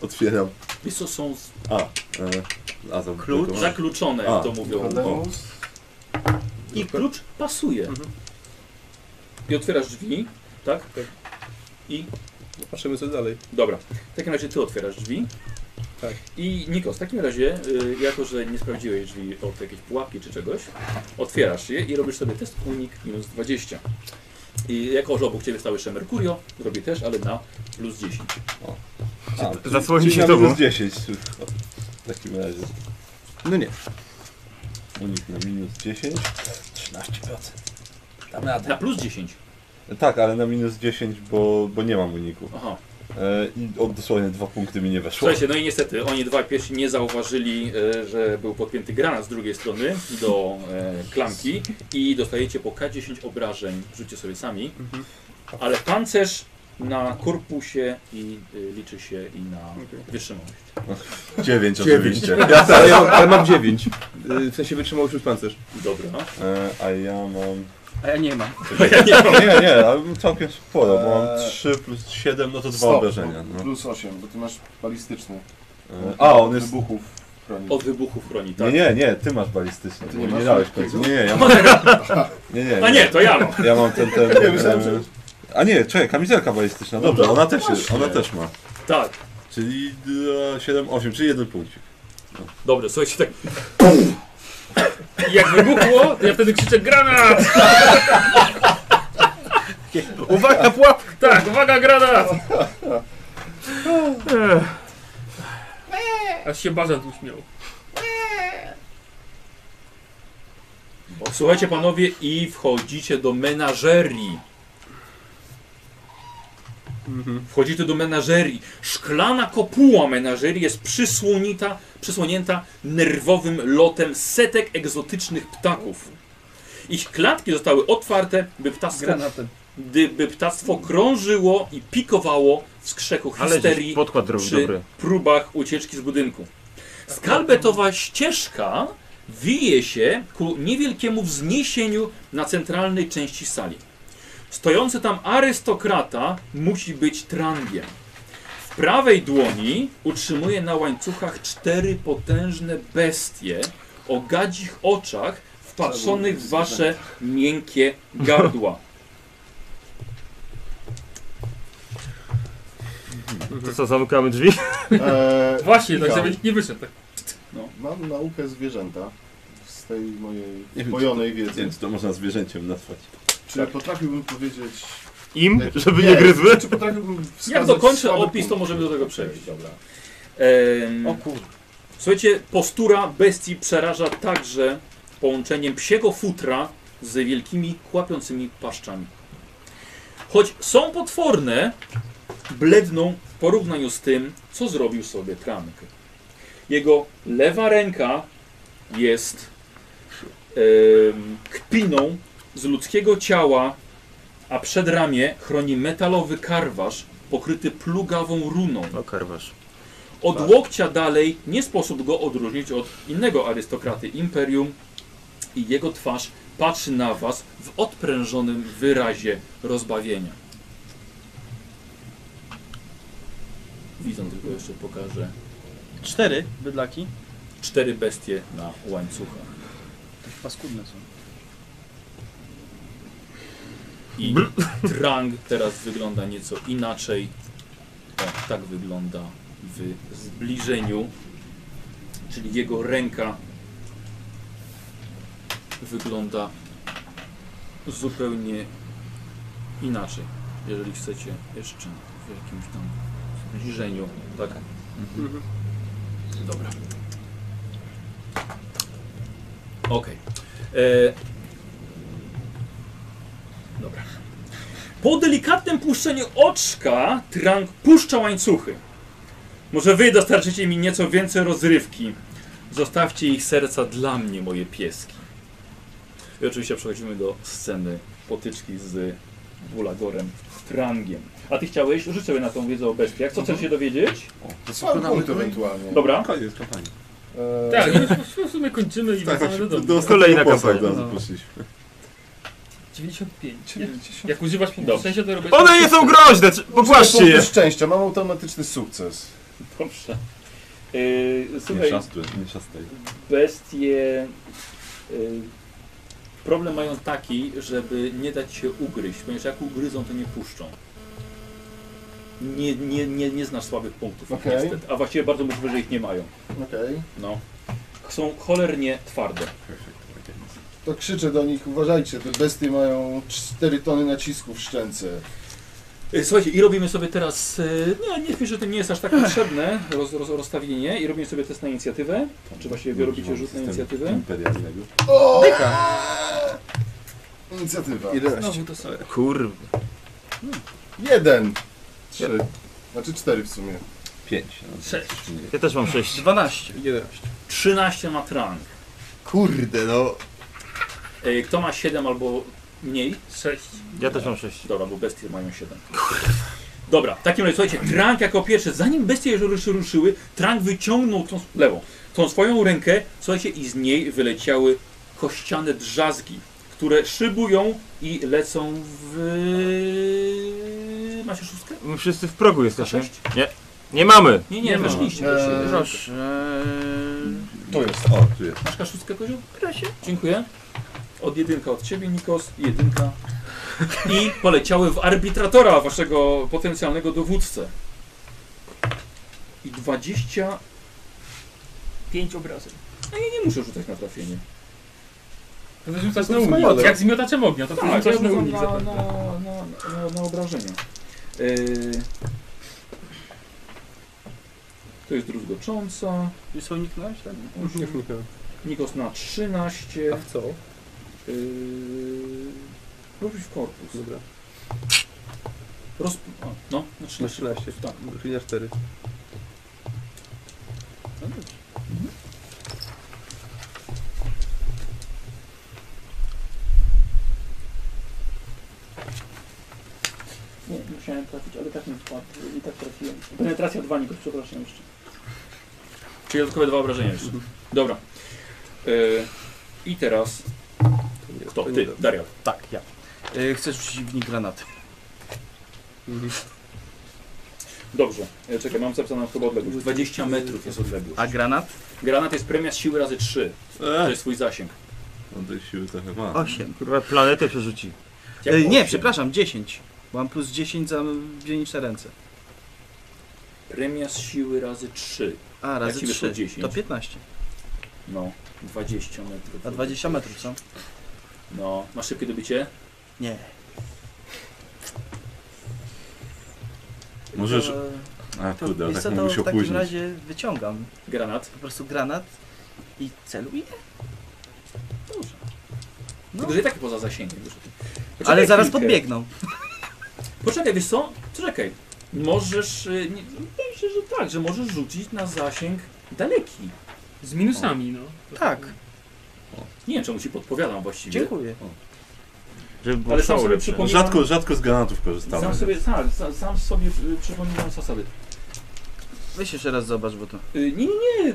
S5: Otwieram.
S1: Wiesz co, są z-
S5: A, e, a to
S1: klucz, zakluczone,
S5: A,
S1: to mówią.
S7: Nikodemus.
S1: I klucz pasuje. I otwierasz drzwi, tak?
S9: Patrzymy co dalej.
S1: Dobra, w takim razie ty otwierasz drzwi.
S9: Tak.
S1: I Niko, w takim razie, y, jako że nie sprawdziłeś drzwi od jakiejś pułapki czy czegoś, otwierasz je i robisz sobie test unik minus 20. I jako, że obok ciebie stał jeszcze Mercurio, robi też, ale na plus 10.
S5: A,
S4: Zasłoni
S5: czyli
S4: się
S5: na
S4: tobą.
S5: minus 10 tylko. W takim razie.
S9: No nie.
S5: Unik na minus 10. 13%. Dam radę.
S1: Na plus 10.
S5: Tak, ale na minus 10, bo, bo nie mam uniku.
S1: Aha.
S5: E, I od dosłownie dwa punkty mi nie weszło.
S1: Słuchajcie, no i niestety oni dwa pierwsi nie zauważyli, e, że był podpięty granat z drugiej strony do e, klamki i dostajecie po K10 obrażeń, rzućcie sobie sami,
S6: Mhm.
S1: ale pancerz na korpusie i y, liczy się i na wytrzymałość.
S5: 9
S9: Dziewięć.
S5: oczywiście.
S9: Ja, ale, ja, ale mam 9. W sensie wytrzymał już pancerz.
S1: Dobra.
S5: E, a ja mam...
S6: A ja nie mam.
S5: Nie, nie, ale całkiem sporo, bo mam
S7: Eee,
S5: 3 plus 7, no to dwa
S7: Stop,
S5: obrażenia.
S7: bo-
S5: No.
S7: Plus 8, bo ty masz balistyczny.
S5: E, A, on jest...
S7: Wybuchów chroni.
S1: Od wybuchów broni,
S5: Nie,
S6: No
S1: tak?
S5: nie, nie, ty masz balistyczny,
S7: A ty
S5: bo
S7: nie
S5: nie
S7: masz
S5: dałeś
S7: takiego?
S5: końca. Nie, nie, ja mam... Nie, nie,
S1: A No nie, to ja mam.
S5: Ja mam ten, ten...
S7: Ja myślałem, że-
S5: e, A nie, czekaj, kamizelka balistyczna, dobrze, ona też, jest, ona też ma.
S1: Tak.
S5: Czyli 7, 8, czyli jeden punkcik.
S1: Dobrze, słuchajcie, tak
S8: I jak wybuchło, to ja wtedy krzyczę granat!
S9: Uwaga, pułap!
S8: Tak, uwaga, granat! Aż się Bazant uśmiał.
S1: Słuchajcie panowie i wchodzicie do menażerii. Wchodzicie do menażerii. Szklana kopuła menażerii jest przysłonita, przysłonięta nerwowym lotem setek egzotycznych ptaków. Ich klatki zostały otwarte, by ptactwo,
S6: Granatem.
S1: gdyby ptactwo krążyło i pikowało w skrzeku
S4: Ale
S1: histerii
S4: gdzieś podkład robi
S1: przy
S4: dobry.
S1: próbach ucieczki z budynku. Skalbetowa ścieżka wije się ku niewielkiemu wzniesieniu na centralnej części sali. Stojący tam arystokrata musi być trangiem. W prawej dłoni utrzymuje na łańcuchach cztery potężne bestie o gadzich oczach wpatrzonych w wasze miękkie gardła.
S4: To co, zamykamy drzwi?
S7: Eee,
S8: Właśnie, tak
S7: Michał,
S8: żeby nikt nie wyszedł. Tak.
S7: Mam naukę zwierzęta z tej mojej pojonej wiedzy.
S5: Więc to tak. można zwierzęciem nazwać.
S7: Czy potrafiłbym powiedzieć...
S4: Im,
S7: jaki-
S4: żeby nie gryzły?
S7: Czy potrafiłbym
S1: Jak
S7: wskazać
S1: dokończę
S7: słabe
S1: opis, to
S7: punkty?
S1: możemy do tego przejść. Dobra. Em, Słuchajcie, postura bestii przeraża także połączeniem psiego futra z wielkimi, kłapiącymi paszczami. Choć są potworne, bledną w porównaniu z tym, co zrobił sobie Trank. Jego lewa ręka jest em, kpiną z ludzkiego ciała, a przedramię chroni metalowy karwasz pokryty plugawą runą.
S4: O, karwasz.
S1: Od łokcia dalej nie sposób go odróżnić od innego arystokraty imperium i jego twarz patrzy na was w odprężonym wyrazie rozbawienia. Widzą tylko jeszcze pokażę
S6: Cztery bydlaki.
S1: cztery bestie na łańcuchach.
S6: Takie Paskudne są.
S1: I Trang teraz wygląda nieco inaczej. O, tak wygląda w zbliżeniu. Czyli jego ręka wygląda zupełnie inaczej. Jeżeli chcecie jeszcze w jakimś tam zbliżeniu. Tak. Dobra. Okej. E, Dobra. Po delikatnym puszczeniu oczka Trang puszcza łańcuchy. Może wy dostarczycie mi nieco więcej rozrywki. Zostawcie ich serca dla mnie, moje pieski. I oczywiście przechodzimy do sceny potyczki z Bulagorem Trangiem. A ty chciałeś? Rzuć sobie na tą wiedzę o bestiach. Co chcesz się dowiedzieć?
S7: To słabe punkty ewentualnie.
S1: Dobra.
S5: Koniec kampanii.
S7: Eee,
S8: Tak, i w sumie kończymy i wracamy do domu.
S5: ostatniego
S4: Kolejna
S5: bossa od
S4: kampania.
S5: razu
S6: No.
S5: poszliśmy.
S8: 95. Jak używasz punktu
S1: Dobrze.
S8: szczęścia, to robisz...
S4: One nie są groźne, czy-
S7: Używasz
S4: popłaszcie
S7: punktu
S4: je!
S7: szczęścia, mam automatyczny sukces.
S1: Dobrze. Yy,
S5: Nie
S1: słuchaj,
S5: szastuje, nie szastuje.
S1: bestie. y, Problem mają taki, żeby nie dać się ugryźć, ponieważ jak ugryzą, to nie puszczą. Nie, nie, nie, nie znasz słabych punktów,
S7: Okej.
S1: niestety. A właściwie bardzo możliwe, że ich nie mają.
S7: Okej.
S1: No. Są cholernie twarde.
S7: To krzyczę do nich, uważajcie, te bestie mają 4 tony nacisku w szczęce.
S1: Y, Słuchajcie, i robimy sobie teraz. y, Nie, nie wiem, że to nie jest aż tak potrzebne roz, roz, rozstawienie. I robimy sobie test na inicjatywę. Czy właściwie wy robicie rzut na inicjatywę?
S5: Imperialnego.
S7: O! Inicjatywa. Hmm.
S9: 11.
S1: to sobie.
S4: Kurwa.
S7: Jeden. Trzy. Znaczy cztery w sumie.
S5: Pięć. no.
S8: Sześć.
S4: Ja też mam 6.
S6: 12.
S9: 11.
S1: 13 ma trunk.
S2: Kurde, no.
S1: Y, Kto ma 7 albo mniej,
S8: Sześć.
S4: Ja też mam 6.
S1: Dobra, bo bestie mają 7. Dobra, w takim razie słuchajcie, Trank jako pierwszy, zanim bestie już ruszy, ruszyły, Trank wyciągnął tą s- lewą, tą swoją rękę, słuchajcie, i z niej wyleciały kościane drzazgi, które szybują i lecą w... Macie szóstkę?
S4: My wszyscy w progu jesteśmy.
S1: Sześć?
S4: Nie mamy!
S1: Nie, nie,
S6: Nie ma.
S1: weszliście.
S7: Eee,
S1: weszliście.
S6: Proszę.
S7: Tu jest.
S5: O, tu jest.
S1: Masz kaszustkę, Koziu? Proszę. Dziękuję. Od jedynka od ciebie, Nikos, i jedynka. I poleciały w arbitratora waszego potencjalnego dowódcę. I 20.
S8: Pięć obrazów.
S1: No Nie muszę rzucać na trafienie.
S8: To wyrzucasz na
S9: To są
S8: unik.
S9: młode.
S8: Jak z miotaczem ognia, to
S1: Tak, ja
S8: wyrzucasz na
S1: rzucam
S8: unik
S1: na, na,
S8: zapewne.
S1: na, na, na obrażenia. Yy... To jest druzgocząca. Mhm.
S6: Już są uniknąłeś? tak?
S9: Nie wnikam.
S1: Nikos na 13.
S9: A w co?
S1: Yy... Robić Yy, w korpus.
S9: Dobra.
S1: Roz... O, no, na 13.
S9: Na 13.
S1: Tak.
S9: Linia 4.
S1: Nie, musiałem trafić, ale tak mi wpadł i tak trafiłem. Penetracja 2, Nikos, przepraszam jeszcze. Czyli dodatkowe dwa obrażenia jeszcze.
S6: Mhm.
S1: Dobra. Yy, I teraz...
S9: To nie-
S1: Kto?
S9: to nie
S1: Ty,
S9: dobrze.
S1: Daria.
S6: Tak, ja. Y, Chcesz rzucić w nich granaty.
S9: Mhm.
S1: Dobrze. E, Czekaj, mam zapisane chyba odległość. 20 metrów jest odległość.
S6: A granat?
S1: Granat jest premia z siły razy 3. To
S5: Eee,
S1: jest swój zasięg.
S5: on tej siły trochę ma.
S6: 8.
S4: Kurwa, planetę przerzuci.
S1: Jak
S6: Y, nie,
S1: osiem.
S6: przepraszam, 10. Bo Mam plus 10 za dzielnicze ręce.
S1: Premia z siły razy 3.
S6: A, razy
S1: ci wyszło
S6: 3.
S1: 10?
S6: To 15.
S1: No, 20 metrów.
S6: A 20 metrów, co?
S1: No, masz szybkie dobycie?
S6: Nie.
S5: Możesz...
S6: To-
S5: A
S6: to,
S5: kurde,
S6: wiesz
S5: tak
S6: co,
S5: mógł
S6: to
S5: się
S6: w takim
S5: opóźnić.
S6: razie wyciągam
S1: Granat.
S6: po prostu granat i celuję. No.
S1: Tylko, że i tak poza zasięgiem. już. Poczekaj
S6: Ale zaraz
S1: chwilkę.
S6: podbiegną.
S1: Poczekaj, wiesz co? Poczekaj. Możesz... y, Nie, wydaje mi się, że tak, że możesz rzucić na zasięg daleki.
S8: Z minusami, no. To-
S6: Tak,
S1: Nie wiem, czemu ci podpowiadam właściwie.
S6: dziękuję.
S4: Żeby było
S1: Ale sam
S4: szał
S1: sobie
S4: lepsze.
S1: przypominam...
S5: No Rzadko, rzadko z granatów korzystamy.
S1: Sam sobie, tak, sam, sam sobie y, przypominam zasady.
S6: Weź jeszcze raz zobacz, bo to...
S1: Y, Nie, nie, nie.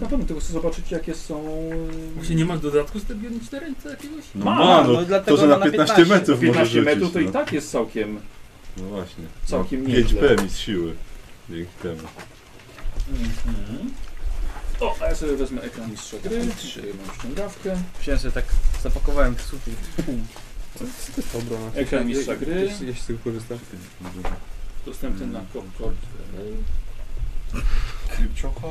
S1: Na pewno tylko chcę zobaczyć, jakie są. y,
S8: Właśnie nie masz dodatku z tego 4 jakiegoś?
S5: No
S1: Ma,
S5: ma,
S6: no
S5: no,
S6: i dlatego
S5: to, że na
S6: na
S5: 15,
S6: 15
S5: metrów może
S1: 15
S5: rzucić.
S1: metrów to
S5: no.
S1: i tak jest całkiem.
S5: No właśnie.
S1: Całkiem
S5: no,
S1: nieźle.
S5: 5 PMI z siły. Dzięki temu.
S1: Mhm. O, a ja sobie wezmę ekran mistrza gry. Tutaj Mam ściągawkę.
S6: Wziąłem sobie tak, zapakowałem w sufit.
S9: Dobra. no.
S1: Ekran mistrza gry.
S9: Ja się- Ja się z tego korzystam.
S1: Dostępny na Concord.
S7: Krypciocha?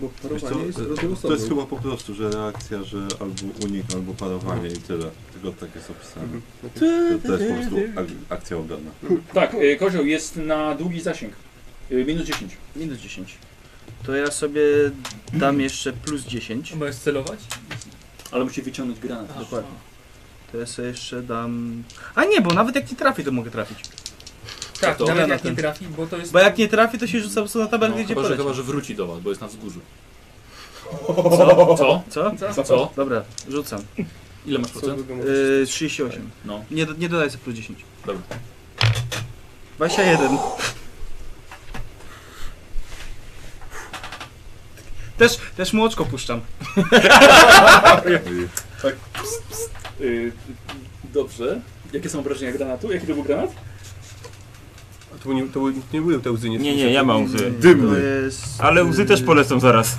S9: Bo
S5: Wiesz co,
S9: parowanie jest
S5: to,
S9: rozdział
S5: to jest
S9: osobny.
S5: chyba po prostu, że reakcja, że albo unik, albo parowanie i tyle. Tylko tak jest opisane.
S9: Mhm.
S5: To, to jest po prostu ak- akcja obronna.
S1: Tak, y, kozioł jest na długi zasięg. Y, Minus 10.
S6: Minus 10. To ja sobie dam jeszcze plus 10.
S8: A możesz celować?
S1: Ale musi wyciągnąć granat.
S6: Dokładnie. To ja sobie jeszcze dam... A nie, bo nawet jak nie trafi, to mogę trafić.
S8: Tak,
S1: To-
S8: nawet jak
S6: granatem.
S8: nie trafi, bo to jest...
S6: Bo jak nie trafi, to się rzuca po prostu na
S11: No,
S6: tabelkę, gdzie
S11: chyba, że,
S6: poleci.
S11: chyba, że wróci do was, bo jest na wzgórzu.
S1: Co? Co?
S6: Co?
S1: Co?
S6: Dobra, rzucam.
S11: Ile masz
S9: Co
S11: procent?
S9: długo mówisz?
S6: Yy, 38.
S11: No.
S6: Nie, do- nie dodaję sobie plus 10.
S11: Dobra.
S6: 21. Też, też mu oczko puszczam.
S1: Y, dobrze. Jakie są obrażenia granatu? Jaki to był granat?
S9: A to, nie, to były- nie były te łzy, nie?
S4: Nie, nie, ja mam łzy.
S15: Dymny.
S9: jest...
S6: y,
S4: Ale łzy też polecą zaraz.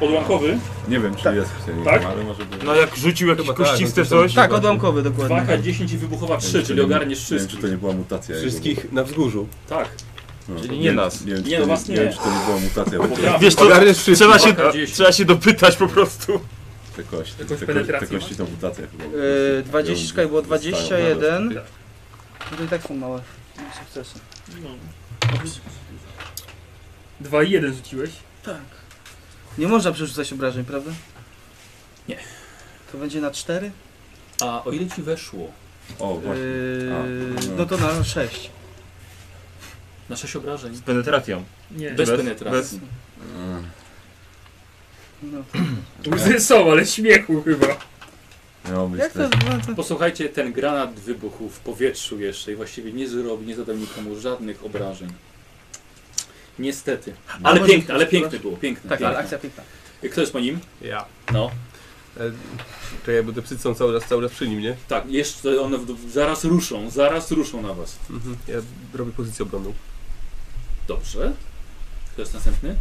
S1: Odłamkowy.
S5: Nie wiem, czy jest w tym,
S1: Tak?
S5: ale może być.
S4: No jak rzucił jakieś
S9: Chyba tak,
S4: kościste
S9: no to
S4: coś.
S9: są-
S6: Tak, odłamkowy dokładnie.
S1: Waka 10 i wybuchowa 3,
S5: Nie
S1: czyli
S5: wiem,
S1: ogarniesz
S5: Nie wiem, czy
S1: wszystkich.
S5: to nie była mutacja. jego.
S9: Wszystkich na wzgórzu.
S1: Tak.
S5: No,
S4: Czyli
S5: to
S4: nie nas.
S5: Nie wiem, czy
S1: Nie,
S5: to
S1: was
S5: nie
S1: nie.
S5: wiem, czy to nie była mutacja. bo te-
S1: Poprawiam.
S4: Wiesz co,
S9: Ogarniesz wszystkich.
S4: trzeba się,
S1: Waka 10.
S4: trzeba się dopytać po prostu.
S5: Te kości, te,
S16: Jakąś
S5: kości- te
S16: penetrację
S5: kości są mutacja chyba.
S6: Yy, 20, czekaj, było
S5: Dostają
S6: 21.
S5: nawet.
S6: No to i tak są małe sukcesy.
S8: Dwa i jeden rzuciłeś.
S6: Tak. Nie można przerzucać obrażeń, prawda?
S1: Nie.
S6: To będzie na 4?
S1: A o ile ci weszło?
S5: O, No właśnie.
S6: E,
S5: A,
S6: no to na 6.
S1: Na 6 obrażeń.
S4: Z penetracją.
S8: Nie.
S1: Bez
S4: Bez-
S1: penetracji.
S6: No.
S8: Łzy są, ale śmiechu chyba.
S5: Miało być
S6: Jak to,
S5: też-
S6: no to...
S1: Posłuchajcie, ten granat wybuchł w powietrzu jeszcze i właściwie nie zrobił, nie zadał nikomu żadnych obrażeń. Niestety. Ale
S4: No,
S6: może-
S1: piękne, ale piękne było, piękne.
S6: Tak, ale
S1: piękne.
S6: akcja piękna.
S1: Kto jest po nim?
S9: Ja.
S1: No.
S9: E, czekaj, bo te psy są cały czas, cały czas przy nim, nie?
S1: Tak, jeszcze one w- zaraz ruszą, zaraz ruszą na was.
S9: Mhm. Ja robię pozycję obronną.
S1: Dobrze. Kto jest następny?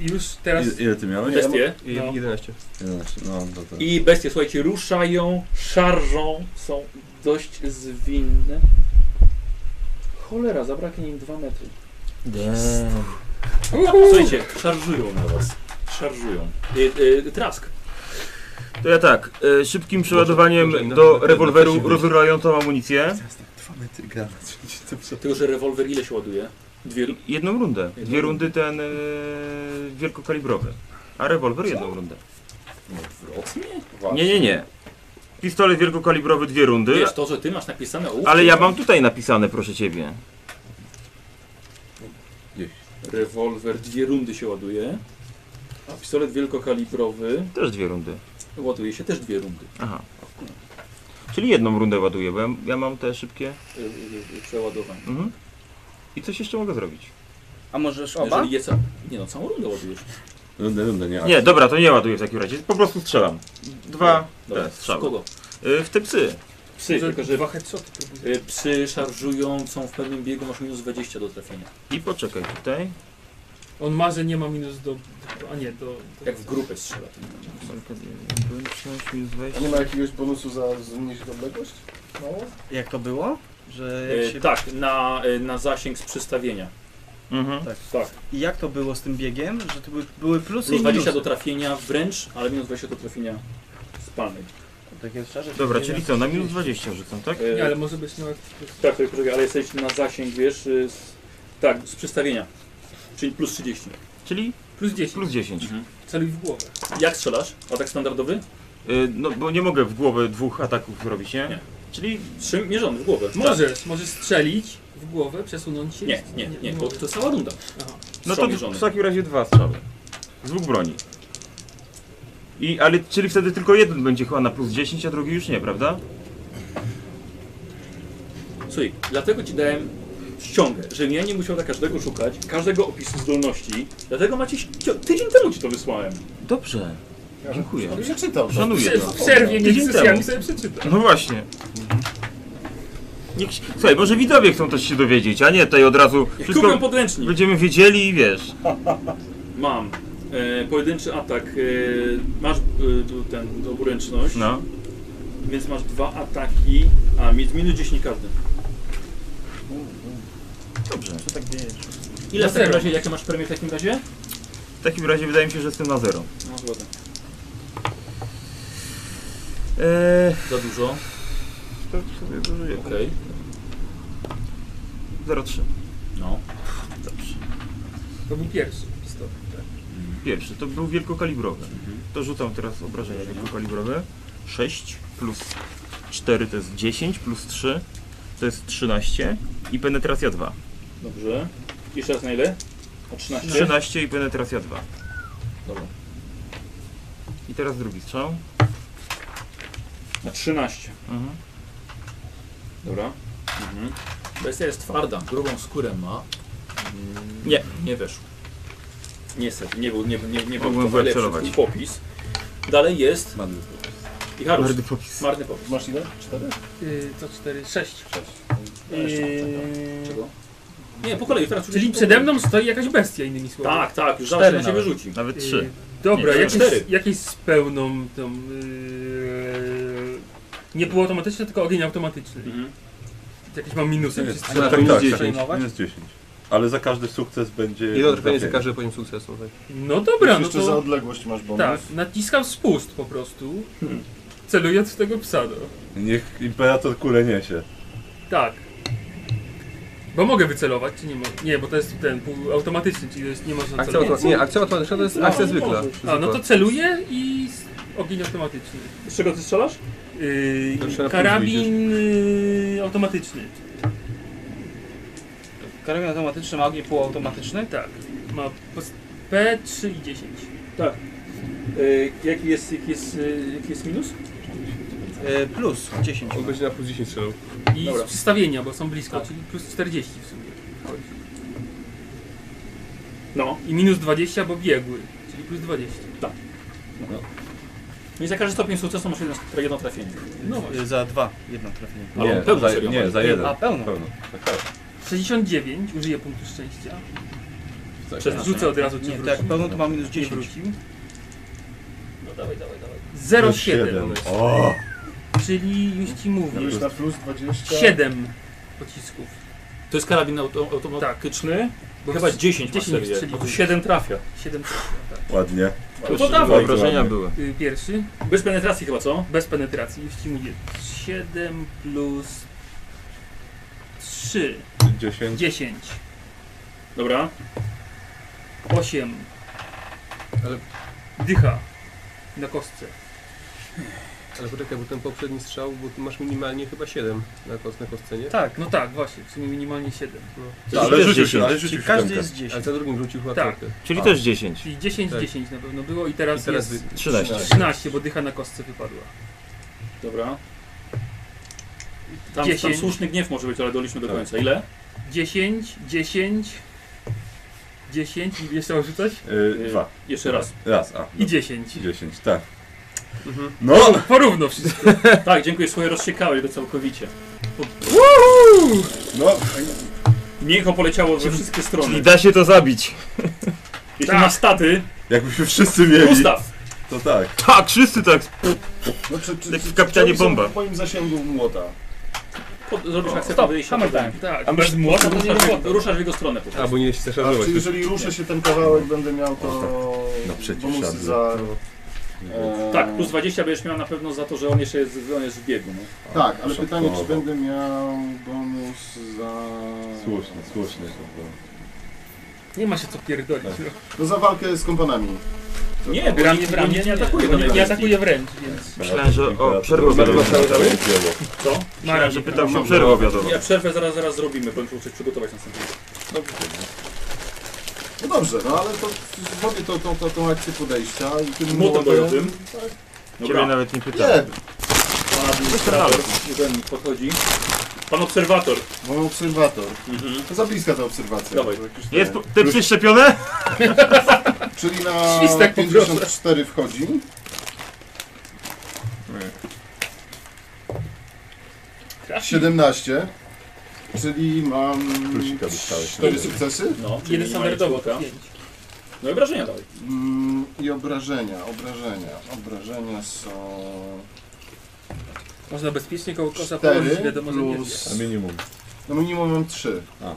S8: Już teraz
S5: Ile, ile ty miałeś?
S1: Bestie.
S9: I
S8: No.
S9: 11.
S5: 11. No, to, to.
S1: I bestie, słuchajcie, ruszają, szarżą, są dość zwinne. Cholera, zabraknie im 2 metry. Słuchajcie, szarżują na was. Szarżują. Y, y, trask.
S4: To ja tak, e, szybkim
S9: może
S4: przeładowaniem
S9: inaczej
S4: do
S9: na- na- na-
S4: rewolweru
S9: na-
S4: rozbrojającą tą amunicję.
S5: Dwa metry granat.
S1: Tylko, że rewolwer ile się ładuje? Dwie.
S4: Jedną rundę. Dwie
S1: Jedną
S4: rundy ten e, wielkokalibrowy. A rewolwer jedną rundę.
S1: no, Odwrotnie?
S4: Nie, nie, nie. Pistolet wielkokalibrowy dwie rundy.
S1: Wiesz, to, że ty masz napisane ołówki,
S4: Ale ja mam tutaj napisane, proszę ciebie.
S1: Rewolwer dwie rundy się ładuje. A pistolet wielkokalibrowy
S4: Też dwie rundy.
S1: ładuje się też dwie rundy.
S4: Aha. Czyli jedną rundę ładuję, bo ja, ja mam te szybkie.
S1: Y, y, y, Przeładowanie.
S4: Mhm. I coś jeszcze mogę zrobić.
S6: A możesz oba?
S1: Jeżeli je ca... Nie no, całą rundę ładujesz.
S5: Rundę, rundę, nie.
S9: Tak.
S4: Nie, dobra, to nie ładuję w takim razie. Po prostu strzelam. Dwa.
S1: Dobra,
S4: Te, strzały.
S1: kogo?
S4: Y, w te Tak, psy.
S1: Psy, tylko że
S8: dwa headshoty próbuję.
S1: y, psy szarżują, są w pewnym biegu, masz minus 20 do trafienia.
S4: I poczekaj tutaj.
S8: On ma, że nie ma minus do... do- A nie, do... do
S1: Jak w grupę strzela. to nie ma.
S7: A nie ma jakiegoś bonusu za zmniejszyć odległość? Mało?
S6: Jak to było? Że jak
S1: Y,
S6: się...
S1: tak, na, y, na zasięg z przystawienia.
S4: Mhm.
S1: Tak.
S6: I jak to było z tym biegiem? Że to były, były plusy
S1: Plus
S6: i
S1: 20
S6: minusy.
S1: do trafienia wręcz, ale minus 20 do trafienia spalnej.
S6: Takie szczerze,
S4: Dobra,
S6: że-
S4: czyli co, na minus 20 rzucam, tak?
S1: Y,
S8: Nie, ale może być miał jakiś plus.
S1: Tak, tak, poczekaj, ale jesteś na zasięg, wiesz, y, z, tak, z przystawienia. Czyli plus 30.
S4: Czyli
S8: Plus 10.
S4: plus 10.
S8: Celuj w głowę.
S1: Jak strzelasz? Atak standardowy?
S4: Y, no bo nie mogę w głowę dwóch ataków zrobić, nie?
S1: Nie.
S4: Czyli
S1: Trzy mierzony w głowę. Tak.
S8: Możesz, możesz strzelić w głowę, przesunąć się.
S1: Nie, nie, nie, bo to cała runda.
S8: Aha.
S4: No
S1: Strzał
S4: to
S1: mierzony.
S4: w takim razie dwa strzały. Z dwóch broni. I, ale, czyli wtedy tylko jeden będzie chyba na plus 10, a drugi już nie, prawda?
S1: Słuchaj, dlatego ci dałem ściągę, że ja nie musiał dla każdego szukać, każdego opisu zdolności. Dlatego macie ści- tydzień temu ci to wysłałem.
S4: Dobrze. Dziękuję.
S7: Ja czytał. to.
S4: Szanuję to.
S8: W przerwie między
S4: Tydzień
S8: sesjami
S4: temu.
S8: sobie przeczytam.
S4: No właśnie. Niech, się- słuchaj, może widzowie chcą też się dowiedzieć, a nie tutaj od razu
S1: Jak
S4: wszystko
S1: kupię podręcznik.
S4: będziemy wiedzieli i wiesz.
S1: Mam e, pojedynczy atak, e, masz e, tu ten oburęczność,
S4: No.
S1: więc masz dwa ataki, a mi- minus 10 każdy.
S4: Dobrze.
S6: Co tak dzieje?
S1: Ile
S8: Na
S1: w takim
S8: zero.
S1: razie, jakie masz premie w takim razie?
S4: W takim razie wydaje mi się, że jestem na zero.
S1: No chyba tak.
S4: Eee,
S1: Za dużo,
S4: to sobie dożyję.
S1: okej.
S4: 0,3.
S1: No.
S4: Dobrze.
S8: To był pierwszy pistolet.
S4: Pierwszy, to był wielkokalibrowy. To rzucam teraz obrażenia wielkokalibrowe. 6 plus 4 to jest 10, plus 3 to jest 13 i penetracja 2.
S1: Dobrze. Jeszcze raz na ile? O 13.
S4: 13 i penetracja 2.
S1: Dobra.
S4: I teraz drugi strzał.
S1: Na 13.
S4: Mhm.
S1: Dobra. Mhm. Bestia jest twarda, grubą skórę ma.
S4: Nie.
S1: Nie weszło. Niestety, nie był, nie, nie, nie był
S4: Mogłem
S1: to najlepszy
S4: wyakcelerować.
S1: twój popis. Dalej jest i Harus. Marny popis.
S7: Masz ile? Cztery?
S8: Yy, to 4, 6.
S1: tak, Czego? Eee, Nie, po kolei, teraz
S8: Czyli przede mną stoi jakaś bestia, innymi słowy.
S1: Tak, tak, już zaraz się na
S8: nawet.
S1: ciebie rzuci.
S4: Nawet
S8: Yy,
S4: trzy.
S8: Dobra,
S1: Nie,
S8: jakieś,
S1: cztery.
S8: jakieś z pełną tą... Yy, nie było automatyczne, tylko ogień automatyczny.
S1: Mhm.
S8: Jakieś mam minusy przez
S9: na
S5: Tak,
S9: to minus
S5: tak,
S9: 10.
S5: tak, minus 10. Ale za każdy sukces będzie...
S9: I do trafienia za
S5: trafienie.
S9: każdy poziom sukcesu. Tak.
S8: No dobra, no
S7: jeszcze za
S8: to...
S7: odległość masz bonus.
S8: Tak, naciskam spust po prostu,
S9: Hmm.
S8: celując w tego psa, no.
S5: Niech Imperator kulę niesie.
S8: Tak. Bo mogę wycelować, czy nie mogę? Nie, bo to jest ten półautomatyczny, czyli to jest, nie można
S9: Akcja
S8: celować.
S9: automatyczna, nie, akcja automatyczna to jest akcja zwykła.
S8: A, no to celuję i s- ogień automatyczny.
S1: Z czego ty strzelasz?
S8: Yy,
S9: To trzeba
S8: karabin yy, automatyczny.
S6: Karabin automatyczny ma ogień półautomatyczny?
S8: Tak. Ma pos- P3 i 10.
S1: Yy, jaki, jest, jaki, jest, yy, jaki jest minus?
S6: E, plus 10.
S9: On będzie na plus 10 strzelał.
S8: I
S1: Dobra.
S8: z przystawienia, bo są blisko,
S6: Tak.
S8: czyli plus 40 w sumie.
S1: No.
S8: I minus 20, bo biegły, czyli plus 20.
S1: I za każdy stopień sukcesu masz jedno, jedno trafienie.
S8: No właśnie.
S6: E, za dwa jedno trafienie.
S1: Ale on pełną
S5: za,
S1: serią
S5: nie,
S1: walczy.
S5: za jeden.
S6: A, pełno.
S5: Pełno. Tak, tak.
S8: 69, użyję punktu szczęścia.
S1: Przeznaczenie.
S8: Rzucę od razu, czy
S6: Nie,
S8: wróci.
S6: tak, pełno to ma minus
S8: Nie
S6: 10.
S8: wrócił.
S1: No dawaj, dawaj, dawaj.
S5: Plus
S8: 07.
S5: siedem. O!
S8: Czyli już ci mówię.
S7: Już na plus 20.
S8: 7 pocisków.
S1: To jest karabin auto, automatyczny.
S8: Bo
S1: Chyba 10 masz
S8: 10
S1: serię,
S8: strzelił.
S1: bo to 7 trafia.
S8: 7
S5: Ładnie.
S1: No to dawaj.
S4: Wyobrażenia były.
S8: tak. y, pierwszy
S1: Bez penetracji chyba, co?
S8: bez penetracji. Już ci mówię. 7 plus 3.
S5: 10.
S8: 10.
S1: Dobra.
S8: 8.
S9: Ale-
S8: Dycha. Na kostce.
S9: Ale poczekaj, bo ten poprzedni strzał, bo ty masz minimalnie chyba 7 na, kost, na kostce, nie?
S8: Tak. No tak, właśnie. W sumie minimalnie 7.
S5: Ale rzucił się,
S4: 10.
S5: ale rzucił
S6: Czyli
S5: się
S6: każdy
S5: siódemkę.
S6: jest
S9: Ale
S6: 10.
S9: za drugim rzucił chyba
S8: Tak.
S9: trójkę.
S4: Czyli
S5: A.
S4: też 10.
S8: Czyli 10,
S9: Tak.
S8: 10 na pewno było i teraz,
S9: I teraz
S8: jest
S9: wy-
S4: 13.
S8: 13, bo dycha na kostce wypadła.
S1: Dobra. Tam, tam
S8: 10.
S1: słuszny gniew może być, ale doliczmy do końca. Ile?
S8: 10, 10, 10 i jeszcze rzucać?
S5: Y, Dwa.
S1: Jeszcze raz.
S5: Raz, a.
S8: I 10.
S5: 10, tak.
S9: Mhm.
S5: No!
S8: Porówno wszystko.
S1: Tak, dziękuję, swoje rozciekałeś go całkowicie.
S5: No,
S1: Niech on poleciało we wszystkie strony.
S4: Czyli da się to zabić.
S1: Jeśli ma staty,
S5: jakbyśmy wszyscy mieli,
S1: ustaw.
S5: to tak.
S4: Tak, wszyscy tak.
S7: No, czy, czy,
S4: Jak w
S7: czy-
S4: Kapitanie
S7: czy oni są
S4: Bomba.
S7: W moim zasięgu młota.
S1: Pod- Zrobisz akcję
S6: Stop,
S1: podejścia.
S6: hammer
S1: potem.
S6: time.
S8: Tak.
S1: A bez młota to nie
S8: Ruszasz-
S1: robota. Ruszasz w jego stronę po
S9: A,
S1: prostu.
S9: bo nie jest się
S7: A
S9: szarżować.
S7: czy jeżeli ruszę się ten kawałek, będę miał
S5: No, O,
S7: to
S5: tak. No przecież
S7: bonusy
S5: żadne.
S7: za... E,
S1: Tak, plus 20 będziesz miał na pewno za to, że on jeszcze jest, on jest w biegu. No.
S7: Tak, ale pytanie, czy
S5: Szokowo.
S7: będę miał bonus za...
S5: Słusznie, słusznie.
S8: Nie ma się co pierdolić.
S7: No za walkę z kompanami. To-
S1: Nie, bo
S8: Ramię
S1: nikt
S8: w
S1: go
S8: ramię
S1: nie, nie atakuje.
S8: bo
S1: bo
S8: nie,
S1: nie-
S8: nie atakuje wręcz, więc...
S4: Myślałem, że- o, przerwę
S5: przerwę
S4: zaraz
S5: zaraz.
S1: Co?
S8: Mara,
S4: Że pytam się o przerwę obiadową.
S1: Ja przerwę zaraz, zaraz zrobimy, bo muszę coś przygotować następnego.
S7: No dobrze, no ale to zrobię tą, tą, tą, tą akcję podejścia i tym
S1: Młotem bojowym.
S4: Ciebie
S1: Dobra,
S4: nawet nie pytałem.
S7: Nie,
S1: pan administrator. Jeden podchodzi. Pan obserwator.
S7: bo mam obserwator.
S1: Mhm.
S7: To za bliska ta obserwacja.
S1: Dawaj.
S7: To jakoś
S4: Jest
S7: tak.
S4: po- te psy szczepione?
S7: Czyli na
S8: Świstek po drodze.
S7: 54 wchodzi.
S8: Trafi.
S7: 17. Czyli mam
S5: Plusika dostałeś.
S7: 4 sukcesy
S1: No, czyli minimalnie
S8: Jeden standardowo, to
S1: czwórka.
S8: 5.
S1: tak? No i obrażenia dawaj.
S7: Mm, i obrażenia, obrażenia. Obrażenia są
S8: Można bezpiecznie koło kosza położyć,
S7: 4
S8: wiadomo, że nie
S7: plus...
S5: A minimum.
S7: No minimum mam 3.
S5: A.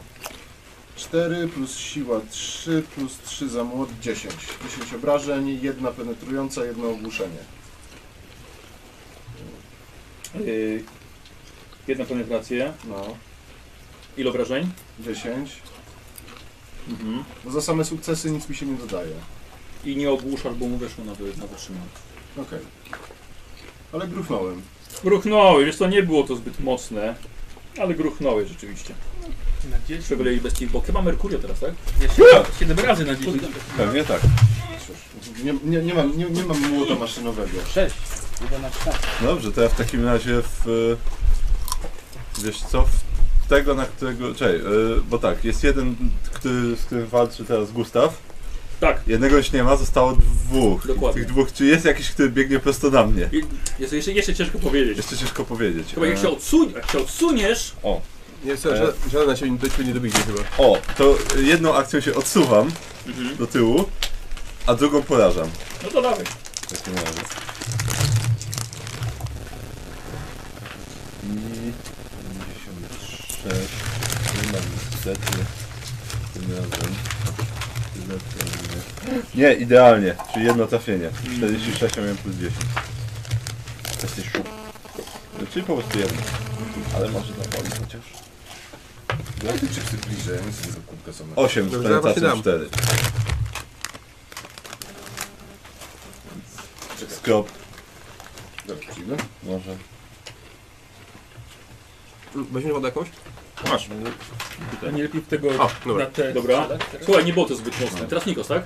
S7: 4 plus siła 3 plus 3 za młot 10. 10 obrażeń, jedna penetrująca, jedno ogłuszenie.
S1: Yy, jedna penetracja.
S7: No,
S1: Ile obrażeń?
S7: 10.
S1: Mhm.
S7: No za same sukcesy nic mi się nie dodaje.
S1: I nie ogłuszasz, bo mu weszło na, wy- na wytrzymanie.
S7: Okej. Ale gruchnąłem.
S1: Gruchnąłeś, wiesz to nie było to zbyt mocne, ale gruchnąłeś rzeczywiście.
S8: Na 10.
S1: Szczególnie bez tych bok. Chyba Merkurio teraz, tak?
S8: Jeszcze 7 razy na 10.
S5: Pewnie tak.
S7: Cóż, nie, nie, nie, mam, nie, nie mam młota maszynowego.
S6: 6. 11.
S5: Dobrze, to ja w takim razie w... e, Wiesz co, w y, tego na którego... Czekaj, e, bo tak, jest jeden, który, z którym walczy teraz Gustaw.
S17: Tak.
S5: Jednego już nie ma, zostało dwóch.
S1: Dokładnie.
S5: Tych dwóch, czy jest jakiś, który biegnie prosto na mnie?
S1: I- Jest to jeszcze, jeszcze ciężko powiedzieć.
S5: Jeszcze ciężko powiedzieć.
S1: Chyba jak
S5: E,
S1: się, odsuń, jak się odsuniesz,
S5: O,
S9: Nie, co, ża- żadna się do ciebie nie dobiegnie chyba.
S5: o, to jedną akcją się odsuwam do tyłu, a drugą porażam.
S1: no to dawaj.
S5: W takim razie. I 56, nie mam niestety tym razem. Tyle to nie- Nie, idealnie, czyli jedno trafienie. 46 miałem plus 10. Jesteś szup. No, Czyli po prostu jedno. Ale może na wolno chociaż.
S7: Daj te chipsy bliżej, ja nie chcę tego kubka samego.
S5: 8
S9: Dobrze,
S5: z
S9: ja właśnie
S5: penetracją 4.
S9: dam.
S5: Skrop,
S7: Dobrze, przyjdę.
S5: może.
S9: Mm, Weźmiesz wodę jakąś?
S5: Masz.
S8: A nie lepiej tego
S9: O, dobra.
S8: na te...
S1: Dobra. Słuchaj, nie było to zbyt mocne. Teraz Nikos, tak?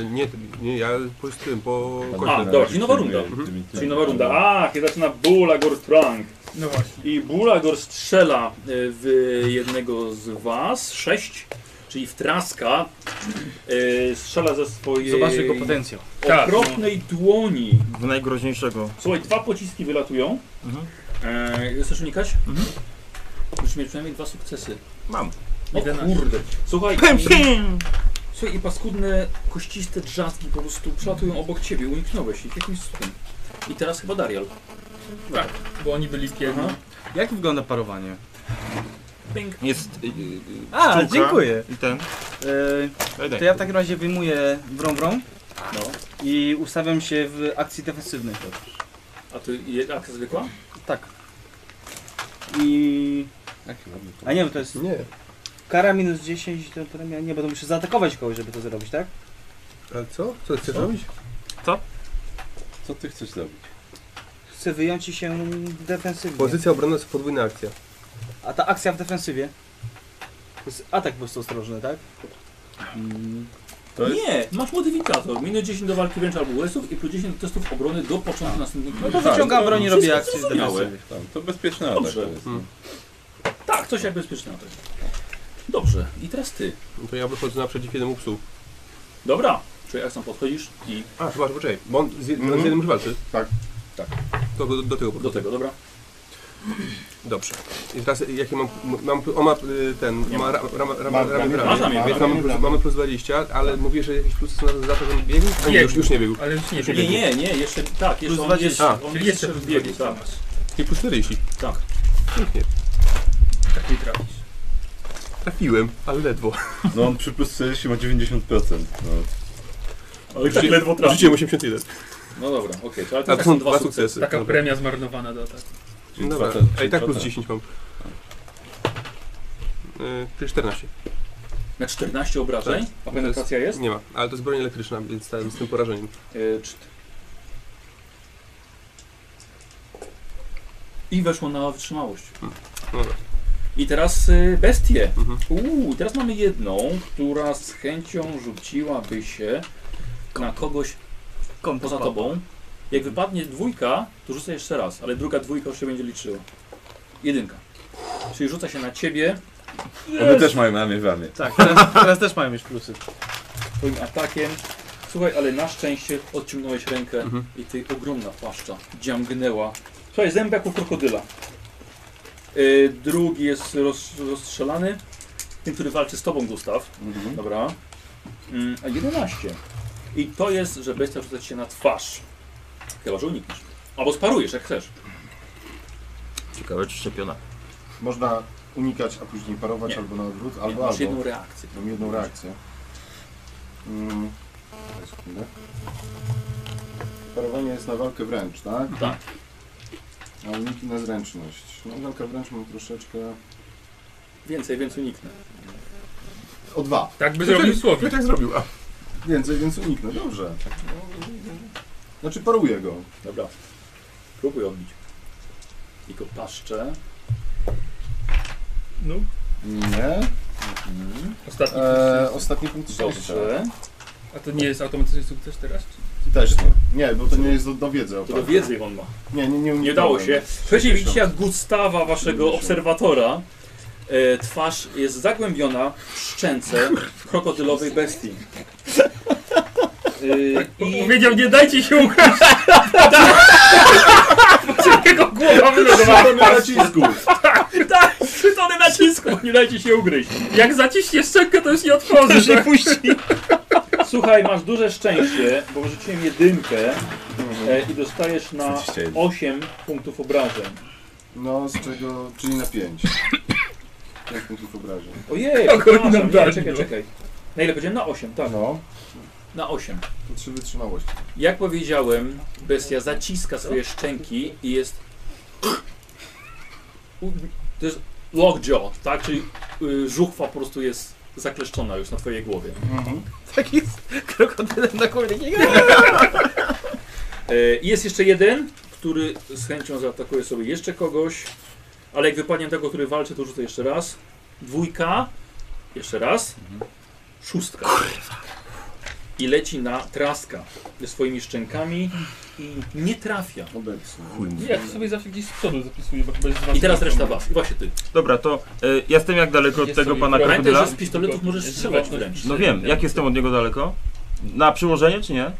S9: E, nie, nie, ja po z tym, po
S1: A,
S9: końcu.
S1: dobra, czyli nowa runda. Tak. Czyli nowa runda. A, kiedy zaczyna Bulagor Strong.
S8: No właśnie.
S1: I Bulagor strzela y, w jednego z was, sześć, czyli w Traska. y, Strzela ze swojej
S6: Zobacz jego potencjał.
S4: Tak.
S1: okropnej dłoni.
S4: W najgroźniejszego.
S1: Słuchaj, dwa pociski wylatują.
S4: Mhm.
S1: E, chcesz unikać? Mhm. Musisz mieć przynajmniej dwa sukcesy.
S4: Mam.
S1: O kurde. Słuchaj, i, słuchaj, i paskudne, kościste drzazgi po prostu przelatują obok ciebie. Uniknąłeś ich jakimś cudem. I teraz chyba Darial.
S8: Bo oni byli pierni.
S1: Aha.
S6: Jak wygląda parowanie?
S1: Ping.
S4: Jest. Yy,
S6: A,
S4: pszczółka
S6: dziękuję.
S4: I ten.
S6: E,
S4: Daj, daj.
S6: to ja w takim razie wyjmuję brąbrą
S1: No.
S6: i ustawiam się w akcji defensywnej.
S1: A ty je- akcja zwykła?
S6: Tak. I... A nie, bo to jest
S9: Nie.
S6: kara minus 10, to potem ja nie, bo to muszę zaatakować kogoś, żeby to zrobić, tak?
S9: Ale co? Co chcesz robić?
S5: Co ty chcesz zrobić?
S6: Chcę wyjąć i się defensywnie.
S9: Pozycja obronna to podwójna akcja.
S6: A ta akcja w defensywie? To jest atak po prostu ostrożny, tak?
S5: To jest-
S1: Nie, masz modyfikator. Minus 10 do walki wręcz albo USów i plus 10 do testów obrony do początku następnego.
S6: No to
S5: Tak,
S6: wyciągam broń i robię
S1: wszystko
S6: akcję z
S1: zrozumiałe.
S6: defensywy.
S5: Tam, to bezpieczny atak.
S1: Dobrze.
S5: To jest.
S9: Mm.
S1: Tak, coś jak bezpieczny atak. Dobrze, i teraz ty.
S9: No to ja wychodzę naprzeciw jednemu psu.
S1: Dobra, czyli jak sam podchodzisz i
S9: A, chyba, że poczekaj, bo on z, jed- on z jednym już walczy.
S7: Tak,
S9: tak. To do, do tego
S1: do
S9: podchodzę.
S1: tego, dobra?
S9: Dobrze. I teraz jakie mam, mam on ma y, ten,
S1: Nie
S9: ma
S1: ma.
S9: ra- ra- ra-
S7: Ma-
S9: ra- ramię
S1: ma
S9: bramy,
S1: ramię,
S9: więc mamy
S7: ma ramię
S9: plus,
S7: bramy.
S9: mamy plus 20, ale mówisz, że jakiś plus na- za to, że on biegł? A nie,
S8: Biegł.
S9: już, już nie biegł.
S8: Ale już nie
S9: Już nie
S8: wiem.
S1: Nie, nie, nie, jeszcze tak, jeszcze on
S6: 20.
S1: jeszcze,
S9: A.
S1: on
S8: Czyli
S1: jeszcze
S8: jeszcze
S1: w biegu,
S8: biegł,
S1: tak.
S8: tak.
S9: I plus 40.
S1: tak.
S9: Pięknie.
S8: Tak nie trafisz.
S9: Trafiłem, ale ledwo.
S1: Tak,
S5: No on przy plus 40 ma 90%. No.
S1: Ale tak ledwo trafi.
S9: Rzuciłem 81.
S1: No dobra, okej, okay, ale
S9: A
S1: to
S9: to
S1: są
S9: są
S1: dwa
S9: dwa
S1: sukcesy.
S9: sukcesy.
S8: Taka
S9: Dobra.
S8: premia zmarnowana do ataku.
S5: Czyli
S9: Dobra,
S5: dwa te-
S9: a i
S5: czyli
S9: tak
S5: dwa
S9: plus
S5: te.
S9: 10 mam. Yy, Czyli 14.
S1: Na 14 obrażeń, a penetracja jest?
S9: Nie ma, ale to jest broń elektryczna, więc stałem z tym porażeniem.
S1: Y, czt- I weszło na wytrzymałość.
S9: Dobra.
S1: I teraz y, bestie.
S9: Mhm.
S1: Uuu, teraz mamy jedną, która z chęcią rzuciłaby się na kogoś
S6: Kąt
S1: poza
S6: odpadł.
S1: tobą. Jak
S9: Mhm.
S1: wypadnie dwójka, to rzucaj jeszcze raz, ale druga dwójka już się będzie liczyła. Jedynka. Czyli rzuca się na ciebie
S5: One też mają ramię w ramię.
S6: Tak, teraz, teraz też mają już plusy.
S1: swoim atakiem. Słuchaj, ale na szczęście odciągnąłeś rękę
S7: Mhm.
S1: i ty ogromna paszcza dziamgnęła. Słuchaj, zęby jak u krokodyla. Yy, drugi jest roz, rozstrzelany. Ten, który walczy z tobą, Gustaw. Dobra. Mm, a 11. I to jest, że bestia rzuca ci się na twarz. Chyba, że unikniesz. Albo sparujesz, jak chcesz.
S4: Ciekawe czy szczepiona.
S7: Można unikać, a później parować
S1: Nie.
S7: albo na odwrót,
S1: Nie,
S7: albo
S1: masz
S7: albo.
S1: jedną reakcję.
S7: Mam jedną reakcję. Mm. daj sekundę. Parowanie jest na walkę wręcz, tak?
S1: Tak.
S7: A uniki na zręczność. No walka wręcz mam troszeczkę...
S1: Więcej, więcej uniknę.
S7: O dwa.
S8: Tak by zrobił słowie.
S9: tak zrobił, a
S7: Więcej, więc uniknę. Dobrze. Tak, no, Znaczy paruję go.
S1: Dobra. Próbuj odbić. Tylko paszczę.
S8: No.
S7: Nie.
S1: Mhm.
S8: Ostatni
S7: E,
S8: sukces.
S7: ostatni punkt szczęścia.
S1: Dobrze.
S8: A to nie jest automatyczny sukces teraz? Czy?
S7: Też nie. Nie, bo to nie jest do, do wiedzy. o
S1: To do
S7: walce.
S1: wiedzy on ma.
S7: Nie, nie, nie
S1: Nie
S7: uniknąłem.
S1: udało się. Słuchajcie,
S7: 60.
S1: widzicie jak Gustawa, waszego
S7: 70.
S1: obserwatora, e, twarz jest zagłębiona w szczęce krokodylowej bestii. Y, I
S8: Powiedział, nie dajcie się ukraść. Jego głowa wylądowała.
S7: Mamy nacisku.
S8: Tak, przytony nacisku,
S1: nie dajcie się ugryźć.
S8: Jak zaciśnie szczękę, to już nie otworzy. tak?
S1: się puści. Słuchaj, masz duże szczęście, bo wyrzuciłem jedynkę e, i dostajesz na
S5: 21.
S1: 8 punktów obrażeń.
S7: No, z czego, czyli na 5. Jak punktów obrażeń.
S1: Ojej,
S8: Kogo
S1: przepraszam,
S8: nam
S1: nie,
S8: dali,
S1: czekaj,
S8: no.
S1: czekaj. Na ile powiedziałem? Na 8, tak.
S7: No,
S1: Na 8.
S7: to trzy wytrzymałości.
S1: Jak powiedziałem, bestia zaciska swoje szczęki i jest... U- To jest lockjaw, tak? Czyli y, żuchwa po prostu jest zakleszczona już na twojej głowie.
S9: Tak jest krokodylem na koniec.
S1: E, i Jest jeszcze jeden, który z chęcią zaatakuje sobie jeszcze kogoś, ale jak wypadnie tego, który walczy, to rzucę jeszcze raz. Dwójka, jeszcze raz, szóstka. I leci na traska ze swoimi szczękami i nie trafia.
S7: Obecnie.
S8: Ja sobie zawsze gdzieś z przodu zapisuję, bo chyba jest
S1: I teraz reszta was, i właśnie ty.
S4: Dobra, to e, ja jestem jak daleko od
S8: Jest
S4: tego
S8: sobie
S4: pana
S8: problem.
S4: krokodyla?
S1: Pamiętaj, że z pistoletów możesz strzelać wręcz.
S4: No wiem, jak jestem od niego daleko? Na przyłożenie czy nie?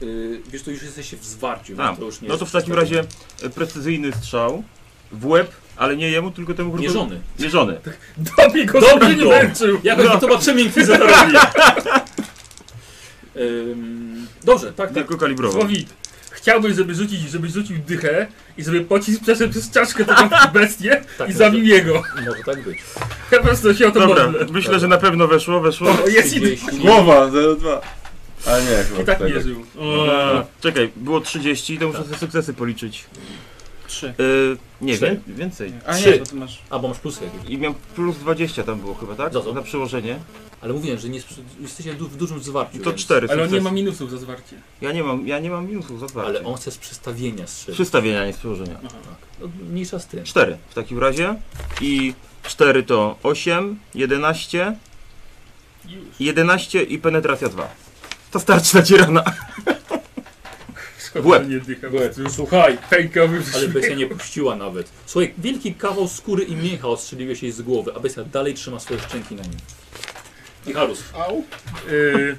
S1: Yy, wiesz, to już jesteście w zwarciu,
S4: A,
S1: więc to już nie
S4: No to
S1: jest
S4: w takim razie e, precyzyjny strzał w łeb, ale nie jemu, tylko temu krokodylowi.
S1: Mierzony.
S4: Mierzony.
S8: Dobij go, żeby nie męczył.
S1: Jakoś no. zobaczymy inkwizytorowi. Ym, dobrze, tak, tak.
S4: Tylko kalibrował.
S8: Słowit, chciałbym, żeby rzucić, żebyś rzucił dychę i żeby pocisk przeszedł przez czaszkę taką bestię
S1: tak
S8: i zabił jego.
S1: Może tak być.
S8: Ja po prostu się o to
S4: Dobra,
S8: modlę.
S4: myślę, że na pewno weszło, weszło.
S8: O, jest i,
S5: Głowa, 02. A nie, chyba
S8: i tak
S5: cztery.
S8: nie żył.
S4: No, Czekaj, było 30, to muszę sobie sukcesy policzyć.
S6: Trzy.
S4: Yy, nie,
S1: Trzy?
S4: wie, więcej.
S6: A nie,
S1: Trzy.
S6: bo ty masz...
S1: Albo masz plus jakiś.
S4: I miałem plus 20 tam było chyba, tak?
S1: Za co?
S4: Na przełożenie.
S1: Ale mówiłem, że nie, sprz- jesteście du- w dużym zwarciu.
S4: To
S1: więc-
S4: 4
S8: Ale on nie
S4: sukcesy.
S8: ma minusów za zwarcie.
S4: Ja nie mam, ja nie mam minusów za zwarcie.
S1: Ale on chce z przystawienia strzelić.
S4: Przystawienia, nie z przełożenia.
S1: No, mniejsza z tym.
S4: 4 w takim razie. I 4 to 8, 11,
S8: Już.
S4: 11 i penetracja 2. To starczy na ci rana. W
S8: Szkoda,
S4: łeb.
S8: że nie dycha.
S1: Słuchaj!
S8: Fejkowy
S1: Ale bestia nie puściła nawet. Słuchaj, wielki kawał skóry i mięcha odstrzeliłeś jej z głowy, a bestia dalej trzyma swoje szczęki na nim. I Harus,
S7: Au.
S8: Y,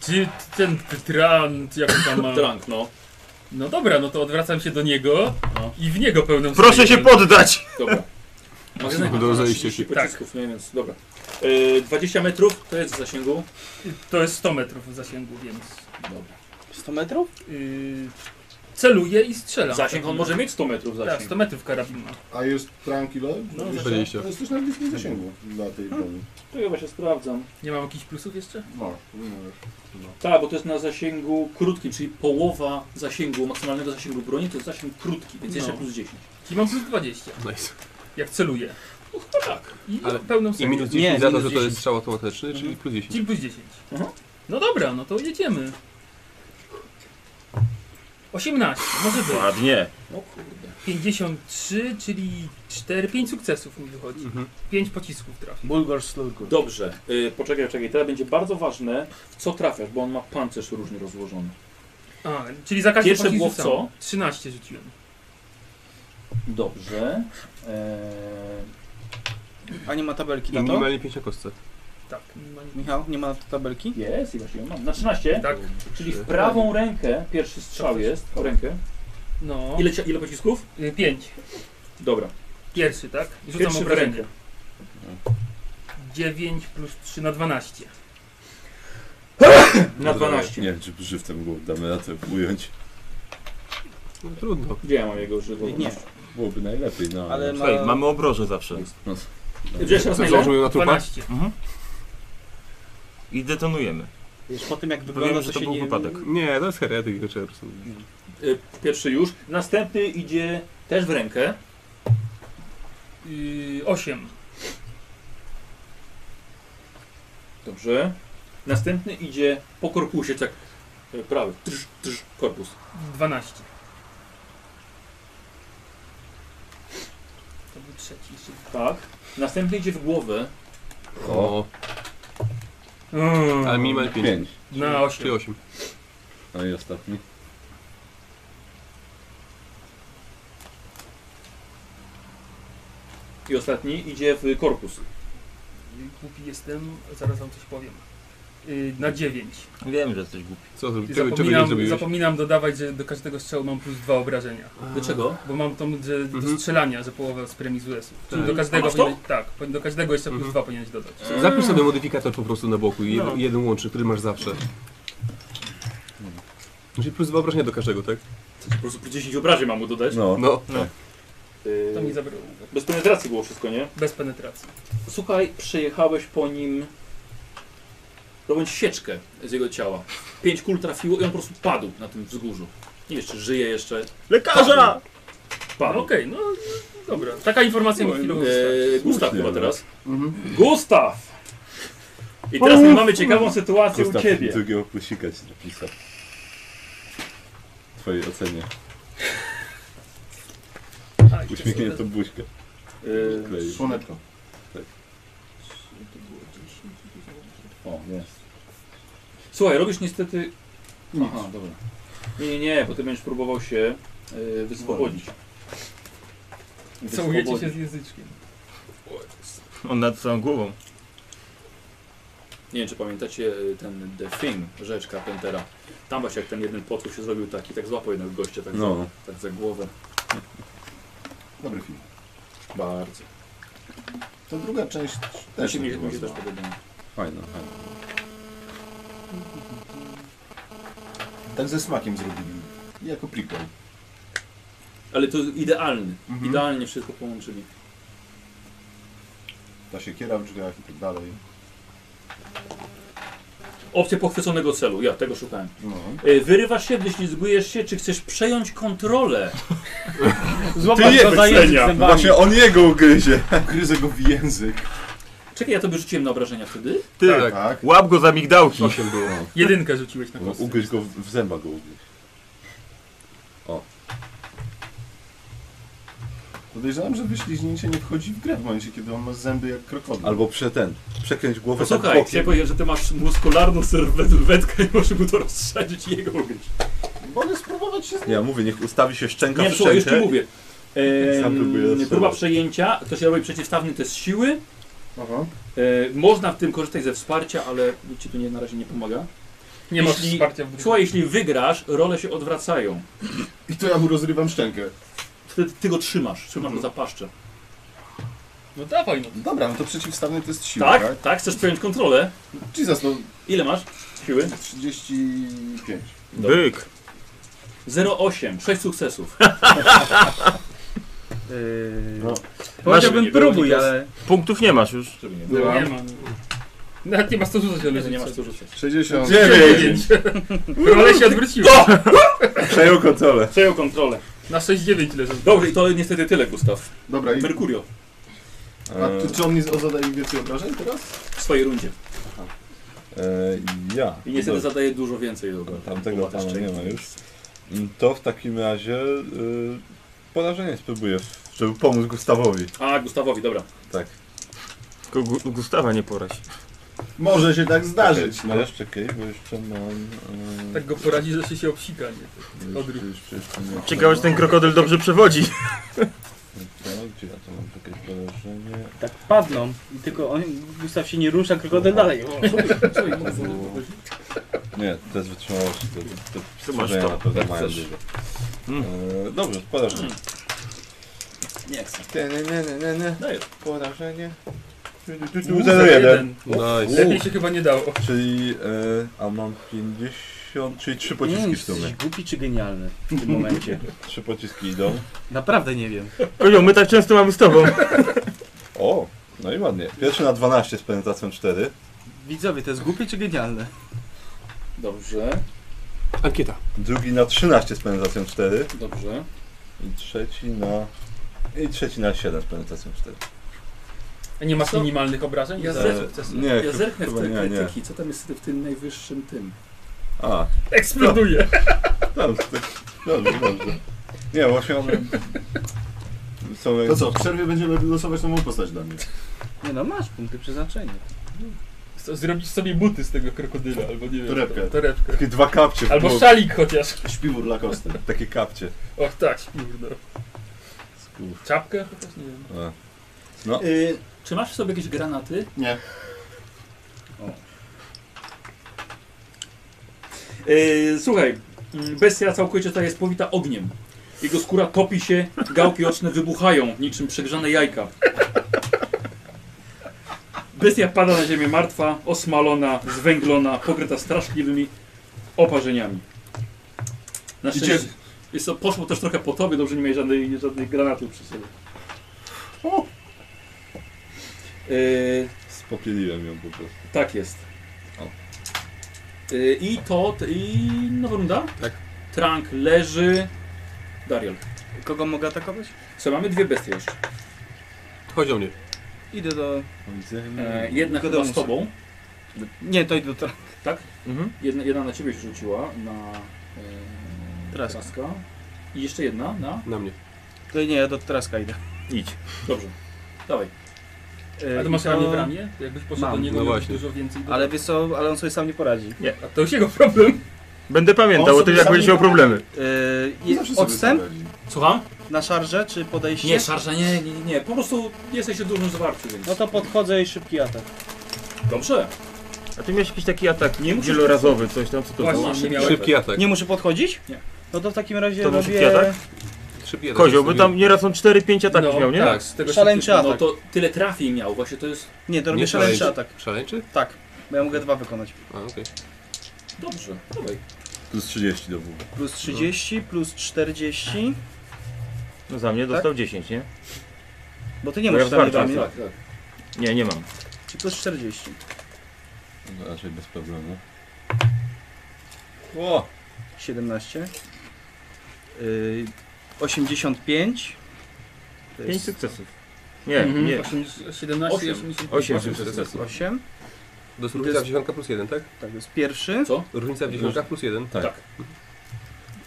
S8: Czy ten trant, jak tam ma...
S1: trank, no.
S8: No dobra, no to odwracam się do niego
S1: No.
S8: i w niego pełną
S4: Proszę się
S8: strzeliwę.
S4: poddać!
S1: Dobra.
S8: No,
S1: Masz
S18: Tylko do rozejścia się.
S8: tak.
S1: pocisków, nie, więc dobra. E, 20 metrów to jest w zasięgu.
S8: To jest 100 metrów zasięgu, więc...
S6: 100 metrów?
S8: Yy, celuję i strzelam.
S1: Zasięg on może mieć 100 metrów
S8: Tak,
S1: zasięg.
S8: 100 metrów karabin ma.
S7: A jest prank ile?
S8: No,
S18: 20.
S7: To jest też na bliskim zasięgu dla tej broni.
S1: To ja właśnie sprawdzam.
S8: Nie mam jakichś plusów jeszcze?
S7: No, powinno być.
S1: Tak, bo to jest na zasięgu krótkim, czyli połowa zasięgu, maksymalnego zasięgu broni to jest zasięg krótki, więc jeszcze
S8: No.
S1: plus 10.
S8: Czyli mam plus 20,
S9: Nice.
S8: jak celuję.
S1: tak.
S8: I
S9: Ale-
S8: pełną
S9: I
S8: serię.
S9: minus 10
S6: Nie,
S9: za to,
S1: minus
S9: że to
S1: 10.
S9: jest strzał automatyczny, czyli plus 10.
S8: Czyli plus 10.
S1: Aha.
S8: No dobra, no to jedziemy. 18, może być.
S4: Ładnie.
S1: No kurde.
S8: 53, czyli 4, 5 sukcesów mi wychodzi.
S9: Mhm.
S8: 5 pocisków trafi.
S6: Bulgor Slurgur.
S1: Dobrze, y, poczekaj, czekaj, teraz będzie bardzo ważne, w co trafiasz, bo on ma pancerz różnie rozłożony.
S8: A, czyli za każdy
S1: Pierwsze
S8: pocisk
S1: było w
S8: rzucam.
S1: co?
S8: 13 rzuciłem.
S1: Dobrze. E,
S6: A nie ma tabelki
S9: I
S6: na to?
S9: minimalnie 5 na kostce.
S8: Tak, minimalnie.
S6: Michał, No, nie ma tabelki?
S1: Jest, i właśnie ją mam. Na 13,
S8: Tak,
S1: czyli
S9: Y,
S1: w prawą rękę, pierwszy strzał jest, w rękę.
S8: no.
S1: Ile, cia- ile pocisków?
S8: 5.
S1: Dobra,
S8: Pierwszy, tak? I Rzucam
S1: pierwszy w rękę.
S8: obrażenie. 9 plus 3 na 12.
S1: Na
S5: Dobra,
S1: 12.
S5: Nie wiem, czy żywcem go damy radę ująć.
S9: No, trudno.
S1: Gdzie ja mam jego żywotność?
S6: Nie.
S5: Byłoby najlepiej, no
S6: Ale ma...
S4: Słuchaj, mamy obroże zawsze.
S5: No,
S1: Gdzie jeszcze raz na ile?
S9: Założył ją na trupa?
S8: 12.
S4: I detonujemy.
S6: Wiesz, po tym jak wygląda,
S4: Powiemy,
S6: to,
S4: że to
S6: się
S4: był
S6: nie...
S4: wypadek.
S9: Nie, to jest heretyk, to trzeba po prostu-
S1: Y, Pierwszy już. Następny idzie też w rękę.
S8: Yy, 8.
S1: Dobrze. Następny idzie po korpusie, tak y, prawy, trz, trz, korpus.
S8: 12. To był trzeci. jeszcze.
S1: Tak. Następny idzie w głowę.
S9: O,
S8: Mm,
S9: ale minimalnie 5.
S5: Pięć.
S8: Na
S9: Czyli
S8: 8.
S9: 8.
S5: No i ostatni.
S1: I ostatni idzie w korpus.
S8: Głupi jestem, zaraz wam coś powiem. y, na 9.
S4: Wiem, że jesteś głupi.
S9: Co
S8: I
S9: zrobić? Czego, czego nie
S8: Zapominam,
S9: zrobiłeś?
S8: zapominam dodawać, że do każdego strzału mam plus dwa obrażenia.
S1: Dlaczego?
S8: Bo mam tą że do
S9: Mhm.
S8: strzelania, że połowę z premis US-u. Czyli
S9: Tak.
S8: do każdego,
S1: A masz to?
S8: powinien- tak, powinien- do każdego jeszcze plus
S9: Mhm.
S8: dwa powinieneś dodać.
S9: Zapisz sobie modyfikator po prostu na boku i jed,
S8: No.
S9: jeden łączy, który masz zawsze. Czyli plus dwa obrażenia do każdego, tak?
S1: Po prostu plus 10 obrażeń mam mu dodać.
S5: No.
S9: No.
S1: Yy,
S8: To mi zabrało.
S1: Bez penetracji było wszystko, nie?
S8: Bez penetracji.
S1: Słuchaj, przejechałeś po nim robiąc sieczkę z jego ciała. Pięć kul trafiło i on po prostu padł na tym wzgórzu. Nie wiesz, czy żyje jeszcze.
S4: Lekarza!
S1: Padł.
S8: No Okej, no dobra. Taka informacja mi chwilę
S1: Eee, Gustaw
S5: Słusznie,
S1: chyba
S5: no.
S1: teraz.
S7: Mhm.
S1: Gustaw! I teraz my mamy ciekawą sytuację
S5: Gustaw
S1: u ciebie.
S5: drugiego plusika ci napisał. W twojej ocenie. Uśmiechniętą buźkę.
S1: Eee,
S5: Kleił.
S7: Słoneczko.
S1: o, jest. Słuchaj, robisz niestety... Aha, dobra. Nie, nie, nie, bo ty będziesz próbował się eee, wyswobodzić.
S8: Całujecie się
S1: Wyswobodzić.
S8: z języczkiem.
S4: On nad całą głową.
S1: Nie wiem, czy pamiętacie y, ten The Thing, rzecz Carpentera. Tam właśnie jak ten jeden potwór się zrobił taki, tak złapał jednego gościa tak,
S5: No.
S1: za, tak za głowę.
S7: Dobry film.
S1: Bardzo.
S7: Ta druga część
S1: Mi
S7: też
S1: się, Znaczy, mi się,
S7: była
S1: mi się
S7: zła.
S1: też podoba.
S5: Fajna, fajna.
S7: Tak ze smakiem zrobili. Jako prequel.
S1: Ale to idealny.
S7: Mhm.
S1: Idealnie wszystko połączyli.
S7: Ta siekiera w drzwiach i tak dalej.
S1: Opcja pochwyconego celu, ja tego szukałem.
S7: No.
S1: Y, Wyrywasz się, wyślizgujesz się, czy chcesz przejąć kontrolę?
S5: Ty
S6: go za język
S5: No
S6: zębami.
S5: Właśnie on jego ugryzie. Gryzę go w język.
S1: Czekaj, ja tobie rzuciłem na obrażenia wtedy.
S4: Ty,
S7: Tak, tak.
S4: łap go za migdałki.
S8: Jedynkę rzuciłeś na
S5: No,
S8: kostce.
S5: ugryź go, w, w zęba go ugryź.
S7: Podejrzewam, że wyśliźnięcie nie wchodzi w grę w momencie, kiedy on ma zęby jak krokodyl.
S5: No. Albo prze ten, przekręć
S1: No
S5: głowę tak
S1: Posłuchaj,
S5: bokiem.
S1: chciałem powiedzieć, że ty masz muskularną serwetkę i możesz mu to rozszerzyć i jego ugryźć.
S7: Mogę spróbować się z
S5: Nie, mówię, niech ustawi się szczęka
S1: Nie,
S5: w
S1: słuchaj, jeszcze
S5: szczękę.
S1: mówię.
S5: Sam próbuję
S1: Ehm,
S5: rozszerzyć.
S1: próba przejęcia, ktoś robi przeciwstawny test siły.
S7: Aha.
S1: E, można w tym korzystać ze wsparcia, ale ci tu nie, na razie nie pomaga.
S8: Nie masz
S1: Jeśli-
S8: wsparcia w drużynie.
S1: Słuchaj, jeśli wygrasz, role się odwracają.
S7: I to ja mu rozrywam szczękę.
S1: Wtedy ty go trzymasz, trzymasz go za paszczę.
S8: No dawaj no.
S7: Dobra, no to przeciwstawny test siły, tak?
S1: Tak? Tak? Chcesz przejąć kontrolę?
S7: Jesus, no
S1: Ile masz siły?
S7: 35.
S4: Byk.
S1: 0,8, 6 sukcesów.
S6: Yy,
S5: No.
S1: Masz-
S6: Powiedziałbym próbuj,
S1: nie było
S6: ale
S4: Punktów nie masz już.
S1: Żeby nie
S8: No,
S7: Byłam.
S8: nie ma. no. Nawet nie masz co rzucać, ale
S1: Nie, nie masz co rzucać.
S7: 60.
S5: Dziewięć!
S8: Role się odwróciło.
S1: No!
S5: Przejął kontrolę.
S1: Przejął kontrolę.
S8: Na 6-9 leżę.
S1: Dobrze, i to niestety tyle, Gustaw.
S7: Dobra, i,
S1: Merkurio,
S7: a ty, czy on mi z- zadaje więcej obrażeń teraz?
S1: w swojej rundzie.
S5: E, ja.
S1: I niestety
S5: Dobra,
S1: zadaje dużo więcej do
S5: Tamtego pana nie ma już. Mm, To w takim razie y, porażenie spróbuję, żeby pomóc Gustawowi.
S1: A, Gustawowi, dobra.
S5: Tak.
S4: Tylko Gu- Gustawa nie porać.
S7: Może się tak zdarzyć.
S5: Czekaj, no. Czekaj, bo jeszcze mam... e,
S8: Tak go poradzi, że się, się obsika, nie?
S5: jeszcze-
S8: odruch.
S5: jeszcze- jeszcze nie-
S4: Ciekawe, czy ten krokodyl dobrze przewodzi.
S5: To, Gdzie ja to mam jakieś porażenie?
S6: tak padną i tylko on, Gustaw się nie rusza, krokodyl dalej. O,
S1: No
S5: Nie, to jest wytrzymałość. To, to,
S4: Tu masz
S5: przerażenia
S4: to.
S5: na pewno
S4: Jak
S5: mają
S4: chcesz.
S5: dużo.
S4: Mm.
S5: E, dobrze, porażenie.
S1: Nie chcę.
S5: Nie, nie, nie, nie, nie, nie.
S4: No
S1: Daję.
S5: Porażenie.
S8: Uuu,
S5: Zero
S8: za
S5: jeden.
S9: Nice.
S8: Lepiej się chyba nie dało.
S5: Czyli, e, a mam 50, czyli 3
S6: Nie wiem,
S5: pociski w
S6: czy jesteś
S5: sumie.
S6: głupi czy genialny w tym momencie.
S5: 3 pociski idą.
S6: Naprawdę nie wiem.
S4: Kozioł, my tak często mamy z tobą.
S5: O, no i ładnie. Pierwszy na 12 z penetracją 4.
S6: Widzowie, to jest głupie czy genialne?
S1: Dobrze,
S9: Ankieta.
S5: Drugi na 13 z penetracją 4.
S1: dobrze.
S5: I trzeci na... I trzeci na 7 z penetracją 4.
S8: A nie masz
S1: Co?
S8: minimalnych obrażeń?
S1: Ja
S8: Zero
S1: zerknę.
S8: sukcesów.
S5: E, Nie,
S1: Ja
S5: chyba-
S1: zerknę w
S5: chyba
S1: te
S5: nie, nie.
S1: krytyki, co tam jest w tym najwyższym tym.
S5: A,
S8: Eksploduje.
S5: dobrze, dobrze, dobrze. Nie, właśnie one... Są jak...
S7: To No co, w przerwie będziemy losować nową postać dla mnie.
S6: Nie no, masz punkty przeznaczenia.
S8: Co, Zrobisz sobie buty z tego krokodyla, albo nie wiem.
S7: Torebkę.
S8: to- Torebkę.
S5: Takie dwa kapcie. w
S8: Albo
S5: bok.
S8: szalik chociaż.
S7: Śpiwór dla kosty.
S5: Takie kapcie.
S8: Och tak, śpiwór, no. Czapkę chociaż? Nie wiem.
S5: A. E,
S1: Y, czy masz w sobie jakieś granaty?
S7: Nie.
S1: E, słuchaj, mm, bestia całkowicie ta jest powita ogniem. Jego skóra topi się, gałki oczne wybuchają, niczym przegrzane jajka. Bestia pada na ziemię martwa, osmalona, zwęglona, pokryta straszliwymi oparzeniami. Na
S5: Idzie-
S1: szczęście, jest to, poszło też trochę po tobie, dobrze nie miałeś żadnej, żadnych granatów przy sobie. E,
S5: Spopieliłem ją po prostu.
S1: tak jest.
S5: O.
S1: Y, I to, t- i nowa runda?
S9: Tak.
S1: Trank leży. Dariel.
S6: Kogo mogę atakować?
S1: Co, mamy dwie bestie jeszcze.
S9: Chodź do mnie.
S6: Idę do...
S8: Mm,
S1: E, jedna
S6: Tylko
S1: chyba
S6: do
S1: z tobą, Tak?
S6: Nie, to idę do... tra-
S9: Mhm.
S1: jedna, jedna na ciebie się rzuciła, na e,
S6: Traska.
S1: Traska. I jeszcze jedna na...
S9: Na mnie.
S6: To nie, ja do Traska idę.
S4: Idź.
S1: Dobrze, dawaj.
S6: E,
S8: A to
S6: i
S8: masz
S6: to-
S8: ramię w ramię? To jakbyś poszedł
S6: Mam.
S8: do niego,
S9: No
S8: miałbyś
S9: właśnie.
S8: dużo więcej do...
S6: Ale wiesz co, ale on sobie sam nie poradzi.
S8: A to już jego problem.
S4: Będę pamiętał
S7: On
S4: o tym,
S7: sobie
S4: jak
S7: sami-
S4: będziesz miał problemy.
S6: E,
S7: I
S6: i-
S7: zawsze sobie
S6: odstęp
S7: poradzi.
S1: Słucham?
S6: na szarże, czy podejście?
S1: Nie, szarża, nie, nie, nie, nie. Po prostu jesteś dużym zwarciu, więc...
S6: No to podchodzę i szybki atak.
S1: Dobrze.
S4: A ty miałeś jakiś taki atak
S1: Nie musisz-
S4: wielorazowy, coś tam, co to
S8: Właśnie,
S1: No,
S4: było?
S8: nie miałem.
S9: Szybki atak.
S6: Tak. Nie muszę podchodzić?
S1: Nie.
S6: No to w takim razie
S4: To był szybki
S6: robię...
S4: atak?
S9: Szybki atak.
S4: Kozioł, bo tam nieraz on 4-5 ataków
S8: No,
S4: miał, nie?
S9: Tak.
S8: Z tego
S6: Szaleńczy
S1: No
S6: atak.
S1: to tyle trafi miał, właśnie to jest...
S6: Nie, to robię
S9: Nie
S6: szaleńczy
S9: szaleńczy.
S6: atak.
S9: Szaleńczy?
S6: Tak, bo ja mogę dwa wykonać.
S9: A, okej.
S1: Dobrze, dawaj.
S5: Plus 30 do WB.
S6: Plus 30, plus 40,
S4: No za mnie dostał 10, nie?
S6: bo ty nie
S4: Bo
S6: masz
S4: No ja
S6: szaleńczy
S4: walczę,
S6: ramię.
S1: Tak, tak.
S4: Nie, nie mam.
S6: Czy plus 40.
S5: No, Raczej bez problemu. O!
S6: 17. Yy, 85. To
S4: 5
S6: jest
S4: sukcesów. Nie,
S8: Mhm.
S4: nie.
S8: Osiem- 17
S1: Osiem.
S8: 80.
S4: 8
S9: Osiem
S4: sukcesów.
S6: 8.
S9: To jest różnica w dziesiątka plus jeden, tak?
S6: Tak, to jest pierwszy.
S1: Co?
S9: Różnica w dziesiątkach plus jeden.
S5: Tak.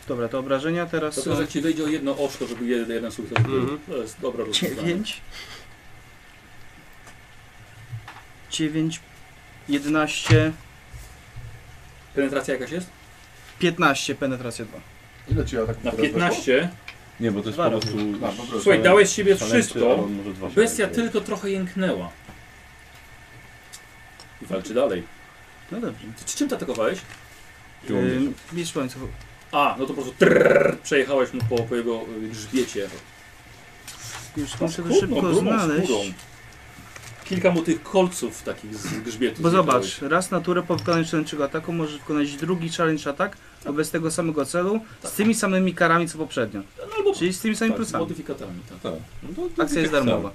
S6: Dobra, to obrażenia teraz
S1: To
S6: są
S1: tylko, że ci wejdzie o jedno oczko, żeby jeden, jeden sukces był.
S9: Mhm.
S1: To jest dobra rozwiązanie.
S6: 9. 9, 11,
S1: Penetracja jakaś jest?
S6: 15, penetracja 2.
S7: Ile ci ataków
S1: Na
S7: teraz weszło?
S1: 15.
S5: Nie, bo to jest
S6: Dwa
S5: po prostu...
S7: A, po prostu.
S1: Słuchaj, dałeś z siebie
S5: szaleńczy, ale
S1: wszystko.
S5: on może dwa
S1: Bestia
S5: szaleńczy.
S1: tylko trochę jęknęła. I walczy dalej.
S6: No dobrze.
S1: Ty Czym ty atakowałeś?
S6: Yy, Miecz łańcuchowy.
S1: A, no to po prostu trrr, przejechałeś mu po, po jego y, grzbiecie.
S6: Już muszę to
S1: Kurną,
S6: szybko
S1: grubą
S6: znaleźć.
S1: skórą. Kilka mu tych kolców takich z grzbietu.
S6: Bo
S1: zjechałeś.
S6: zobacz, raz na turę po wykonaniu challenge'ego ataku możesz wykonać drugi challenge atak wobec tego samego celu z tymi samymi karami co poprzednio.
S1: No, albo
S6: Czyli z tymi samymi
S1: tak, z
S6: plusami.
S1: modyfikatami. Tak.
S5: Tak.
S6: Akcja jest darmowa.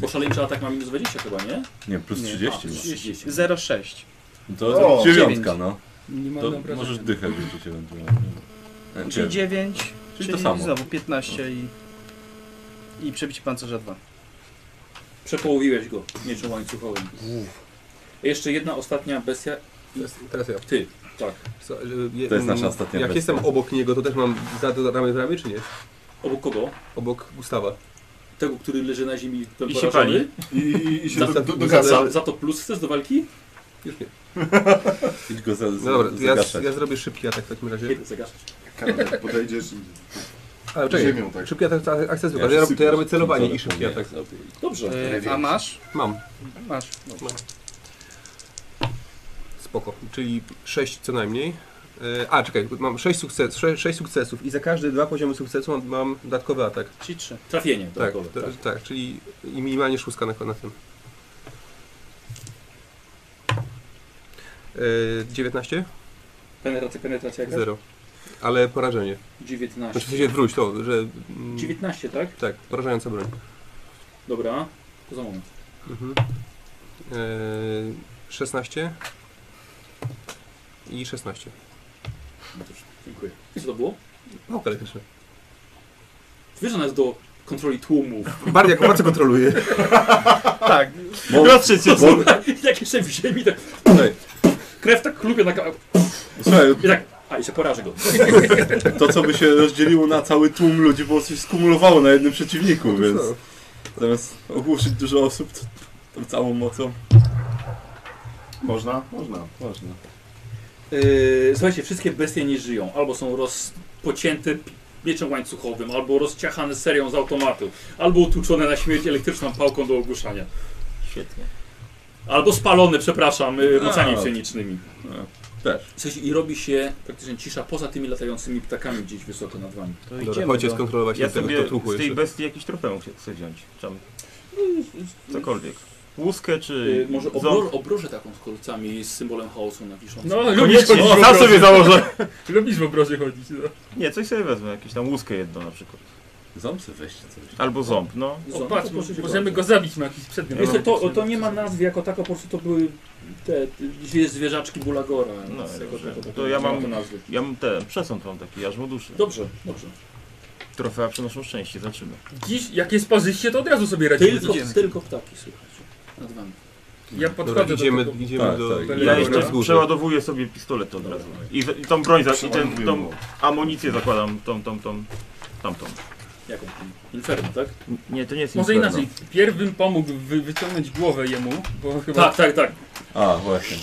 S1: Bo szaleńczy atak ma minus 20 chyba, nie?
S5: Nie, plus
S6: Nie, tak.
S5: 30.
S1: a,
S5: już.
S1: 30.
S6: 0,6.
S5: To
S7: O,
S5: dziewiątka, no.
S8: Nie ma
S5: To
S8: obrażenia.
S5: możesz dychę wyrzucić ewentualnie. E,
S6: Czyli
S5: dziewięć.
S6: 9, czyli,
S5: to samo.
S6: znowu 15 i, i przebicie pancerza 2.
S1: Przepołowiłeś go mieczem łańcuchowym. Jeszcze jedna ostatnia bestia.
S9: Teraz, teraz ja.
S1: Ty. Tak.
S9: Co, y, je-
S5: To jest nasza
S9: mm,
S5: ostatnia
S9: Jak
S5: bestia.
S9: jestem obok niego, to też mam za to ramię w ramię, czy nie?
S1: Obok kogo?
S9: Obok Gustawa.
S1: Tego, który leży na ziemi
S4: I się
S1: porażony?
S4: pali.
S7: I, i, i się
S1: Za-
S7: do, do, do
S9: za-
S7: gaza.
S1: Za, za to plus chcesz do walki?
S9: Już nie.
S5: Idź go za, za,
S9: No dobra, to ja,
S5: zagaszać.
S9: ja zrobię szybki atak w takim razie.
S1: Kiedy zagaszasz?
S7: Karol, jak podejdziesz i
S9: Ale czekaj,
S7: ziemią tak.
S9: szybki atak to akcja zwykła.
S5: się
S9: Ja, rob- to
S5: sypię.
S9: ja robię celowanie
S5: Co
S9: i szybki
S5: zapomniałem.
S9: atak.
S1: Dobrze.
S6: Yy, a masz?
S9: Mam,
S6: Masz.
S9: spoko. Czyli 6 co najmniej. Y, A, czekaj, mam 6 sukces, sze- sześć sukcesów i za każde dwa poziomy sukcesu mam, mam dodatkowy atak.
S6: Czyli 3.
S1: Trafienie.
S9: Tak,
S1: dodatkowe,
S9: to,
S1: tak.
S9: tak, czyli i minimalnie szóstka na, na tym. Yy, 19?
S1: Penetracja, penetracja jaka?
S9: Zero. Ale porażenie.
S1: 19.
S9: Znaczy w sensie wróć to, że... mm,
S1: 19, tak?
S9: Tak, porażająca broń.
S1: Dobra. To za moment.
S9: Mhm. Yy, 16 i 16.
S1: Dziękuję. I co to było?
S9: Pałka elektryczna.
S1: Wiesz, że ona jest do kontroli tłumów.
S9: Bardzo, jako bardzo kontroluje.
S6: Tak,
S5: Bo-
S4: Rozstrzeć się,
S5: bo-
S1: Jak jeszcze w ziemi, tak
S5: Ej,
S1: krew tak klupie na ka-
S5: Słuchaj,
S1: I tak, a i się porażę go.
S5: to co by się rozdzieliło na cały tłum ludzi po prostu się skumulowało na jednym przeciwniku, więc
S9: No,
S5: zamiast ogłuszyć dużo osób to, tą całą mocą,
S7: Można? Można.
S5: można.
S1: Yy, słuchajcie, wszystkie bestie nie żyją. Albo są rozpocięte pi- mieczem łańcuchowym, albo rozciachane serią z automatu, albo utłuczone na śmierć elektryczną pałką do ogłuszania.
S4: Świetnie.
S1: Albo spalone, przepraszam, yy, mocami
S5: A.
S1: pszenicznymi.
S5: Też.
S1: W sensie, I robi się praktycznie cisza poza tymi latającymi ptakami gdzieś wysoko nad wami.
S4: To
S9: Dobra, idziemy chodźcie do- skontrolować
S4: Ja
S9: ten tego,
S4: sobie
S9: kto truchł
S4: z tej
S9: jeszcze.
S4: bestii jakiś trofeum chcę- chcę wziąć. Tam. Cokolwiek. Łuskę czy.
S1: Y, Może obro,
S4: ząb.
S1: obrożę taką z kolcami z symbolem chaosu na wiszącym.
S8: No, lubisz
S4: Koniecznie,
S8: chodzić w
S4: sam
S8: obroży.
S4: sobie założę.
S8: Lubisz w obroży chodzić, no.
S4: Nie, coś sobie wezmę, jakieś tam łuskę jedną na przykład.
S5: Ząb sobie weźcie coś.
S4: Albo ząb, no.
S8: O,
S1: Ząb,
S8: patrz,
S1: to proszę cię
S8: możemy
S1: bardzo.
S8: go No, zabić na jakiś przedmiot.
S1: Wiesz co, to, to nie ma nazwy jako taka, po prostu to były te dwie zwierzaczki Bulagora.
S4: No,
S1: więc jako
S4: dobrze.
S1: tako
S4: To
S1: nie
S4: ja
S1: ma
S4: mam-
S1: to nazwy.
S4: Ja mam ten przesąd mam taki, aż mu duszy.
S1: Dobrze, dobrze.
S4: Trofea przynoszą szczęście, zobaczymy.
S8: Dziś, jak jest pozycje, to od razu sobie radzimy.
S1: Tylko, tylko ptaki, słuchajcie. Nad wami.
S8: Ja
S9: Dobra,
S8: podchodzę
S9: idziemy,
S8: do tego.
S9: idziemy
S5: Tak,
S9: do...
S5: tak.
S9: do-
S4: Ja
S8: Dobra.
S4: jeszcze
S9: wzgórza.
S4: przeładowuję sobie pistolet od razu. I, za- i tą broń, za, i ten, tą amunicję zakładam, tą, tą, tą, tamtą.
S1: Jaką? Inferno, tak?
S4: N- Nie, to nie jest
S8: Może
S4: inferno.
S8: inaczej, pierwszym pomógł wy, wyciągnąć głowę jemu, bo chyba...
S1: Tak, tak, tak.
S5: A, właśnie.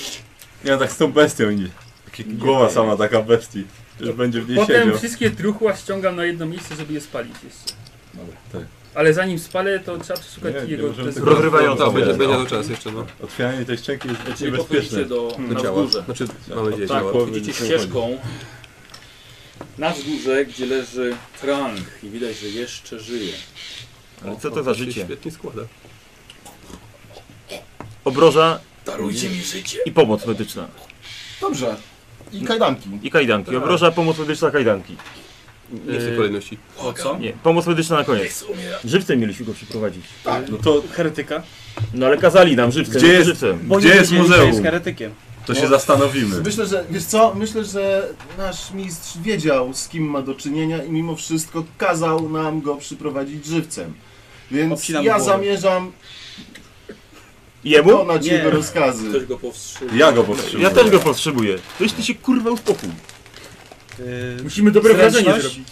S5: Ja tak z tą bestią idzie. Taki Głowa sama taka bestii. Już będzie w niej
S8: Potem
S5: siedział.
S8: wszystkie truchła ściągam na jedno miejsce, żeby je spalić jeszcze.
S5: Dobra, tak.
S8: Ale zanim spalę, to trzeba przeszukać
S5: Nie, nie
S8: jego...
S5: możemy
S8: test-
S5: tego-
S9: Rozrywają to,
S5: Dobra,
S9: będzie,
S5: no.
S9: będzie na to czas jeszcze, no.
S5: Otwieranie tej szczęki jest
S1: Czyli
S5: niebezpieczne.
S1: podchodzicie do,
S9: Do
S1: na
S9: ciała.
S1: wzgórze.
S9: Znaczy, mam nadzieję,
S1: Tak,
S9: działa.
S5: Głowy
S1: widzicie
S5: nie chodzi.
S1: ścieżką na wzgórze, gdzie leży Frank i widać, że jeszcze żyje.
S4: Ale co to za
S9: się
S4: życie?
S9: świetnie składa.
S4: Obroża
S1: Darujcie mi życie.
S4: i pomoc medyczna.
S7: Dobrze. I kajdanki.
S4: I kajdanki.
S1: Tak.
S4: Obroża, pomoc medyczna, kajdanki.
S9: Nie w
S4: Y,
S9: tej kolejności.
S1: O co?
S4: Nie, pomoc medyczna na koniec. Żywcem mieliśmy go przyprowadzić.
S5: No to
S6: Heretyka?
S4: No ale kazali nam żywcem,
S5: Gdzie
S4: no to
S5: jest-
S4: żywcem.
S5: gdzie jest muzeum?
S6: jest heretykiem.
S5: To się zastanowimy.
S7: Myślę, że wiesz co? Myślę, że nasz mistrz wiedział, z kim ma do czynienia i mimo wszystko kazał nam go przyprowadzić żywcem. Więc
S6: Obcinam
S7: ja
S6: głowę.
S7: zamierzam
S4: Jemu?
S7: wykonać
S6: Nie.
S7: jego rozkazy.
S1: Ktoś go powstrzymał.
S5: Ja go powstrzymuję.
S4: Ja też go powstrzymuję. Weź ty się kurwa uspokój.
S6: Yy,
S8: Musimy dobre
S6: Zręczność?
S8: wrażenie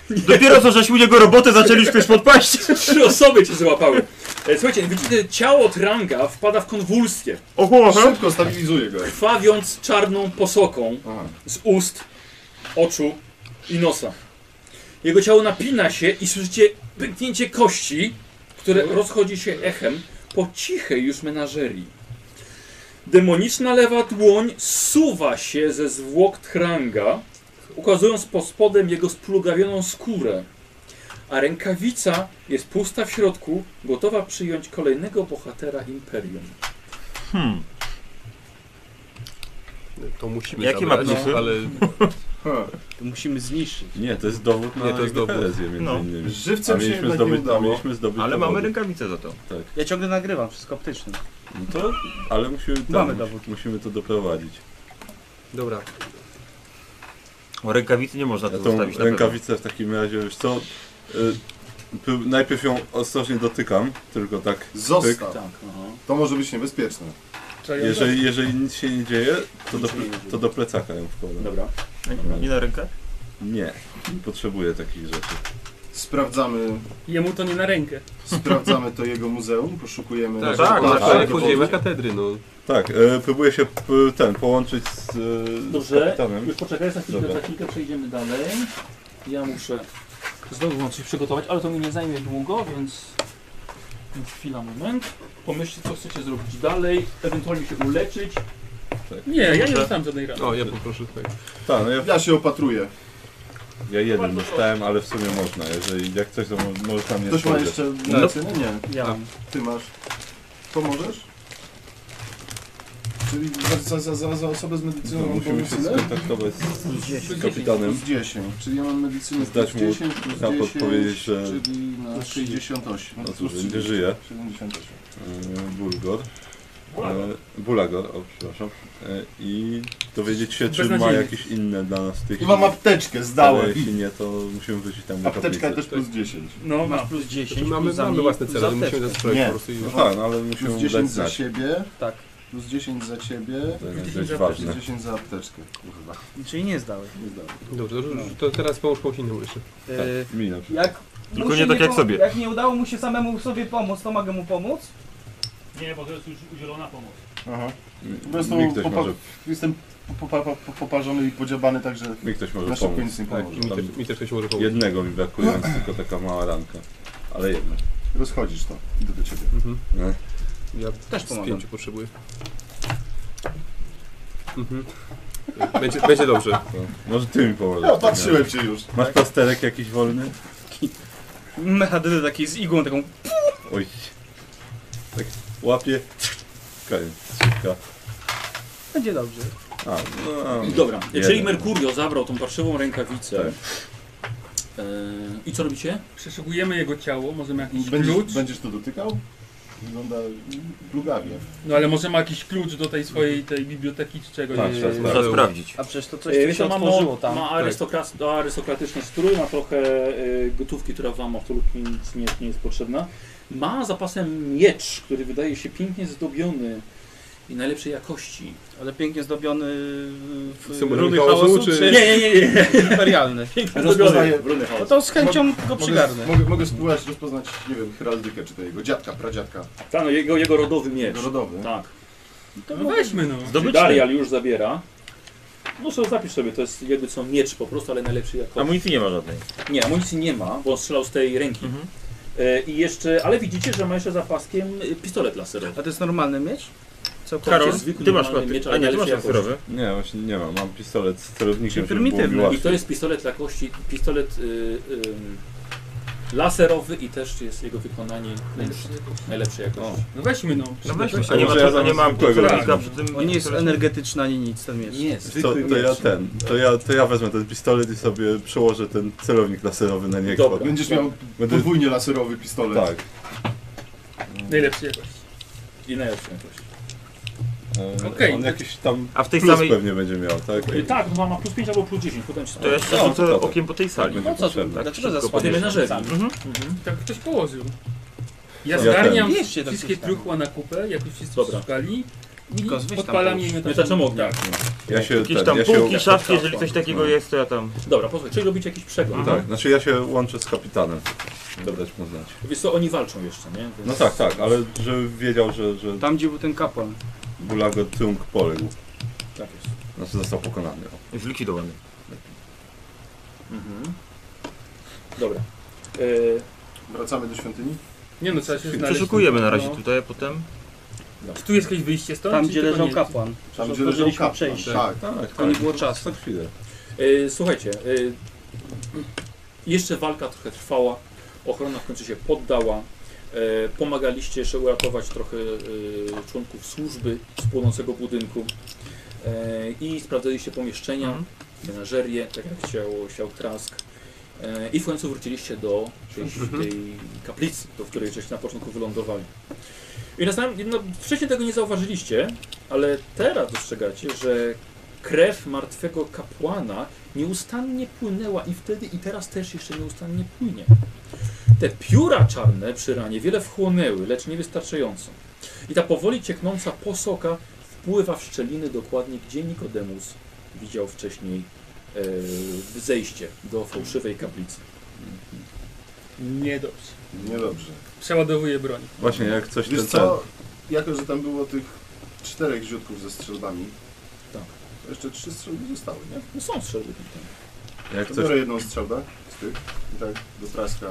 S8: zrobić.
S4: Dopiero co żeśmy u niego robotę zaczęli, już ktoś podpaść.
S1: Trzy osoby cię złapały. E, Słuchajcie, widzicie, ciało Tranka wpada w konwulsję,
S4: O chłopie.
S7: Szybko stabilizuję go.
S1: krwawiąc czarną posoką
S7: Aha.
S1: z ust, oczu i nosa. Jego ciało napina się i słyszycie pęknięcie kości, które rozchodzi się echem po cichej już menażerii. Demoniczna lewa dłoń suwa się ze zwłok Tranga, ukazując pod spodem jego splugawioną skórę. A rękawica jest pusta w środku, gotowa przyjąć kolejnego bohatera Imperium.
S4: Hmm.
S9: To musimy
S4: Jakie ma
S9: zabrać, no,
S4: plusy?
S9: ale
S7: Ha.
S6: to musimy zniszczyć.
S5: Nie, to jest dowód na
S9: Nie, to jest dowód.
S5: herezję między
S4: No.
S5: innymi. A
S7: Żywcem się
S5: mieliśmy
S7: jednak nie
S5: zdobyć, a
S7: udało.
S5: mieliśmy zdobyć
S4: Ale
S5: dowody.
S4: mamy rękawice za to.
S6: Ja ciągle nagrywam, wszystko optyczne.
S5: No to, ale musimy, tam,
S6: Mamy dowód.
S5: musimy to doprowadzić.
S9: dobra.
S4: O, Rękawicy nie można
S5: Ja
S4: tu
S5: tą
S4: No zostawić na pewno.
S5: rękawicę w takim razie, wiesz co, y, p- najpierw ją ostrożnie dotykam, tylko tak,
S7: Został.
S1: Tak, aha.
S7: To może być niebezpieczne.
S8: Trzeba ją zabić.
S5: jeżeli, jeżeli nic się nie dzieje, to do, to do plecaka ją wkładam.
S1: Dobra.
S4: Nie na rękę?
S5: Nie, nie potrzebuję takich rzeczy.
S7: Sprawdzamy,
S8: Jemu to nie na rękę.
S7: sprawdzamy to jego muzeum, poszukujemy
S9: Tak,
S7: naszych
S9: tak,
S5: tak,
S9: tak,
S7: plac-
S9: tak,
S5: tak.
S9: podziemia katedry, no.
S5: Tak, y, próbuję się p- ten, połączyć z, y, z
S1: Dobrze,
S5: kapitanem.
S1: już poczekaj, za chwilkę,
S5: Dobra.
S1: za chwilkę przejdziemy dalej. Ja muszę znowu mam coś przygotować, ale to mi nie zajmie długo, więc więc chwila, moment. Pomyślcie, co chcecie zrobić dalej, ewentualnie się uleczyć.
S8: Nie, ja nie dostałem żadnej rany.
S9: O, ja poproszę Znaczy, tutaj.
S5: Tak, no ja,
S7: Ja się opatruję.
S5: ja jeden dostałem, ale w sumie można, jeżeli jak coś, to mo- może tam nie
S7: Ktoś ma
S5: spojrzeć.
S7: jeszcze lecę? No. Nie,
S6: Ja mam.
S7: ty masz. Pomożesz? Czyli za, za, za, za osobę z
S5: No,
S7: medycyną mam
S5: musimy
S7: pomóc
S5: się
S7: ile?
S5: skontaktować z, z
S7: Plus
S5: kapitanem.
S7: 10, czyli ja mam medycynę
S5: Zdać
S7: plus
S5: mu
S7: 10, plus
S5: na
S7: 10,
S5: podpowiedź, że-
S7: czyli na 68.
S5: No cóż,
S7: Plus
S5: nie żyje.
S7: 78.
S5: E, Bulgor. E, Bulagor, o przepraszam. E, I dowiedzieć się, czy ma
S8: Beznadziejny.
S5: jakieś inne dla nas tych.
S7: I mam apteczkę,
S5: ale
S7: zdałem.
S5: jeśli nie, to musimy wrócić tam na
S7: Apteczka
S5: kaplicę.
S7: też plus 10.
S8: No, mam.
S6: Plus 10,
S9: Czyli Znaczy mamy,
S6: plus za
S9: mamy
S6: mnie,
S9: własne
S6: plus
S9: cele,
S6: za
S9: to
S6: teczkę.
S9: musimy zastroić
S7: Nie.
S9: po prostu i
S5: No tak, no ale musimy
S7: Plus
S5: mu dać
S7: 10 za
S5: znać.
S7: siebie,
S6: Tak.
S7: plus 10 za ciebie,
S5: To jest
S8: Plus
S5: dość
S8: 10
S5: ważne.
S7: plus 10 za apteczkę. Kurwa,
S6: Czyli nie zdałeś.
S7: nie zdałem.
S9: Dobrze, dobrze, to teraz pomóż komuś innemu jeszcze.
S6: Yy,
S5: Mi no, na przykład.
S6: jak
S4: Tylko
S6: mu się
S4: nie tak jak
S6: pom-
S4: sobie.
S6: Jak nie udało mu się samemu sobie pomóc, to mogę mu pomóc?
S1: Nie, bo to jest już udzielona pomoc.
S7: Aha.
S5: Mi-
S7: Po prostu
S5: Mi ktoś
S7: No popa-
S5: może,
S7: Jestem po- po- po- po- poparzony i podziabany, także
S5: mi ktoś
S7: na
S5: może
S7: szybko
S5: pomóc.
S7: nic nie
S9: Tak,
S7: pomoże.
S9: mi też, mi też ktoś może pomóc.
S5: Jednego mi brakuje, więc tylko taka mała ranka. Ale jednak.
S7: Rozchodzisz to. Idę do ciebie.
S9: Mhm.
S5: Nie?
S9: Ja
S6: Też
S9: z
S6: pomagam.
S9: pięciu potrzebuję. Mhm. Będzie, będzie dobrze.
S5: Może ty mi pomożesz.
S19: No, patrzyłem się już.
S5: Masz plasterek jakiś wolny?
S6: Mechadyny Mm, taki z igłą taką.
S5: Oj. Tak łapie. Koniec. Szybka.
S6: Będzie dobrze.
S5: A, no,
S1: Dobra,
S5: jeden.
S1: czyli Mercurio zabrał tą parszywą rękawicę. E, I co robicie?
S8: Przeszukujemy jego ciało, może ma jakiś klucz.
S7: Będziesz, będziesz to dotykał? Wygląda mm, plugawie.
S8: No ale może ma jakiś klucz do tej swojej tej biblioteki czy czegoś.
S5: Patrz,
S8: Yy,
S5: patrz, patrz.
S4: Trzeba sprawdzić.
S6: A przecież to coś
S1: E,
S6: tu
S1: to
S6: się
S1: ma,
S6: otworzyło tam.
S1: ma arystokras, arystokratyczny strój, ma trochę e, gotówki, która wam absolutnie nic nie, nie jest potrzebna. Ma zapasem miecz, który wydaje się pięknie zdobiony i najlepszej jakości.
S6: Ale pięknie zdobiony e, w
S9: Symbol
S6: runy
S9: chaosu,
S6: chaosu,
S9: czy-
S1: Nie,
S6: czy...
S1: nie, nie, nie.
S6: imperialny.
S7: Rozpoznaję bruny
S6: No
S7: chaos.
S6: to z chęcią go
S7: Mogę,
S6: przygarnę.
S7: mogę, mogę spróbować rozpoznać, nie wiem, heraldykę czy to jego dziadka, pradziadka,
S1: Ta, no, jego, jego rodowy miecz.
S7: narodowy.
S1: Tak.
S8: No weźmy no.
S1: Czyli Darial już zabiera. No sobie zapisz sobie, to jest jakby co miecz po prostu, ale najlepszy jakości.
S4: Amunicji nie ma żadnej.
S1: Nie, amunicji nie ma, bo on strzelał z tej ręki.
S4: Mhm.
S1: E, I jeszcze, ale widzicie, że ma jeszcze za paskiem y, pistolet laserowy.
S6: A to jest normalny miecz? Całkowicie?
S4: Karol,
S1: zwykły,
S4: ty masz
S1: normalny miecz,
S4: paty.
S1: ale
S4: A nie, ty
S1: najlepszy
S4: masz
S1: jakości.
S4: laserowy.
S5: Nie, właśnie nie mam. Mam pistolet z celownikiem,
S6: Czyli
S5: żeby było mi
S6: prymitywny.
S1: I
S5: łatwiej.
S1: to jest pistolet jakości, pistolet y, y, laserowy i też jest jego wykonanie najlepsze, najlepsze
S5: O,
S1: jakości.
S8: No weźmy no.
S4: No
S8: weźmy.
S4: weźmy. A nie ma,
S5: Może ja
S4: a nie ma
S5: zamiast zwykłego
S4: celownika
S5: wezmę.
S4: przy tym.
S6: On nie jest energetyczny ani nic ten miecz.
S1: Nie,
S5: Wiesz Co,
S1: zwykły
S5: to ja
S1: miecz.
S5: ten, to ja, to ja wezmę ten pistolet i sobie przełożę ten celownik laserowy na niego.
S1: Dobra.
S7: Będziesz miał
S5: Będę-
S7: podwójnie laserowy pistolet.
S5: Tak.
S8: Najlepszy jakości.
S1: I najlepsze jakości.
S5: E,
S8: Okej.
S5: On jakiś tam
S4: A w tej
S5: plus
S4: samej.
S5: pewnie będzie miał, tak?
S1: Y, Tak, no ma- ma plus 5 albo plus 10, potem ci
S4: To ja jeszcze
S5: No,
S4: rzucę
S5: to tak.
S4: okiem po tej sali.
S5: Będzie
S6: No co,
S5: potrzebne.
S6: dlaczego
S4: szybko
S1: Podejmę
S6: zasłaniasz?
S1: narzędzi.
S8: Tak ktoś położył. Ja
S5: Ja
S8: zgarniam
S6: ten. Wieście tak
S8: wszystkie
S6: coś tam.
S8: truchła na kupę, jak już wszyscy
S1: Dobra.
S8: szukali.
S6: Nikos, weź tam
S8: Podpalam
S6: połóż.
S8: jej
S1: Miotaczem ognia.
S5: Ja się,
S4: Jakieś
S5: ten,
S4: tam
S5: ja się,
S4: półki, szafki, jeżeli coś takiego
S5: No.
S4: jest, to ja tam.
S1: Dobra, posłuchaj, czyli robicie jakiś przegląd.
S5: tak, znaczy ja się łączę z kapitanem. Dobrać mu znać.
S1: Wiesz co, oni walczą jeszcze, nie? Więc-
S5: No tak, tak, ale żeby wiedział, że, że
S6: Tam gdzie był ten kapłan.
S5: Bulago Tung poległ.
S1: Tak jest.
S5: Znaczy został pokonany.
S4: Zlikwidowany.
S1: Mhm. Dobra. Y,
S7: Wracamy do świątyni.
S8: Nie no, trzeba się znaleźć.
S4: Przeszukujemy na razie
S8: No.
S4: tutaj, a potem.
S8: Czy tu jest jakieś wyjście stąd?
S6: Tam
S8: czy
S6: gdzie
S8: tylko
S6: leżał
S8: nie?
S6: kapłan.
S7: Tam, gdzie leżał
S6: Otworzyliśmy
S7: kapłan.
S6: przejście.
S7: Tak.
S5: Tak,
S6: To nie było czasu.
S5: Co chwilę.
S1: Y, słuchajcie, y, jeszcze walka trochę trwała, ochrona w końcu się poddała. Y, pomagaliście jeszcze uratować trochę y, członków służby z płonącego budynku y, i sprawdzaliście pomieszczenia,
S4: Mhm.
S1: menażerię, tak jak chciał, chciał Trask. Y, I w końcu wróciliście do tej, tej kaplicy, do której żeście na początku wylądowali. I na samym, no, wcześniej tego nie zauważyliście, ale teraz dostrzegacie, że krew martwego kapłana nieustannie płynęła i wtedy i teraz też jeszcze nieustannie płynie. Te pióra czarne przy ranie wiele wchłonęły, lecz niewystarczająco. I ta powoli cieknąca posoka wpływa w szczeliny dokładnie, gdzie Nikodemus widział wcześniej e, zejście do fałszywej kaplicy.
S8: Niedobrze.
S7: Niedobrze.
S8: Przeładowuję broń.
S5: Właśnie jak coś
S7: Wiesz
S5: ten cel.
S7: co, jako że tam było tych czterech ziutków ze strzelbami,
S1: Tak.
S7: to jeszcze trzy strzelby zostały, nie?
S1: No są strzelby.
S5: Jak
S7: To
S5: coś
S7: biorę jedną strzelbę z tych i tak do traska.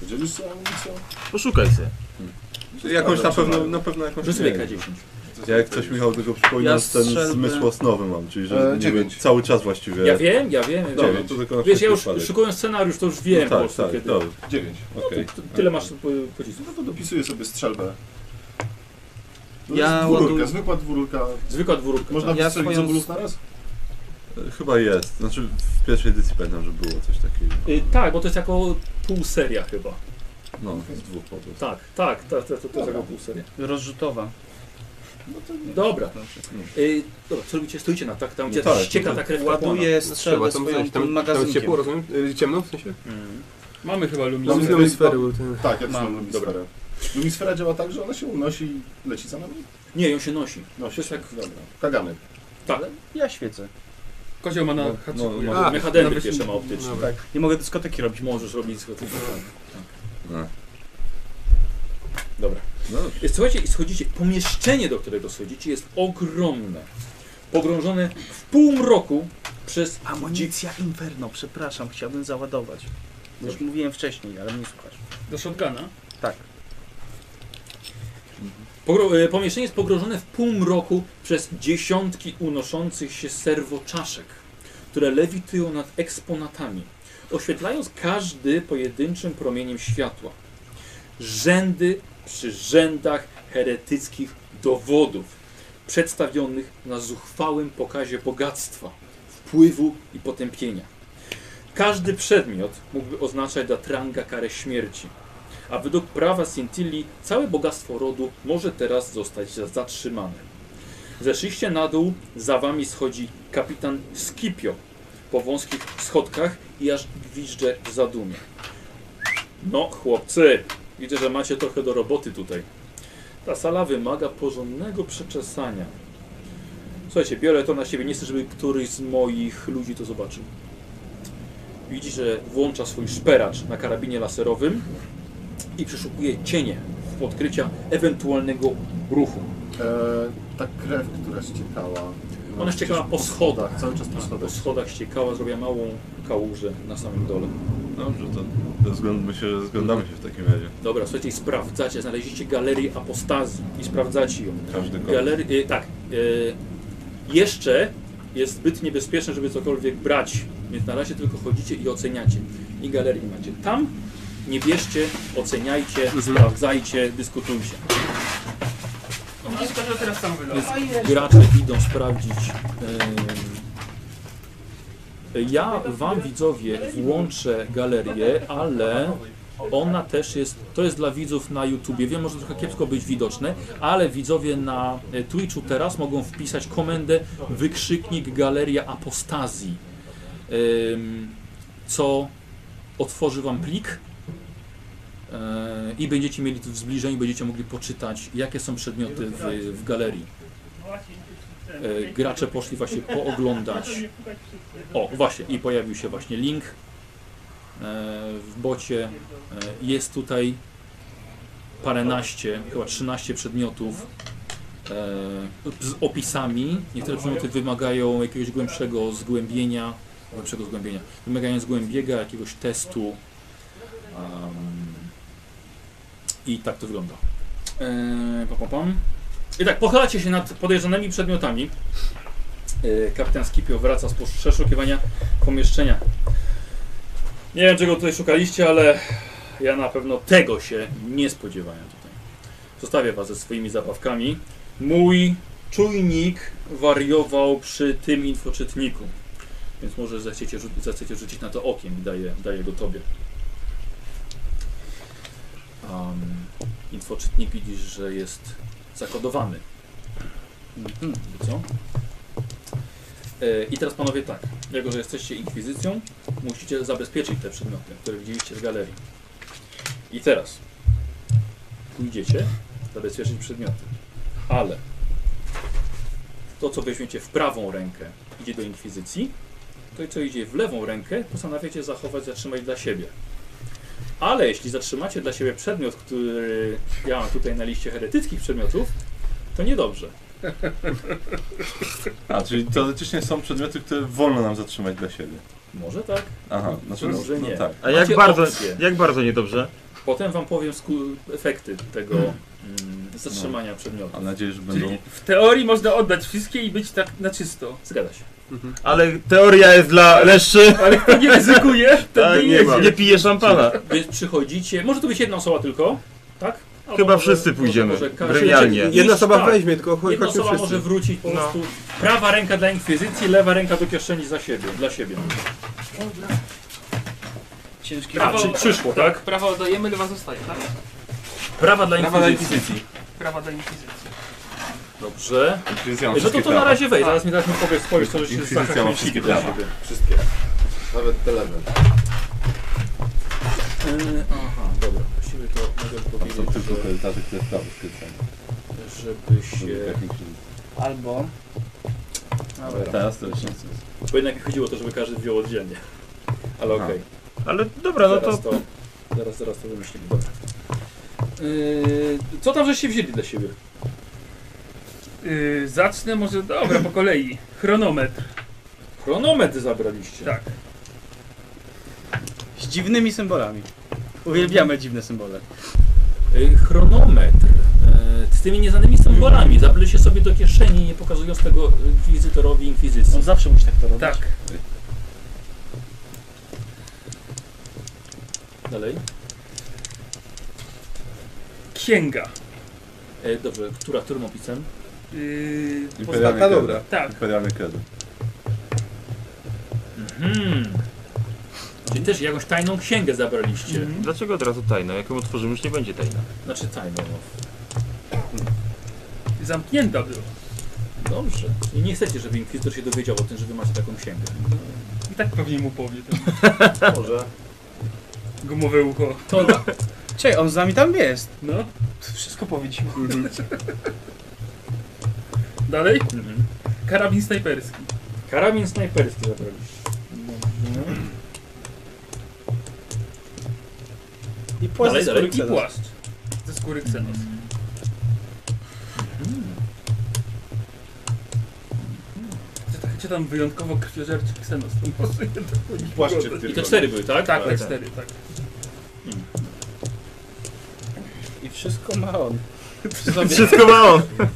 S7: Podzielisz się amunicją?
S4: Poszukaj sobie.
S5: Jakąś na pewno,
S7: Dobra.
S5: na pewno jakąś.
S1: Rzuć
S5: nie
S1: sobie
S5: wiem.
S1: K10.
S5: Ja jak coś Michał tego przypomina,
S6: Ja
S5: że ten
S6: strzelby-
S5: zmysł osnowy mam, czyli
S7: E,
S5: że nie wiem,
S7: dziewięć.
S5: cały czas właściwie.
S1: Ja wiem, ja wiem. Ja
S5: Dobra,
S1: wiem.
S5: to tylko na
S1: Wiesz, ja
S5: wszelki
S1: już
S5: wypadek.
S1: szukując scenariusz, to już wiem
S5: no,
S1: po
S5: tak,
S1: prostu,
S5: tak,
S1: kiedy...
S5: dobra,
S7: Dziewięć.
S5: okej.
S1: Ty- Tyle masz po- pocisków.
S7: No to dopisuję sobie strzelbę. To
S6: Ja
S7: jest dwururka,
S6: ładuję-
S7: zwykła dwururka.
S1: Zwykła dwórka.
S7: Można
S6: Ja
S7: wystrzelić z
S6: swoją-
S7: obu luk na raz?
S5: Chyba jest. Znaczy w pierwszej edycji pamiętam, że było coś takiego.
S1: Y, tak, bo to jest jako półseria chyba.
S5: No, z dwóch po prostu.
S1: Tak, tak, to, to, to, to jest jako półseria.
S6: Rozrzutowa.
S1: Dobra. Y, dobra, co robicie? Stoicie na tak, tam gdzie
S5: No tak,
S1: ścieka ta krew kapłana.
S6: Ładuje
S9: Trzeba
S6: strzelbę
S9: tam
S6: swoją
S9: wziąć. Tam, tam
S6: tym
S9: jest ciepło,
S6: magazynkiem.
S9: rozumiem? Y, Ciemno w sensie?
S1: Mm.
S8: Mamy chyba
S7: Mam
S8: luminę.
S7: znowu-
S9: Lumisfery były te-
S7: Tak, ja też
S6: Mam.
S7: mam lumisferę. Lumisfera działa tak, że ona się unosi i leci za nami?
S1: Nie, ją się nosi.
S7: Nosi.
S1: To jest
S7: się.
S1: jak-
S7: Dobra. Kagany.
S1: Tak,
S6: Ja świecę.
S8: Kozioł ma na
S5: No,
S8: haczyku.
S5: no,
S8: ja-
S9: no. A,
S1: mechademy
S8: nawet-
S1: pierwsze ma optyczne.
S9: Dobra.
S6: Tak. Nie mogę dyskoteki robić.
S1: Możesz robić Tak, z gotówką.
S5: No.
S1: Dobra.
S5: No, dobrze.
S1: Y, Słuchajcie, i schodzicie. Pomieszczenie, do którego schodzicie, jest ogromne. Pogrążone w półmroku przez
S6: Amunicja Inferno, przepraszam, chciałbym załadować. Już mówiłem wcześniej, ale mnie słuchasz.
S8: Do shotguna.
S6: Tak.
S1: Pogro- e, pomieszczenie jest pogrożone w półmroku przez dziesiątki unoszących się serwoczaszek, które lewitują nad eksponatami, oświetlając każdy pojedynczym promieniem światła. Rzędy przy rzędach heretyckich dowodów, przedstawionych na zuchwałym pokazie bogactwa, wpływu i potępienia. Każdy przedmiot mógłby oznaczać dla Tranga karę śmierci a według prawa Sintilli całe bogactwo rodu może teraz zostać za- zatrzymane. Zeszliście na dół, za wami schodzi kapitan Scipio po wąskich schodkach i aż gwizdże w zadumie. No, chłopcy, widzę, że macie trochę do roboty tutaj. Ta sala wymaga porządnego przeczesania. Słuchajcie, biorę to na siebie. Nie chcę, żeby któryś z moich ludzi to zobaczył. Widzi, że włącza swój szperacz na karabinie laserowym i przeszukuje cienie w odkrycia ewentualnego ruchu.
S7: E, ta krew, która ściekała.
S1: Ona ściekała po schodach.
S7: Cały czas po
S1: Po
S7: schodach.
S1: schodach ściekała, zrobiła małą kałużę na samym dole.
S5: Dobrze, No, to rozglądmy się, rozglądamy się w takim razie.
S1: Dobra, słuchajcie, i sprawdzacie, znaleźliście galerię apostazji i sprawdzacie ją.
S5: Każdy kąt.
S1: Galery, y, tak, y, jeszcze jest zbyt niebezpieczne, żeby cokolwiek brać, więc na razie tylko chodzicie i oceniacie. I galerii macie tam, nie bierzcie, oceniajcie, sprawdzajcie, dyskutujcie.
S20: Widzisz, każdy teraz sam wylał.
S1: Gracze idą sprawdzić. em, Ja wam widzowie włączę galerię, ale ona też jest, to jest dla widzów na YouTubie, wiem, może trochę kiepsko być widoczne, ale widzowie na e, Twitchu teraz mogą wpisać komendę wykrzyknik galeria apostazji, em, co otworzy wam plik e, i będziecie mieli tu w zbliżeniu, będziecie mogli poczytać, jakie są przedmioty w, w galerii. E, gracze poszli właśnie pooglądać. O, właśnie, i pojawił się właśnie link e, w bocie. E, Jest tutaj paręnaście, chyba 13 przedmiotów e, z opisami. Niektóre przedmioty wymagają jakiegoś głębszego zgłębienia, głębszego zgłębienia, wymagają zgłębiega, jakiegoś testu. Em, I tak to wygląda. E, pam, pam, pam. I tak, pochylacie się nad podejrzanymi przedmiotami. E, Kapitan Skipio wraca z posz- przeszukiwania pomieszczenia. Nie wiem, czego tutaj szukaliście, ale ja na pewno tego się nie spodziewałem tutaj. Zostawię was ze swoimi zabawkami. Mój czujnik wariował przy tym infoczytniku. Więc może zechciecie, rzu- zechciecie rzucić na to okiem i daję, daję go tobie. Um, infoczytnik widzisz, że jest zakodowany. Mhm, Co? E, I teraz panowie tak, jako że jesteście inkwizycją, musicie zabezpieczyć te przedmioty, które widzieliście z galerii. I teraz pójdziecie zabezpieczyć przedmioty, ale to co weźmiecie w prawą rękę idzie do inkwizycji, to co idzie w lewą rękę postanawiacie zachować, zatrzymać dla siebie. Ale jeśli zatrzymacie dla siebie przedmiot, który ja mam tutaj na liście heretyckich przedmiotów, to niedobrze.
S5: A, czyli teoretycznie są przedmioty, które wolno nam zatrzymać dla siebie.
S1: Może tak,
S5: Aha, znaczy no,
S1: może nie.
S5: no tak.
S4: A jak
S1: Macie
S4: bardzo,
S1: opcję.
S4: jak bardzo niedobrze?
S1: Potem wam powiem sku- efekty tego mm, zatrzymania przedmiotu.
S5: Mam nadzieję, że będą...
S8: Czyli w teorii można oddać wszystkie i być tak na czysto.
S1: Zgadza się.
S4: Ale teoria jest dla leszczy.
S8: Ale kto nie ryzykuje, ten
S4: A,
S8: nie
S4: Tak, nie,
S8: jedzie.
S4: nie pije szampana.
S1: Więc przychodzicie, może to być jedna osoba tylko, tak? Albo
S4: Chyba
S1: może-
S4: wszyscy
S1: może-
S4: pójdziemy,
S1: może każdy-
S4: gremialnie.
S1: Jeśli
S9: Jedna osoba
S1: tak,
S9: weźmie, tylko chodź,
S1: Jedna
S9: chodźmy
S1: osoba
S9: wszyscy.
S1: może wrócić po
S4: No.
S1: prostu. Prawa ręka dla inkwizycji, lewa ręka do kieszeni za siebie, dla siebie.
S6: Ciężki
S1: A, czyli przyszło, tak?
S20: Prawa oddajemy, lewa zostaje, tak?
S1: Prawa dla
S9: Prawa dla
S1: inkwizycji.
S9: inkwizycji.
S20: Prawa do inkwizycji.
S1: Dobrze.
S5: Inkwizycja ma
S1: No to,
S5: wszystkie
S1: to na
S5: prawa.
S1: razie wejdź, zaraz mi zaraz mi powiesz, spojrz, to że się
S5: Inkwizycja ma
S1: zahaczymy
S5: wszystkie
S1: dla
S5: prawa.
S1: siebie.
S7: Wszystkie. Nawet telefon.
S1: Yy, Aha, dobra. Właściwie to mogę
S5: Tam są
S1: powiedzieć,
S5: tylko korytarze, które w prawo tak skręcają.
S1: że, żeby się...
S6: Albo...
S5: Dobra, Teraz to już nie sens.
S1: tak. Bo jednak chodziło o to, żeby każdy wziął oddzielnie. Ale
S5: Aha.
S1: okej.
S4: Ale dobra, no to
S1: Zaraz to... Zaraz, zaraz to wymyślimy. Dobra. Yy, co tam żeście wzięli dla siebie?
S8: Yy, zacznę może, dobra, po kolei. Chronometr,
S1: Chronometr zabraliście.
S8: tak.
S6: Z dziwnymi Mhm. symbolami. Uwielbiamy dziwne symbole.
S1: Yy, chronometr. Yy, tymi nieznanymi symbolami. Zaplecie sobie do kieszeni, nie pokazując tego inkwizytorowi inkwizycji.
S21: On zawsze musi tak to robić.
S8: Tak.
S1: Dalej.
S8: Księga.
S1: E, dobrze, która, którym opisem?
S8: Yy,
S5: Imperialny
S8: poza-
S5: kredo.
S8: Tak.
S5: Imperialny kredo.
S1: Mhm. Czyli też jakąś tajną księgę zabraliście.
S8: Mhm.
S4: Dlaczego od razu tajna? Jak ją otworzymy, już nie będzie tajna.
S1: Znaczy tajną, no.
S8: Zamknięta była.
S1: Dobrze. I nie chcecie, żeby inkwizytor się dowiedział o tym, że wy macie taką księgę.
S8: I tak pewnie mu powie. Ten
S7: Może.
S8: gumowe ucho.
S6: To... Czekaj, on z nami tam jest.
S8: No.
S6: To wszystko powiedział.
S8: Dalej?
S4: Mhm.
S8: Karabin snajperski.
S1: Karabin snajperski zabraliście. Dobrze.
S6: I płaszcz
S1: Dalej,
S6: z
S1: dalej.
S6: Koryksenos.
S8: I płaszcz. Ze skóry Xenos.
S6: Mhm.
S8: Czy, tak- czy tam wyjątkowo krwiożerczy Xenos? To może jednak u nich
S7: Płaszczyk
S8: wygląda.
S7: tylko.
S1: I to cztery były, tak?
S8: Tak, tak, cztery, tak.
S6: I wszystko ma on.
S4: Wszystko ma on.
S1: tak.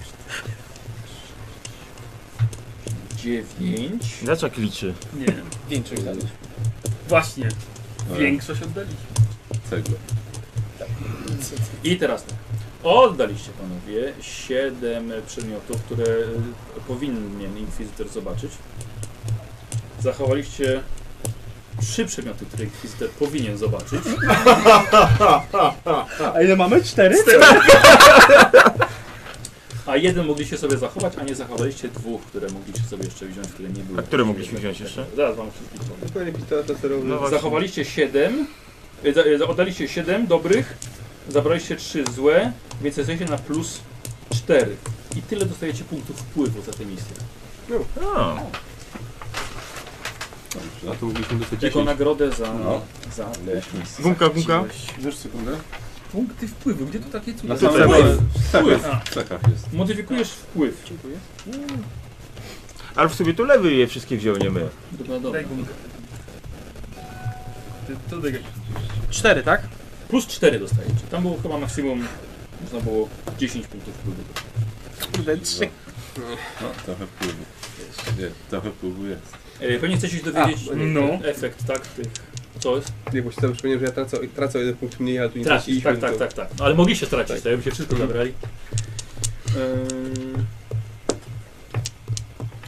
S1: Dziewięć.
S4: Dlaczego liczy?
S8: Nie.
S6: Większość dalej.
S8: Właśnie. No. Większość oddaliśmy.
S5: Cegla.
S1: I teraz tak. Oddaliście panowie siedem przedmiotów, które y, powinien inkwizytor zobaczyć. Zachowaliście trzy przedmioty, które inkwizytor powinien zobaczyć.
S21: A ile mamy? Cztery?
S1: A jeden mogliście sobie zachować, a nie zachowaliście dwóch, które mogliście sobie jeszcze wziąć, które nie były.
S4: A które mogliśmy wziąć jeszcze?
S1: Zaraz wam wszystkich powiem.
S9: Dokładnie pistolet laserowy.
S4: No właśnie.
S1: Zachowaliście siedem, y, za- y, oddaliście siedem dobrych, zabraliście trzy złe, więc jesteście na plus cztery. I tyle dostajecie punktów wpływu za tę misję.
S4: A,
S9: A to mogliśmy dostać
S1: Jako
S9: 10.
S1: nagrodę za,
S5: No.
S1: za tę misję.
S4: gumka, gumka.
S7: Wiesz sekundę?
S8: Punkty wpływu. Gdzie tu takie cuda?
S5: Na samym
S1: wpływ.
S5: Wpływ.
S8: A.
S5: W cechach jest.
S1: Modyfikujesz wpływ.
S4: Ale w sobie to lewy je wszystkie wziął, nie my.
S1: Dobra, dobra.
S8: Daj gumkę. Ty- To daj.
S6: Cztery, tak?
S1: Plus 4 dostajecie. Tam było chyba maksimum, można było 10 punktów wpływu.
S6: Kurde, trzy.
S5: No, trochę wpływu. Jest. Trochę wpływu jest.
S1: E, pewnie chcecie się dowiedzieć
S9: A,
S8: No.
S1: efekt, tak? Tych, co jest?
S9: Nie, bo się tam przypomniałem, że ja tracę, tracę o jeden punkt mniej, ale tu nie
S1: Tracić,
S9: traciliśmy,
S1: tak, tak,
S9: to-
S1: tak, tak. No, ale mogliście stracić, tak, jakby się wszystko
S9: Mhm. Eee.
S1: zabrali.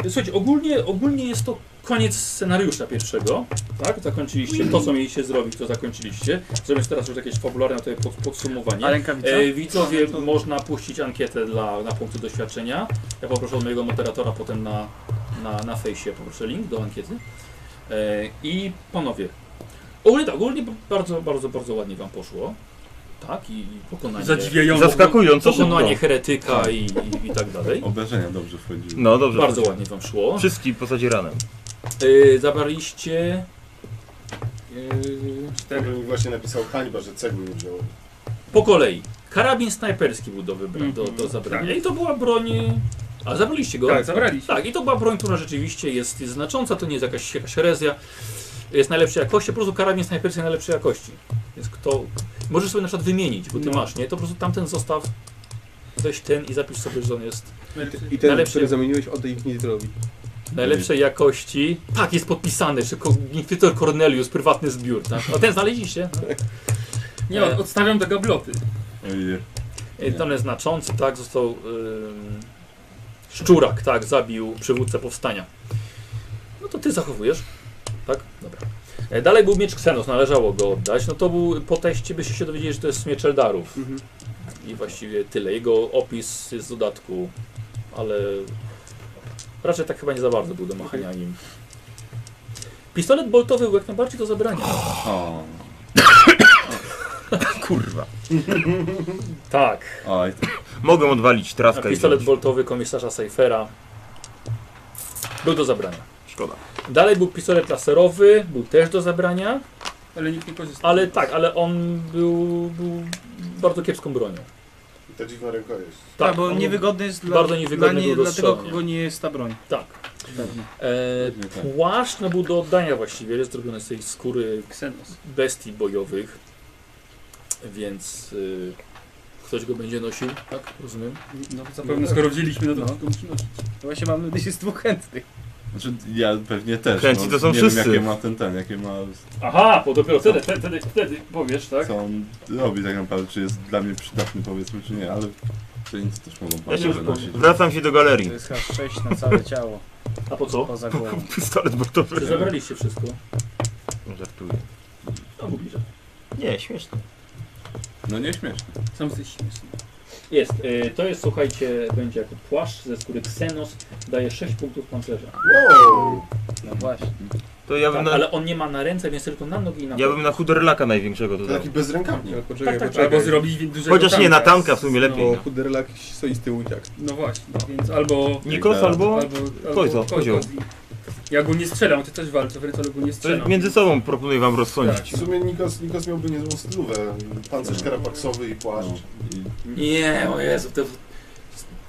S1: Ehm, Słuchajcie, ogólnie, ogólnie jest to koniec scenariusza pierwszego, tak? Zakończyliście
S9: Mhm.
S1: to, co mieliście zrobić, to zakończyliście. Zrobię teraz już jakieś fabularne tutaj pod, podsumowanie.
S6: A rękawica?
S1: E, widzowie, można puścić ankietę dla, na punkty doświadczenia. Ja poproszę od mojego moderatora potem na, na, na fejsie, poproszę link do ankiety. E, I panowie, ogólnie, tak, ogólnie bardzo, bardzo, bardzo ładnie wam poszło. Tak, i i pokonanie,
S8: Zadziwiająco.
S4: Zaskakująco szybko.
S1: pokonanie heretyka i, i, i tak dalej.
S5: Obrażenia dobrze wchodziły.
S4: No dobrze.
S8: tak.
S1: Bardzo ładnie wam szło.
S4: Wszystkim posadzi ranem.
S1: E, zabraliście... e,
S7: Ten Tak, mi właśnie napisał hańba, że cegły nie wziąłem.
S1: Po kolei. Karabin snajperski był do wybrania, do, do zabrania. I to była broń. A zabraliście go?
S8: Tak, zabraliśmy.
S1: Tak, i to była broń, która rzeczywiście jest, jest znacząca, to nie jest jakaś, jakaś herezja. Jest najlepszej jakości, po prostu karabin snajperski najlepszej jakości. Więc kto. Możesz sobie na przykład wymienić, bo ty
S8: No.
S1: masz, nie? To po prostu tamten zostaw, weź ten i zapisz sobie, że on jest
S9: I ten,
S1: tak. Najlepszy-
S9: który zamieniłeś, oddaj ich Nitrowi.
S1: najlepszej jakości. Tak, jest podpisany, czy Ko- Inkwizytor Cornelius, prywatny zbiór, tak? A ten znaleźliście? No.
S8: Nie, od- odstawiam do gabloty.
S5: Ojej.
S1: E, Dane znaczące, tak, został ym, Szczurak, tak, zabił przywódcę powstania. No to ty zachowujesz, tak? Dobra. E, Dalej był miecz Xenos, należało go oddać. No to był, po teście byście się dowiedzieli, że to jest miecz Eldarów. I właściwie tyle. Jego opis jest w dodatku, ale raczej tak chyba nie za bardzo był do machania nim. Pistolet boltowy był jak najbardziej do zabrania.
S5: O.
S4: Kurwa.
S1: Tak.
S5: Oj, to
S4: Mogę odwalić
S1: A
S4: traskę. i
S1: pistolet
S4: wziąć.
S1: boltowy komisarza Seifera był do zabrania.
S4: Szkoda.
S1: Dalej był pistolet laserowy, był też do zabrania,
S8: Ale nikt nie korzystał.
S1: ale tak, ale on był, był bardzo kiepską bronią.
S7: I ta dziwna rękojeść.
S6: Tak,
S1: Tak,
S6: bo
S1: on-
S6: niewygodny jest dla,
S1: bardzo niewygodny
S6: dla, nie,
S1: był do
S6: dla tego,
S1: strzelania.
S6: kogo nie jest ta broń.
S1: Tak.
S5: Nie tak.
S1: E, płaszcz no, był do oddania właściwie, jest zrobiony z tej skóry
S8: Xenos.
S1: bestii bojowych, więc y, Ktoś go będzie nosił, tak? Rozumiem.
S6: No,
S8: zapewne, skoro wzięliśmy, no to
S6: tylko musimy nosić. Właśnie mam nadzieję, że jest dwóch chętnych.
S5: Znaczy, ja pewnie też. no,
S4: Chęci to są
S5: nie
S4: wszyscy.
S5: Wiem, jakie ma ten, ten, jakie ma...
S1: Aha, bo dopiero wtedy, wtedy, wtedy, wtedy powiesz, tak?
S5: Co on robi tak naprawdę, czy jest dla mnie przydatny powiedzmy, czy nie, ale... Czy nic też mogą
S4: Ja się
S5: panowie nosić.
S4: wracam się do galerii.
S6: To jest aż sześć na całe ciało.
S1: A po co?
S6: Poza głową.
S4: Pistolet bortowy.
S1: Czy zabraliście wszystko?
S4: Żartuję.
S1: No mówisz.
S4: Nie, śmieszne.
S5: No nie śmieszne.
S8: Sam jesteś śmieszny.
S1: Jest. y, to jest, słuchajcie, będzie jako płaszcz ze skóry Xenos. Daje 6 punktów pancerza.
S6: No właśnie.
S4: To ja bym
S1: Tak,
S4: na,
S1: ale on nie ma na ręce, więc tylko na nogi i na
S4: ja bym na chuderlaka największego
S7: To
S4: dodał.
S7: taki bezrękawnik.
S9: Tak. No, Poczekaj,
S1: Tak, tak,
S9: poczekaj.
S8: Albo zrobić dużego
S4: Chociaż nie, na
S8: tanka.
S4: tanka w sumie lepiej.
S9: Bo
S4: No.
S9: chuderlak stoi z tyłu i tak.
S8: No właśnie, więc albo...
S4: Nikos albo...
S8: albo, albo
S4: Kozio, kozio.
S8: Ja go nie strzelam, ty też walczę, wręcz ale go nie
S4: To
S8: strzelam.
S4: między sobą proponuję wam rozsądzić.
S7: W sumie Nikos, Nikos miałby niezłą stylówę. Pancerz karapaksowy i
S5: No
S7: płaszcz.
S11: Nie, o Jezu, to...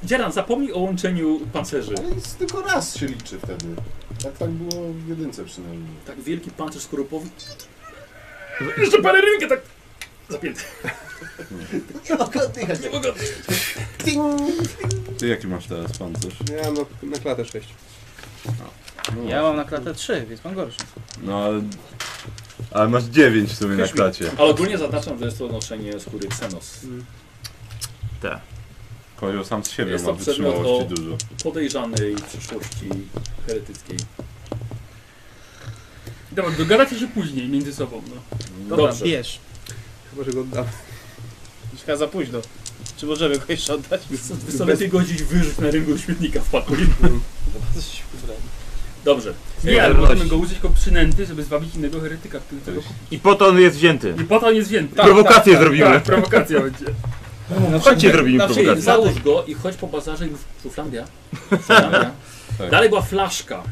S1: Dzieran, zapomnij o łączeniu pancerzy.
S7: Ale jest tylko raz się liczy wtedy. Jak tak było w jedynce przynajmniej.
S1: Tak wielki pancerz skorupowy. Jeszcze pelerynkę tak zapięty.
S7: Nie mogę oddychać.
S1: Nie mogę.
S5: Ty jaki masz teraz pancerz?
S9: Ja mam na, na klatę 6.
S5: No,
S6: Ja mam na klatę trzy, więc mam gorszy.
S5: No ale... Ale masz 9 w sumie na
S6: Weź mi.
S5: klacie.
S1: Ale ogólnie zaznaczam, że jest to noszenie skóry Xenos.
S5: Kojo sam z siebie
S1: Jest
S5: ma
S1: to przedmiot no.
S5: wytrzymałości
S1: o-
S5: dużo.
S1: Podejrzanej przeszłości heretyckiej.
S8: Dobra, dogadacie się później między sobą, no.
S6: Dobra,
S1: Dobrze.
S6: bierz.
S9: Chyba, że go oddam.
S6: Troszkę za późno. Czy możemy go jeszcze oddać?
S1: Wy sobie lepiej go gdzieś wyrzuć na rynku śmietnika w pakuj. Dobrze.
S8: Nie, ale możemy go użyć jako przynęty, żeby zwabić innego heretyka, który tego kupi.
S4: I po to on jest wzięty.
S8: I po to on jest wzięty.
S6: Tak,
S4: Prowokację zrobimy.
S8: Tak, prowokacja będzie.
S4: Chodźcie, zrobimy
S6: na wszędzie.
S1: Znaczy,
S4: prowokację.
S1: Załóż go i chodź po bazarze i mów Szuflandia. Szuflandia.
S5: Tak.
S1: Dalej była flaszka.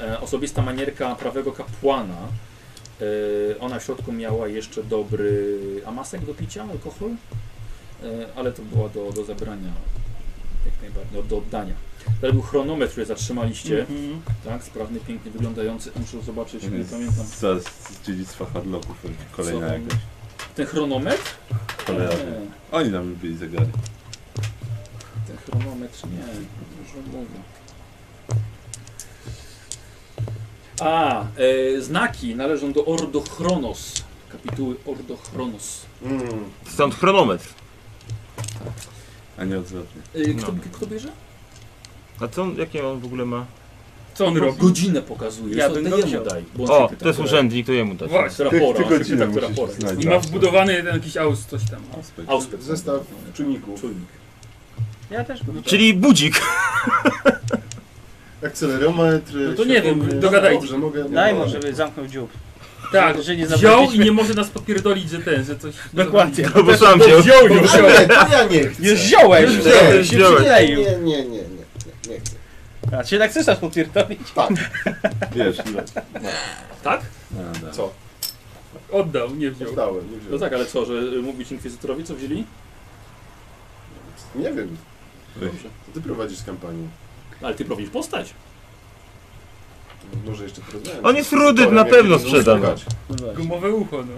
S1: E, osobista manierka prawego kapłana. E, ona w środku miała jeszcze dobry amasek do picia, alkohol. E, ale to była do, do zabrania. Jak najbardziej, no, do oddania. Dalej był chronometr, który zatrzymaliście. Tak, sprawny, pięknie wyglądający. Muszę zobaczyć,
S5: Mhm.
S1: nie pamiętam.
S5: Zaraz z dziedzictwa hardlocków kolejna
S1: Co?
S5: jakaś.
S1: Ten chronometr?
S5: Cholera.
S1: Nie.
S5: Oni nam byli zegarek.
S1: Ten chronometr nie, dużo mówię. A, e, znaki należą do Ordo Chronos, kapituły Ordo Chronos.
S7: Mm.
S4: Stąd chronometr.
S5: A nie odwrotnie.
S1: E, kto,
S4: No.
S1: kto bierze?
S4: A co on, jakie on w ogóle ma?
S8: Co on robi?
S1: No, Godzinę pokazuje.
S8: Ja
S1: to
S8: bym
S1: ty
S8: go
S1: jemu
S8: wziął.
S1: daj, bo on
S4: O,
S1: się pyta,
S4: to jest
S1: która-
S4: urzędnik, to jemu dać.
S8: Właśnie.
S1: Która
S5: Ty-
S1: pora,
S5: ty
S1: on się
S5: godzinę
S1: pyta, która
S5: musisz
S1: pora. jest.
S5: znać.
S8: I ma wbudowany jeden jakiś aus, coś tam.
S5: Aspekt.
S1: Auspekt.
S7: Zestaw czujników.
S1: Czujnik.
S6: Ja też bym.
S4: Czyli budzik.
S7: Akcelerometr.
S8: No to nie wiem,
S7: światłowy.
S8: dogadajcie.
S7: Dobrze, mogę.
S6: Daj mu,
S7: mogę.
S6: żeby zamknął dziób.
S8: Tak,
S6: Że nie
S8: wziął i
S6: zabraliśmy.
S8: nie może nas podpierdolić, że ten, że coś...
S6: Dokładnie.
S4: No bo sam się...
S8: Wziął już!
S7: A nie, to ja nie chcę.
S6: Już ziołeś!
S4: Już
S6: Się
S4: wziąłeś.
S6: przykleił.
S7: Nie, nie, nie, nie, nie, nie chcę.
S6: A czy tak chcesz nas potwierdzać?
S5: Wiesz, ile?
S1: Tak?
S5: No, da.
S7: Co?
S8: Oddał, nie wziął.
S7: Oddałem, nie
S1: No
S7: wziąłem.
S1: tak, ale co, że y, mówić inkwizytorowi, co wzięli?
S7: Nie wiem.
S5: Wy-
S7: To ty prowadzisz kampanię.
S1: No, Ale ty prowadzisz postać.
S7: Może jeszcze porozmawiam.
S4: On
S7: z
S4: jest
S7: instruktorem,
S4: rudy, na
S7: jak
S4: pewno
S7: będzie
S4: sprzedam.
S7: szukać.
S8: Gumowe ucho, no.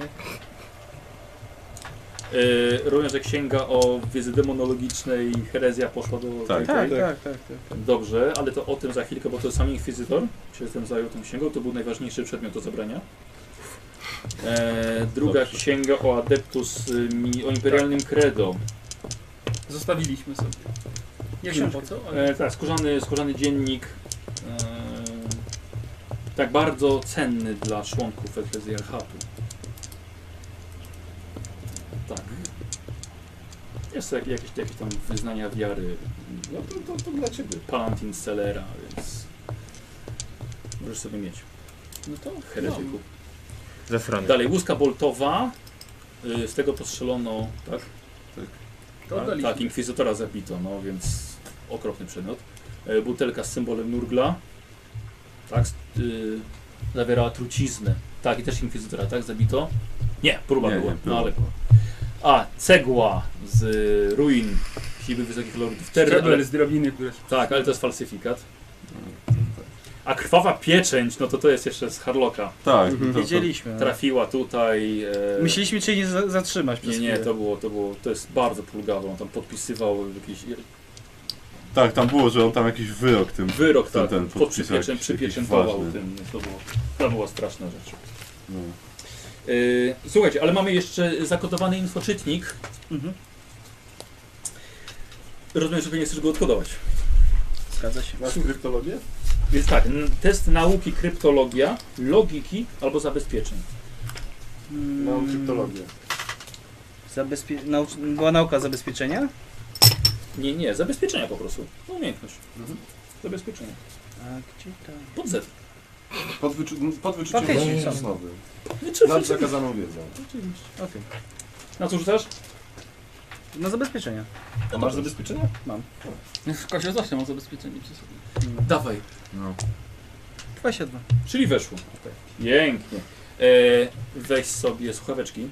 S1: Yy, również, że księga o wiedzy demonologicznej herezja poszła do...
S5: Tak.
S6: Tak, tak, tak. tak.
S1: Dobrze, ale to o tym za chwilkę, bo to sam inkwizytor się tym zajął tą księgą, to był najważniejszy przedmiot do zabrania. E, druga
S5: Dobrze.
S1: księga o Adeptus, y, mi- o imperialnym credo.
S8: Zostawiliśmy sobie. Nie wiem po co, ale...
S1: E, tak, skórzany, skórzany dziennik, e, tak bardzo cenny dla członków Eklezjarchatu. Tak. Jest jak- jakieś, jakieś tam wyznania wiary,
S7: No to, to, to dla ciebie.
S1: Palantin Celera, więc możesz sobie mieć.
S8: No to...
S1: Heretyku.
S4: Zasrany.
S1: Dalej, łuska boltowa. Y, Z tego postrzelono, tak?
S8: To
S1: Tak,
S8: oddaliśmy.
S1: tak, inkwizytora zabito, no więc okropny przedmiot. Y, Butelka z symbolem Nurgla. Tak, z- y, zawierała truciznę. Tak, i też inkwizytora, tak, zabito? Nie, próba
S5: Nie, nie,
S1: była,
S5: próba.
S1: no ale... A, cegła z y, ruin siły wysokich lordów. Terry, ale,
S8: Szczebel z drabiny, które...
S1: tak, ale to jest falsyfikat. A krwawa pieczęć, no to to jest jeszcze z Harlocka.
S5: Tak,
S6: Mhm. to- Wiedzieliśmy, no.
S1: Trafiła tutaj. E...
S6: Myśleliśmy cię nie za- zatrzymać przez
S1: Nie, nie,
S6: chwilę.
S1: to było, to było, to jest bardzo pulgawe. On tam podpisywał jakiś
S5: Tak, tam było, że on tam jakiś wyrok tym
S1: wyrok,
S5: tym,
S1: tak,
S5: ten
S1: pod
S5: podpisał, jakiś-
S1: przypieczem,
S5: jakiś
S1: przypieczętował
S5: ważny.
S1: tym. To, było, to była straszna rzecz.
S5: No.
S1: Yy, słuchajcie, ale mamy jeszcze zakodowany infoczytnik. Rozumiem, że nie chcesz go odkodować.
S6: Zgadza się.
S1: Masz
S5: kryptologię?
S1: Więc tak, n- test nauki kryptologia, logiki albo zabezpieczeń.
S6: Mam kryptologię. Zabezpie... Nau- była nauka zabezpieczenia?
S1: Nie, nie, zabezpieczenia po prostu. No, Umiejętność. Zabezpieczenia.
S6: A gdzie to?
S1: Pod Z.
S7: Pod, wyczu pod wyczuciem
S1: Faktycznie,
S7: własnej
S1: tak.
S7: zasnowy.
S1: No, czy-
S7: Nad
S1: czy-
S7: zakazaną wiedzą.
S1: Oczywiście. Na co rzucasz?
S6: Na No, zabezpieczenia.
S7: A masz zabezpieczenia?
S6: Mam.
S8: Kozio zawsze ma zabezpieczenie przy sobie.
S1: Dawaj.
S7: No.
S6: 22.
S1: Czyli weszło. Pięknie. E, weź sobie słuchaweczki.